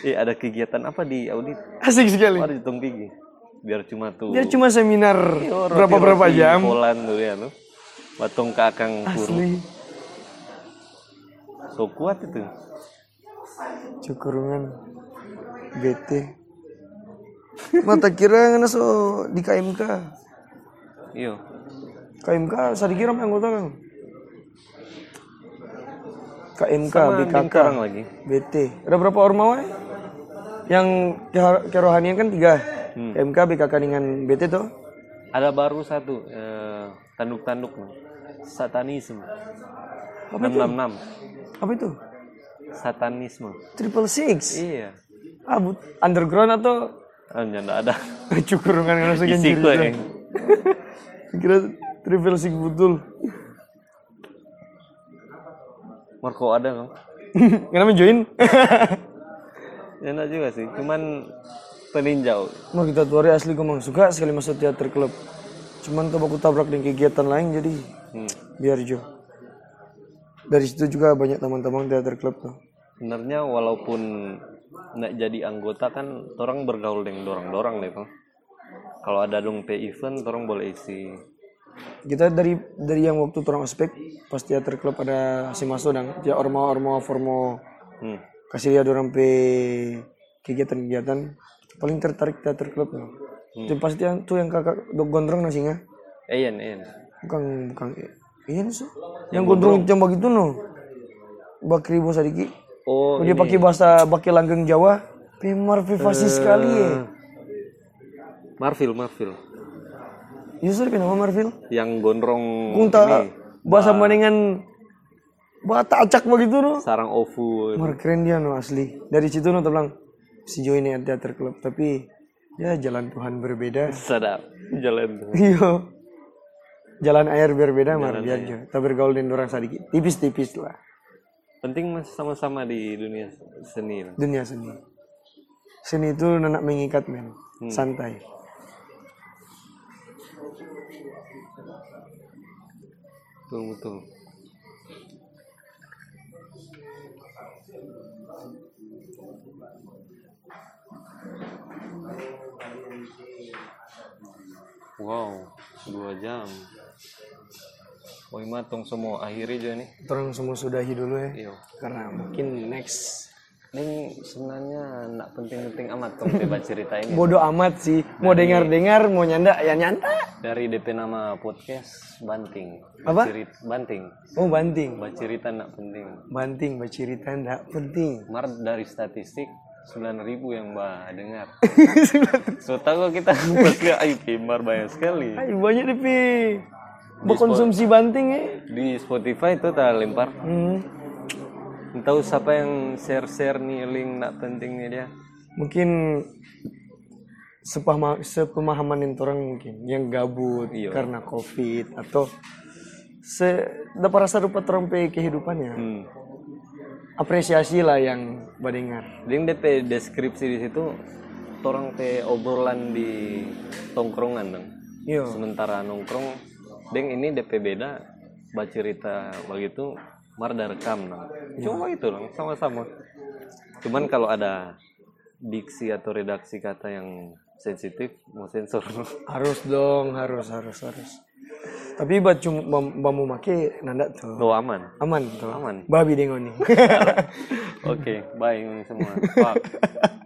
Eh ada kegiatan apa di audit? Asik sekali. Mari hitung gigi. Biar cuma tuh. Dia cuma seminar Yo, berapa-berapa roti-roti jam. Polan tuh ya tuh. Batong ke akang puru. Asli. So kuat itu. Cukurungan BT. Mata kira ngana so di KMK. Iyo. KMK saya kira apa anggota kang. KMK, Sama BKK, orang lagi. BT. Ada berapa ormawa? Yang ke- kerohanian kan tiga. KMK, BKK dengan BT tuh. Ada baru satu eh, tanduk-tanduk nih. Satanisme. Apa itu? 666. Apa itu? Satanisme. Triple Six. Iya. Ah, bu- underground atau Ah, enggak ada. [laughs] cukurungan ngana so Isi ganjil kue. itu. gitu. [laughs] Kira Triple Six betul. Marco ada kan? [laughs] Kenapa join? [laughs] Enak juga sih. Cuman peninjau. Mau kita tuari asli gomang suka sekali masuk teater klub. Cuman coba aku tabrak dengan kegiatan lain jadi Hmm. biar jo. Dari situ juga banyak teman-teman teater klub tuh. Sebenarnya walaupun nggak jadi anggota kan orang bergaul dengan dorang-dorang deh Bang. Kalau ada dong pe event, orang boleh isi. Kita dari dari yang waktu orang ospek pas teater klub ada si Mas Dodang, dia orma orma formo Hmm. kasih dia orang pe kegiatan-kegiatan paling tertarik teater klub tuh. Tapi pasti yang tuh yang kakak dok gondrong nasi nggak? Eyan, eyan. Bukan bukan iya nih so. Yang gondrong jam begitu no. Bakri bos adiki. Oh, Kalau dia pakai bahasa pakai langgeng Jawa, pemar privasi sekali ya. Marvel, Marvel. Ya sudah nama Marvin. Yang gondrong Kunta ini, bahasa mendingan bata acak begitu no. sarang ovu. Mar keren dia no asli. Dari situ no bilang si Joy ini teater klub tapi ya jalan Tuhan berbeda. Sedap. Jalan tuh. Iya. jalan air berbeda mar biar jo. Kita bergaul dengan orang sedikit. Tipis-tipis lah Penting mas sama-sama di dunia seni. lah. dunia seni. Seni itu nenek mengikat men. Santai. Betul, betul. Wow, dua jam. Woi matong semua akhirnya aja nih. Iya. Orang semua sudahi dulu ya. Iyo. Karena mungkin next Ini sebenarnya nggak penting-penting amat tong tiba cerita ini. Bodoh amat sih. Mau dengar-dengar, mau nyanda, ya nyanda. Dari DP nama podcast Banting. Apa? Cerit Banting. Oh banting. Baca cerita nggak penting. Banting, bercerita ndak penting. Mar dari statistik 9000 yang mbak dengar. so tahu kok kita ke IP Mar banyak sekali. Ay, banyak deh, Pi. Berkonsumsi banting ya. Di Spotify itu tak lempar. Hmm. Tahu siapa yang share-share nih link nggak pentingnya dia. Mungkin sepahama, sepemahaman yang orang mungkin yang gabut Iya. karena covid atau se dapat rasa rupa terompe kehidupannya Hmm. apresiasi lah yang badengar Link DP deskripsi di situ orang teh obrolan di tongkrongan dong. iya Sementara nongkrong, deng ini DP beda, baca cerita begitu, mar dah rekam dong. Cuma itu dong, sama-sama. Cuman kalau ada diksi atau redaksi kata yang sensitif, mau sensor. [laughs] harus dong harus harus harus tapi buat cuma bam- bamu make nanda tuh Lo aman. aman tuh Aman. [laughs] babi dengon nih Oke, bye semua. Fuck.